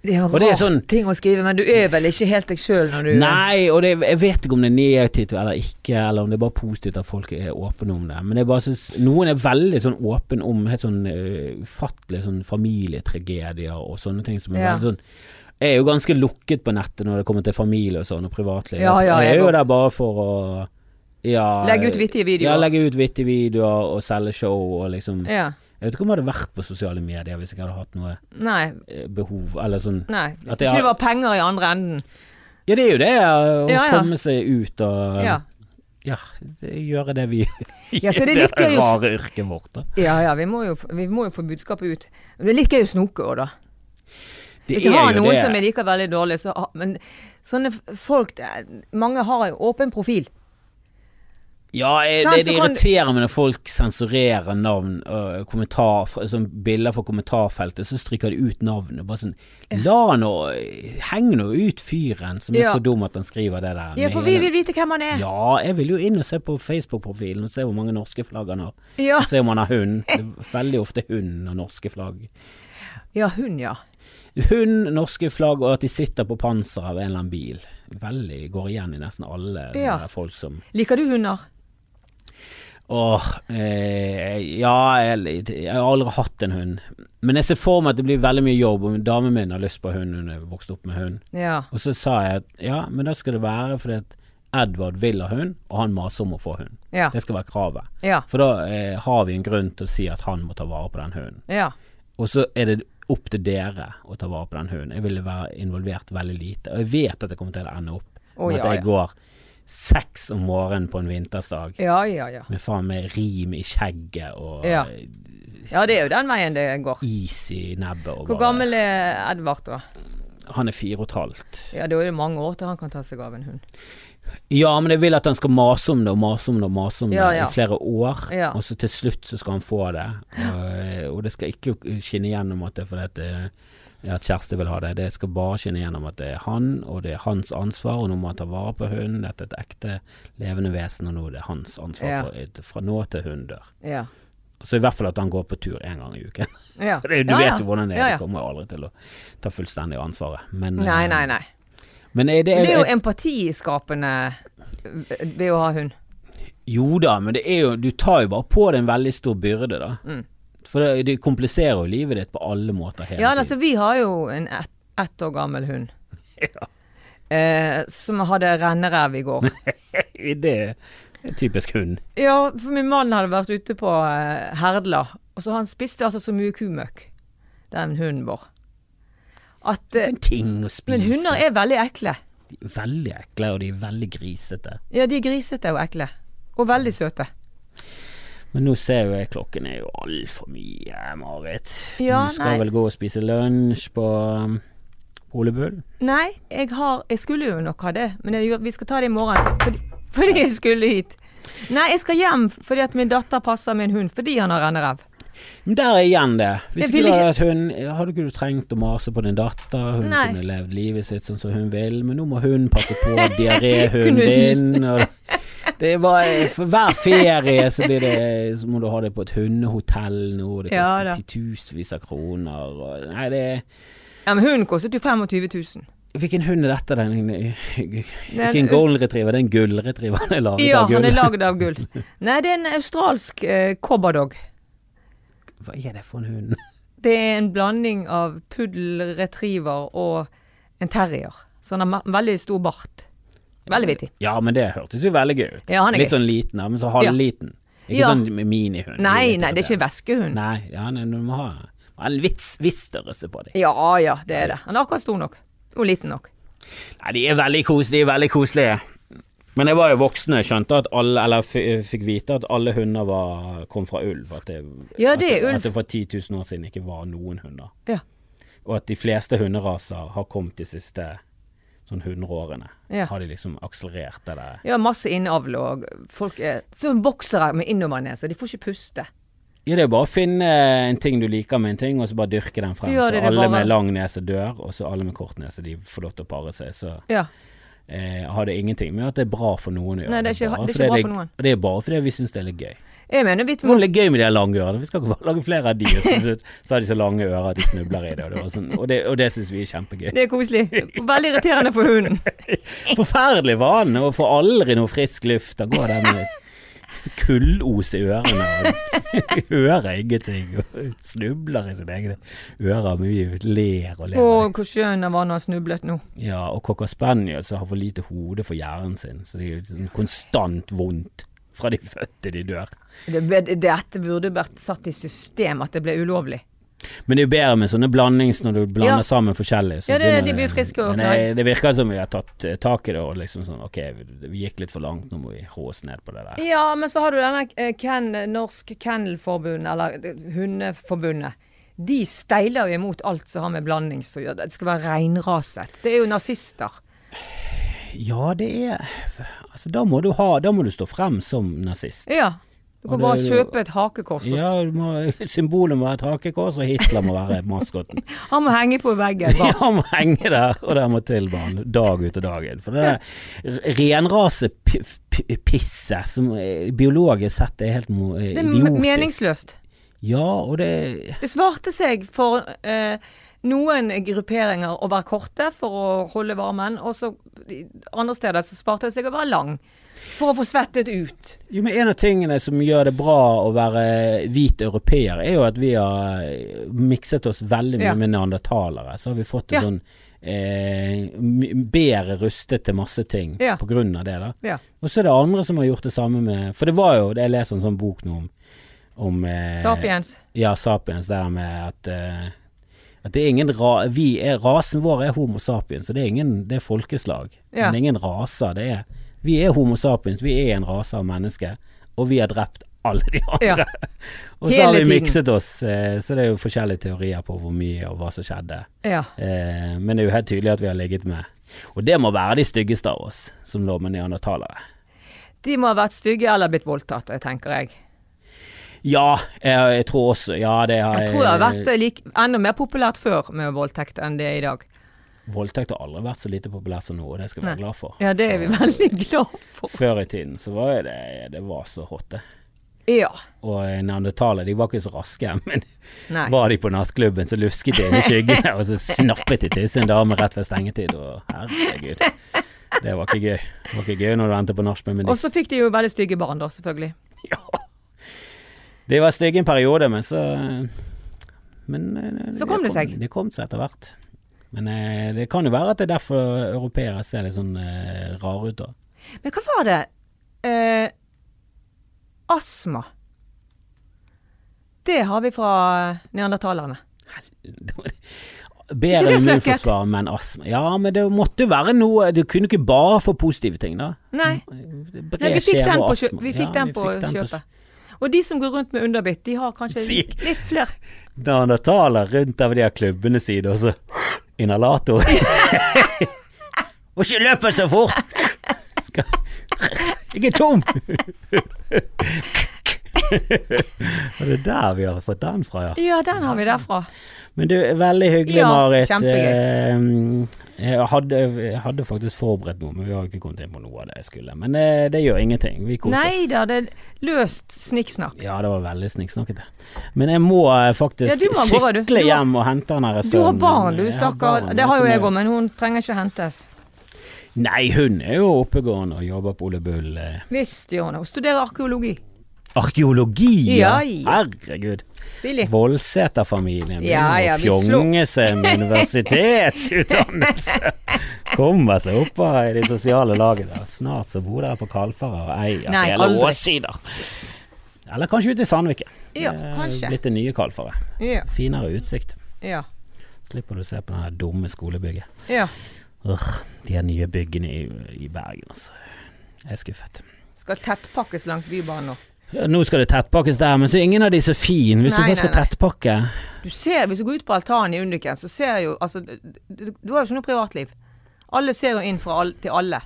[SPEAKER 2] Det er jo
[SPEAKER 1] Og det er
[SPEAKER 2] rart
[SPEAKER 1] sånn-
[SPEAKER 2] ting å skrive, men du er vel ikke helt deg sjøl når du
[SPEAKER 1] Nei, og det, jeg vet ikke om det er negativt eller ikke, eller om det er bare positivt at folk er åpne om det. Men jeg bare synes, noen er veldig sånn åpne om helt sånn øh, ufattelige sånn familietragedier og sånne ting som er
[SPEAKER 2] Ja.
[SPEAKER 1] veldig sånn Jeg er jo ganske lukket på nettet når det kommer til familie og sånn, og privatliv.
[SPEAKER 2] Ja, ja,
[SPEAKER 1] jeg
[SPEAKER 2] jeg
[SPEAKER 1] er jo
[SPEAKER 2] går-
[SPEAKER 1] der bare for å ja, eh,
[SPEAKER 2] Legge ut vittige
[SPEAKER 1] Ja,
[SPEAKER 2] videoer.
[SPEAKER 1] legge ut vittige videoer og selge show og liksom
[SPEAKER 2] Ja.
[SPEAKER 1] Jeg vet ikke om jeg hadde vært på sosiale medier hvis jeg ikke hadde hatt noe
[SPEAKER 2] Nei.
[SPEAKER 1] eh, behov, eller sånn
[SPEAKER 2] Nei.
[SPEAKER 1] At
[SPEAKER 2] Hvis
[SPEAKER 1] det
[SPEAKER 2] ikke
[SPEAKER 1] har-
[SPEAKER 2] det var penger i andre enden.
[SPEAKER 1] Ja, det er jo det, å
[SPEAKER 2] Ja, ja.
[SPEAKER 1] komme seg ut og
[SPEAKER 2] Ja.
[SPEAKER 1] Ja, det, gjøre det vi
[SPEAKER 2] Ja, så det er litt gøy å-
[SPEAKER 1] rare yrket vårt, da.
[SPEAKER 2] Ja ja, vi må jo, vi må jo få budskapet ut. Men Det er litt gøy å snoke òg, da. Hvis jeg
[SPEAKER 1] er
[SPEAKER 2] har
[SPEAKER 1] jo
[SPEAKER 2] noen
[SPEAKER 1] det.
[SPEAKER 2] som jeg liker veldig dårlig, så har Men sånne f- folk det er- Mange har jo åpen profil.
[SPEAKER 1] Ja, jeg,
[SPEAKER 2] Sånn,
[SPEAKER 1] det,
[SPEAKER 2] så
[SPEAKER 1] det
[SPEAKER 2] kan-
[SPEAKER 1] irriterer meg når folk sensurerer navn og kommentar, fra- sånn bilder fra kommentarfeltet, så stryker de ut navnet. Bare sånn La nå Heng nå ut fyren som er
[SPEAKER 2] Ja.
[SPEAKER 1] så dum at han skriver det der.
[SPEAKER 2] Ja,
[SPEAKER 1] med
[SPEAKER 2] for vi
[SPEAKER 1] hele-
[SPEAKER 2] vil vite hvem han er.
[SPEAKER 1] Ja, jeg vil jo inn og se på Facebook-profilen og se hvor mange norske flagg han har.
[SPEAKER 2] Ja,
[SPEAKER 1] Og se om han har hund. Det er veldig ofte hund og norske flagg.
[SPEAKER 2] ja hun, ja.
[SPEAKER 1] Hund, norske flagg og at de sitter på panser av en eller annen bil. Veldig går igjen i nesten alle
[SPEAKER 2] Ja.
[SPEAKER 1] der folk som
[SPEAKER 2] Liker du hunder?
[SPEAKER 1] Åh, eh, ja, jeg, jeg har aldri hatt en hund. Men jeg ser for meg at det blir veldig mye jobb om damen min har lyst på hund, hun er vokst opp med hund.
[SPEAKER 2] Ja.
[SPEAKER 1] Og så sa jeg at ja, men da skal det være fordi at Edvard vil ha hund, og han maser om å få hund.
[SPEAKER 2] Ja.
[SPEAKER 1] Det skal være kravet.
[SPEAKER 2] Ja.
[SPEAKER 1] For da eh, har vi en grunn til å si at han må ta vare på den hunden.
[SPEAKER 2] ja.
[SPEAKER 1] Og så er det opp til dere å ta vare på den hunden. Jeg ville være involvert veldig lite. Og jeg vet at jeg kommer til å ende opp med
[SPEAKER 2] Å,
[SPEAKER 1] at
[SPEAKER 2] ja,
[SPEAKER 1] jeg
[SPEAKER 2] ja.
[SPEAKER 1] går seks om morgenen på en vintersdag
[SPEAKER 2] Ja, ja, ja.
[SPEAKER 1] med faen meg rim i skjegget og
[SPEAKER 2] Ja. Ja, det er jo den veien det går.
[SPEAKER 1] is i nebbet. Og
[SPEAKER 2] Hvor gammel er Edvard da?
[SPEAKER 1] Han er fire og et halvt.
[SPEAKER 2] Ja, da er det mange år til han kan ta seg av en hund.
[SPEAKER 1] Ja, men jeg vil at han skal mase om det og mase om det og mase om det
[SPEAKER 2] Ja, ja.
[SPEAKER 1] i flere år.
[SPEAKER 2] Ja.
[SPEAKER 1] Og så til slutt så skal han få det. Og, og det skal ikke skinne gjennom at det er fordi at, eh, at kjæreste vil ha det. Det skal bare skinne gjennom at det er han, og det er hans ansvar, og nå må han ta vare på hunden. Dette er et ekte levende vesen, og nå er det hans ansvar
[SPEAKER 2] Ja.
[SPEAKER 1] fra, fra nå til hun dør.
[SPEAKER 2] Ja.
[SPEAKER 1] Så i hvert fall at han går på tur én gang i uken.
[SPEAKER 2] ja.
[SPEAKER 1] For det, du
[SPEAKER 2] ja,
[SPEAKER 1] vet
[SPEAKER 2] ja.
[SPEAKER 1] jo hvordan det er,
[SPEAKER 2] Ja,
[SPEAKER 1] du
[SPEAKER 2] ja.
[SPEAKER 1] kommer aldri til å ta fullstendig ansvaret. Men, eh,
[SPEAKER 2] Nei, nei, nei.
[SPEAKER 1] Men eh, det,
[SPEAKER 2] Men
[SPEAKER 1] er,
[SPEAKER 2] det er jo empatiskapende ved å ha hund.
[SPEAKER 1] Jo da, men det er jo Du tar jo bare på deg en veldig stor byrde, da.
[SPEAKER 2] Mm.
[SPEAKER 1] For det, det kompliserer jo livet ditt på alle måter hele
[SPEAKER 2] Ja, altså,
[SPEAKER 1] tiden.
[SPEAKER 2] vi har jo en ett ett år gammel hund
[SPEAKER 1] Ja,
[SPEAKER 2] eh, som hadde renneræv i går. altså-
[SPEAKER 1] det er typisk hund.
[SPEAKER 2] Ja, for min mann hadde vært ute på eh, Herdla, og så han spiste altså så mye kumøkk, den hunden vår. At eh,
[SPEAKER 1] En ting å spise.
[SPEAKER 2] Men hunder er veldig ekle.
[SPEAKER 1] De er veldig ekle, og de er veldig grisete.
[SPEAKER 2] Ja, de er grisete og ekle. Og veldig søte.
[SPEAKER 1] Men nå ser jo jeg klokken er jo altfor mye, Marit.
[SPEAKER 2] Ja,
[SPEAKER 1] du skal
[SPEAKER 2] nei.
[SPEAKER 1] vel gå og spise lunsj på um, Ole Bull?
[SPEAKER 2] Nei, jeg har Jeg skulle jo nok ha det, men jeg, vi skal ta det i morgen. Fordi, fordi jeg skulle hit. Nei, jeg skal hjem fordi at min datter passer min hund fordi han har rennerev.
[SPEAKER 1] Men der er igjen det. Hvis
[SPEAKER 2] Jeg
[SPEAKER 1] ikke
[SPEAKER 2] vil
[SPEAKER 1] du
[SPEAKER 2] ikke-
[SPEAKER 1] hadde hatt hund, hadde ikke du trengt å mase på din datter. Hun
[SPEAKER 2] Nei.
[SPEAKER 1] kunne levd livet sitt sånn som hun vil, men nå må hun passe på diaréhunden
[SPEAKER 2] Kunne-
[SPEAKER 1] din. Og det er bare, for hver ferie så, blir det, så må du ha det på et hundehotell nå, og det
[SPEAKER 2] Ja,
[SPEAKER 1] koster
[SPEAKER 2] da.
[SPEAKER 1] titusenvis av kroner. Og, nei, det er
[SPEAKER 2] Ja, men hunden kostet jo 25 000.
[SPEAKER 1] Hvilken hund er dette? Den,
[SPEAKER 2] er-
[SPEAKER 1] ikke en golden retriever, det er en gullretriever. Han er laget
[SPEAKER 2] Ja,
[SPEAKER 1] av
[SPEAKER 2] han
[SPEAKER 1] gull.
[SPEAKER 2] er lagd av gull. Nei, det er en australsk eh, cobberdog.
[SPEAKER 1] Hva er det for en hund?
[SPEAKER 2] Det er en blanding av puddel, retriever og en terrier. Så han har ma- veldig stor bart. Veldig vittig.
[SPEAKER 1] Ja, men det hørtes jo veldig gøy ut.
[SPEAKER 2] Ja, han er
[SPEAKER 1] Litt
[SPEAKER 2] gøy.
[SPEAKER 1] sånn liten, da, men så halvliten. Ikke
[SPEAKER 2] Ja.
[SPEAKER 1] sånn minihund.
[SPEAKER 2] Nei, nei, det er ikke veskehund.
[SPEAKER 1] Nei, ja, nei, du må ha ha en vits, viss størrelse på dem.
[SPEAKER 2] Ja, ja, det er det. Han er akkurat stor nok. Og liten nok.
[SPEAKER 1] Nei, de er veldig koselige, veldig koselige. Men jeg var jo voksen og skjønte at alle, eller f fikk vite at alle hunder var, kom fra ulv. At det,
[SPEAKER 2] Ja, det er
[SPEAKER 1] at,
[SPEAKER 2] ulv.
[SPEAKER 1] at det for 10 000 år siden ikke var noen hunder.
[SPEAKER 2] Ja.
[SPEAKER 1] Og at de fleste hunderaser har kommet de siste sånn 100 årene.
[SPEAKER 2] Ja.
[SPEAKER 1] Har de liksom akselerert det der?
[SPEAKER 2] ja masse innavl og folk er Som boksere med innoverneser. De får ikke puste.
[SPEAKER 1] Ja, det er bare å finne en ting du liker med en ting, og så bare dyrke den frem.
[SPEAKER 2] Så
[SPEAKER 1] Så,
[SPEAKER 2] gjør de det
[SPEAKER 1] alle
[SPEAKER 2] bare.
[SPEAKER 1] med lang nese dør, og så alle med kort nese de får lov til å pare seg. Så
[SPEAKER 2] Ja.
[SPEAKER 1] eh, har det ingenting med at det er bra for noen å gjøre.
[SPEAKER 2] Nei, det er ikke-
[SPEAKER 1] bare
[SPEAKER 2] det er ikke
[SPEAKER 1] fordi
[SPEAKER 2] bra for noen. Mm.
[SPEAKER 1] Og det er bare fordi vi syns det er litt gøy.
[SPEAKER 2] Jeg mener vi
[SPEAKER 1] Det
[SPEAKER 2] må
[SPEAKER 1] var litt gøy med de her lange ørene. Vi skal ikke bare lage flere av de. Og så, til slutt så har de så lange ører at de snubler i det, og det, var sånn, og det, og det syns vi er kjempegøy.
[SPEAKER 2] Det er koselig. Og Veldig irriterende for hunden.
[SPEAKER 1] Forferdelig var han, og får aldri noe frisk luft. Da går den med kullos i ørene og hører ingenting. Og snubler i sine egne ører, men vi ler og
[SPEAKER 2] Å,
[SPEAKER 1] ler.
[SPEAKER 2] hvor skjønn han var når han snublet nå.
[SPEAKER 1] Ja, og cocker spaniel som har for lite hode for hjernen sin, så det er jo sånn konstant vondt fra de fødte de dør.
[SPEAKER 2] Det, det, dette burde vært satt i system at det ble ulovlig.
[SPEAKER 1] Men det er jo bedre med sånne blandings når du blander
[SPEAKER 2] Ja.
[SPEAKER 1] sammen forskjellig. så
[SPEAKER 2] Ja, det-
[SPEAKER 1] begynner
[SPEAKER 2] de blir friske og
[SPEAKER 1] Men jeg, det virker som vi har tatt eh, tak i det og liksom sånn ok, vi- vi gikk litt for langt, nå må vi rå oss ned på det der.
[SPEAKER 2] Ja, men så har du denne eh, Ken, Norsk Kennelforbund, eller eh, Hundeforbundet. De steiler jo imot alt som har med blandings å gjøre. Det skal være reinraset. Det er jo nazister.
[SPEAKER 1] Ja, det er Altså, da må du ha Da må du stå frem som nazist.
[SPEAKER 2] Ja. Du
[SPEAKER 1] Og
[SPEAKER 2] kan
[SPEAKER 1] det
[SPEAKER 2] bare
[SPEAKER 1] er jo-
[SPEAKER 2] kjøpe et hakekors. og-
[SPEAKER 1] Ja, du må, symbolet må være et hakekors, og Hitler må være maskotten.
[SPEAKER 2] Han må henge på veggen.
[SPEAKER 1] Ja,
[SPEAKER 2] Bare.
[SPEAKER 1] han må henge der, og der må til barn, dag ut og dag inn. For det der r- renrasepisset som eh, biologisk sett er helt mo- eh,
[SPEAKER 2] Det er me-
[SPEAKER 1] idiotisk.
[SPEAKER 2] meningsløst.
[SPEAKER 1] Ja, og det
[SPEAKER 2] Det svarte seg for eh, noen grupperinger å være korte for å holde varmen, og så i andre steder så svarte det seg å være lang for å få svettet ut.
[SPEAKER 1] Jo, men En av tingene som gjør det bra å være hvit europeer, er jo at vi har eh, mikset oss veldig mye
[SPEAKER 2] Ja.
[SPEAKER 1] med neandertalere. Så har vi fått
[SPEAKER 2] Ja.
[SPEAKER 1] en sånn eh, m- bedre rustet til masse ting
[SPEAKER 2] Ja.
[SPEAKER 1] på grunn av det. da.
[SPEAKER 2] Ja.
[SPEAKER 1] Og så er det andre som har gjort det samme med For det var jo Jeg leser en sånn bok nå om, om eh,
[SPEAKER 2] Sapiens.
[SPEAKER 1] Ja, sapiens. Det der med at eh, at det er ingen ra vi er, Rasen vår er homo sapiens, så det er ingen det er folkeslag.
[SPEAKER 2] Ja.
[SPEAKER 1] Men ingen raser. Det er Vi er homo sapiens, vi er en rase av mennesker, og vi har drept alle de andre. og så har
[SPEAKER 2] Hele
[SPEAKER 1] vi
[SPEAKER 2] tiden.
[SPEAKER 1] mikset oss, eh, så det er jo forskjellige teorier på hvor mye og hva som skjedde.
[SPEAKER 2] Ja.
[SPEAKER 1] Eh, men det er jo helt tydelig at vi har ligget med Og det må være de styggeste av oss som lå med neandertalere.
[SPEAKER 2] De må ha vært stygge eller blitt voldtatt, jeg tenker jeg.
[SPEAKER 1] Ja, jeg, jeg tror også Ja, det har
[SPEAKER 2] Jeg tror det har vært eh, lik, enda mer populært før med voldtekt enn det er i dag.
[SPEAKER 1] Voldtekt har aldri vært så lite populært som nå, og det skal vi være glad for.
[SPEAKER 2] Ja, det er vi veldig glad for.
[SPEAKER 1] Før i tiden så var jo det Det var så hot, det.
[SPEAKER 2] Ja.
[SPEAKER 1] Og eh, neandertalere de var ikke så raske, men
[SPEAKER 2] Nei.
[SPEAKER 1] var de på nattklubben, så lusket de inn i skyggene, og så snappet de til sin dame rett før stengetid, og herregud. Det var ikke gøy. Det var ikke gøy når du endte på nachspiel med
[SPEAKER 2] Og
[SPEAKER 1] de.
[SPEAKER 2] så fikk de jo veldig stygge barn, da, selvfølgelig.
[SPEAKER 1] Ja. De var stygge en periode, men så Men eh,
[SPEAKER 2] Så kom det seg.
[SPEAKER 1] Det kom seg etter hvert. Men eh, det kan jo være at det er derfor europeere ser litt sånn eh, rare ut, da.
[SPEAKER 2] Men hva var det? Eh, astma. Det har vi fra neandertalerne. Ikke
[SPEAKER 1] Bedre
[SPEAKER 2] det snakket.
[SPEAKER 1] immunforsvar, men astma Ja, men det måtte jo være noe Du kunne ikke bare få positive ting, da.
[SPEAKER 2] Nei.
[SPEAKER 1] Bred
[SPEAKER 2] Nei, vi fikk
[SPEAKER 1] skjeve
[SPEAKER 2] den på,
[SPEAKER 1] og
[SPEAKER 2] kjø
[SPEAKER 1] astma.
[SPEAKER 2] vi
[SPEAKER 1] Ja,
[SPEAKER 2] fikk den på
[SPEAKER 1] fikk den på
[SPEAKER 2] kjøpet. Og de som går rundt med underbitt, de har kanskje
[SPEAKER 1] Si-
[SPEAKER 2] litt flere
[SPEAKER 1] Neandertaler rundt av de her klubbene sine, og så inhalator. Må ikke løpe så fort! Skal. Jeg er tom! Og det er der vi har fått den fra, ja.
[SPEAKER 2] Ja, den har vi derfra.
[SPEAKER 1] Men du, veldig hyggelig,
[SPEAKER 2] Ja,
[SPEAKER 1] Marit.
[SPEAKER 2] kjempegøy.
[SPEAKER 1] Eh, Jeg hadde, jeg hadde faktisk forberedt noe, men vi har ikke kommet inn på noe av det jeg skulle. Men eh, det gjør ingenting. Vi koste
[SPEAKER 2] Nei
[SPEAKER 1] oss.
[SPEAKER 2] da, det er løst snikksnakk.
[SPEAKER 1] Ja, det var veldig snikksnakkete. Men jeg må eh, faktisk
[SPEAKER 2] Ja, du må gå, du.
[SPEAKER 1] sykle
[SPEAKER 2] Du har-
[SPEAKER 1] hjem og hente den her sønnen.
[SPEAKER 2] Du har barn, du
[SPEAKER 1] Jeg har
[SPEAKER 2] stakkar.
[SPEAKER 1] barn, altså,
[SPEAKER 2] Det har jo
[SPEAKER 1] som er-
[SPEAKER 2] jeg òg, men hun trenger ikke hentes.
[SPEAKER 1] Nei, hun er jo oppegående og jobber på Ole Bull. eh,
[SPEAKER 2] Visst gjør hun det. Hun studerer arkeologi.
[SPEAKER 1] Arkeologi,
[SPEAKER 2] Ja, ja.
[SPEAKER 1] Herregud.
[SPEAKER 2] Stilig.
[SPEAKER 1] Voldseterfamilien
[SPEAKER 2] Ja,
[SPEAKER 1] begynner
[SPEAKER 2] ja,
[SPEAKER 1] å
[SPEAKER 2] vi
[SPEAKER 1] fjonge seg med universitetsutdannelse. Kommer seg opp av i de sosiale lagene. og Snart så bor dere på Kalfarer og eier
[SPEAKER 2] Nei,
[SPEAKER 1] hele
[SPEAKER 2] aldri.
[SPEAKER 1] Åssider. Eller kanskje ut i Sandviken.
[SPEAKER 2] Ja,
[SPEAKER 1] Det er
[SPEAKER 2] kanskje.
[SPEAKER 1] Blitt det nye Kalfaret.
[SPEAKER 2] Ja.
[SPEAKER 1] Finere utsikt.
[SPEAKER 2] Ja.
[SPEAKER 1] Slipper du å se på det her dumme skolebygget.
[SPEAKER 2] ja.
[SPEAKER 1] Urgh, de her nye byggene i, i Bergen, altså. Jeg er skuffet.
[SPEAKER 2] Skal tettpakkes langs Bybanen nå.
[SPEAKER 1] Ja, Nå skal det tettpakkes der, men så er ingen av de så fin. Hvis
[SPEAKER 2] Nei,
[SPEAKER 1] du først skal
[SPEAKER 2] nei, nei.
[SPEAKER 1] tettpakke
[SPEAKER 2] Du ser, Hvis du går ut på altanen i Undiken, så ser jo altså, du, du, du har jo ikke noe privatliv. Alle ser jo inn fra all, til alle.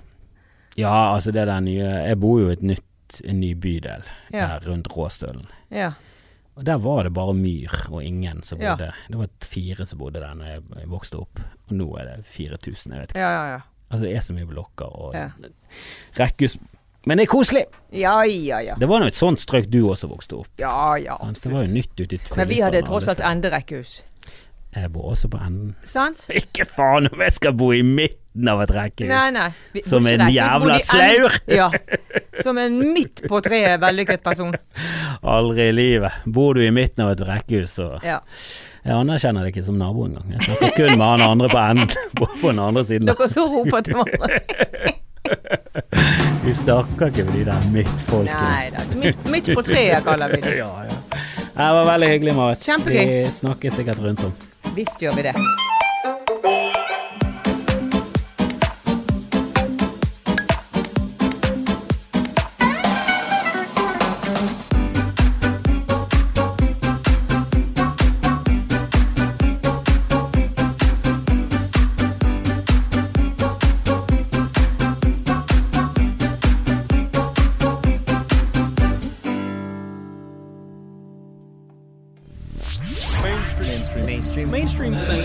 [SPEAKER 1] Ja, altså det der nye Jeg bor jo i et nytt, en ny bydel
[SPEAKER 2] Ja.
[SPEAKER 1] der rundt Råstølen.
[SPEAKER 2] Ja.
[SPEAKER 1] Og der var det bare myr og ingen som
[SPEAKER 2] Ja.
[SPEAKER 1] bodde. Det var fire som bodde der når jeg, jeg vokste opp, og nå er det 4000. Jeg vet ikke.
[SPEAKER 2] Ja, ja, ja.
[SPEAKER 1] Altså det er så mye blokker og
[SPEAKER 2] Ja.
[SPEAKER 1] rekkehus. Men det er koselig!
[SPEAKER 2] Ja, ja, ja.
[SPEAKER 1] Det var nå et sånt strøk du også vokste opp.
[SPEAKER 2] Ja, ja,
[SPEAKER 1] sant? Det var jo
[SPEAKER 2] absolutt.
[SPEAKER 1] nytt ute i
[SPEAKER 2] Men vi hadde tross alt
[SPEAKER 1] Fyllestaden, alle
[SPEAKER 2] enderekkehus.
[SPEAKER 1] steder. Jeg bor også på enden.
[SPEAKER 2] Sant?
[SPEAKER 1] Ikke faen om jeg skal bo i midten av et rekkehus.
[SPEAKER 2] Nei, nei. Vi-
[SPEAKER 1] Som
[SPEAKER 2] ikke
[SPEAKER 1] en
[SPEAKER 2] rekkehus,
[SPEAKER 1] jævla
[SPEAKER 2] hvor de end-
[SPEAKER 1] slaur.
[SPEAKER 2] Ja. Som en midt på treet vellykket person.
[SPEAKER 1] Aldri i livet. Bor du i midten av et rekkehus, så
[SPEAKER 2] Ja.
[SPEAKER 1] Jeg anerkjenner deg ikke som nabo engang. Jeg snakker kun med han andre på enden. På på den andre siden.
[SPEAKER 2] Dere så roper til hverandre.
[SPEAKER 1] Du snakker ikke med de der midtfolkene.
[SPEAKER 2] Nei da. Midt, midt på treet, kaller vi det.
[SPEAKER 1] Ja, ja. Det var veldig hyggelig, Marit.
[SPEAKER 2] Kjempegøy.
[SPEAKER 1] Vi snakkes sikkert rundt om.
[SPEAKER 2] Visst gjør vi det.
[SPEAKER 3] Mainstream. Mainstream. Mainstream. Mainstream.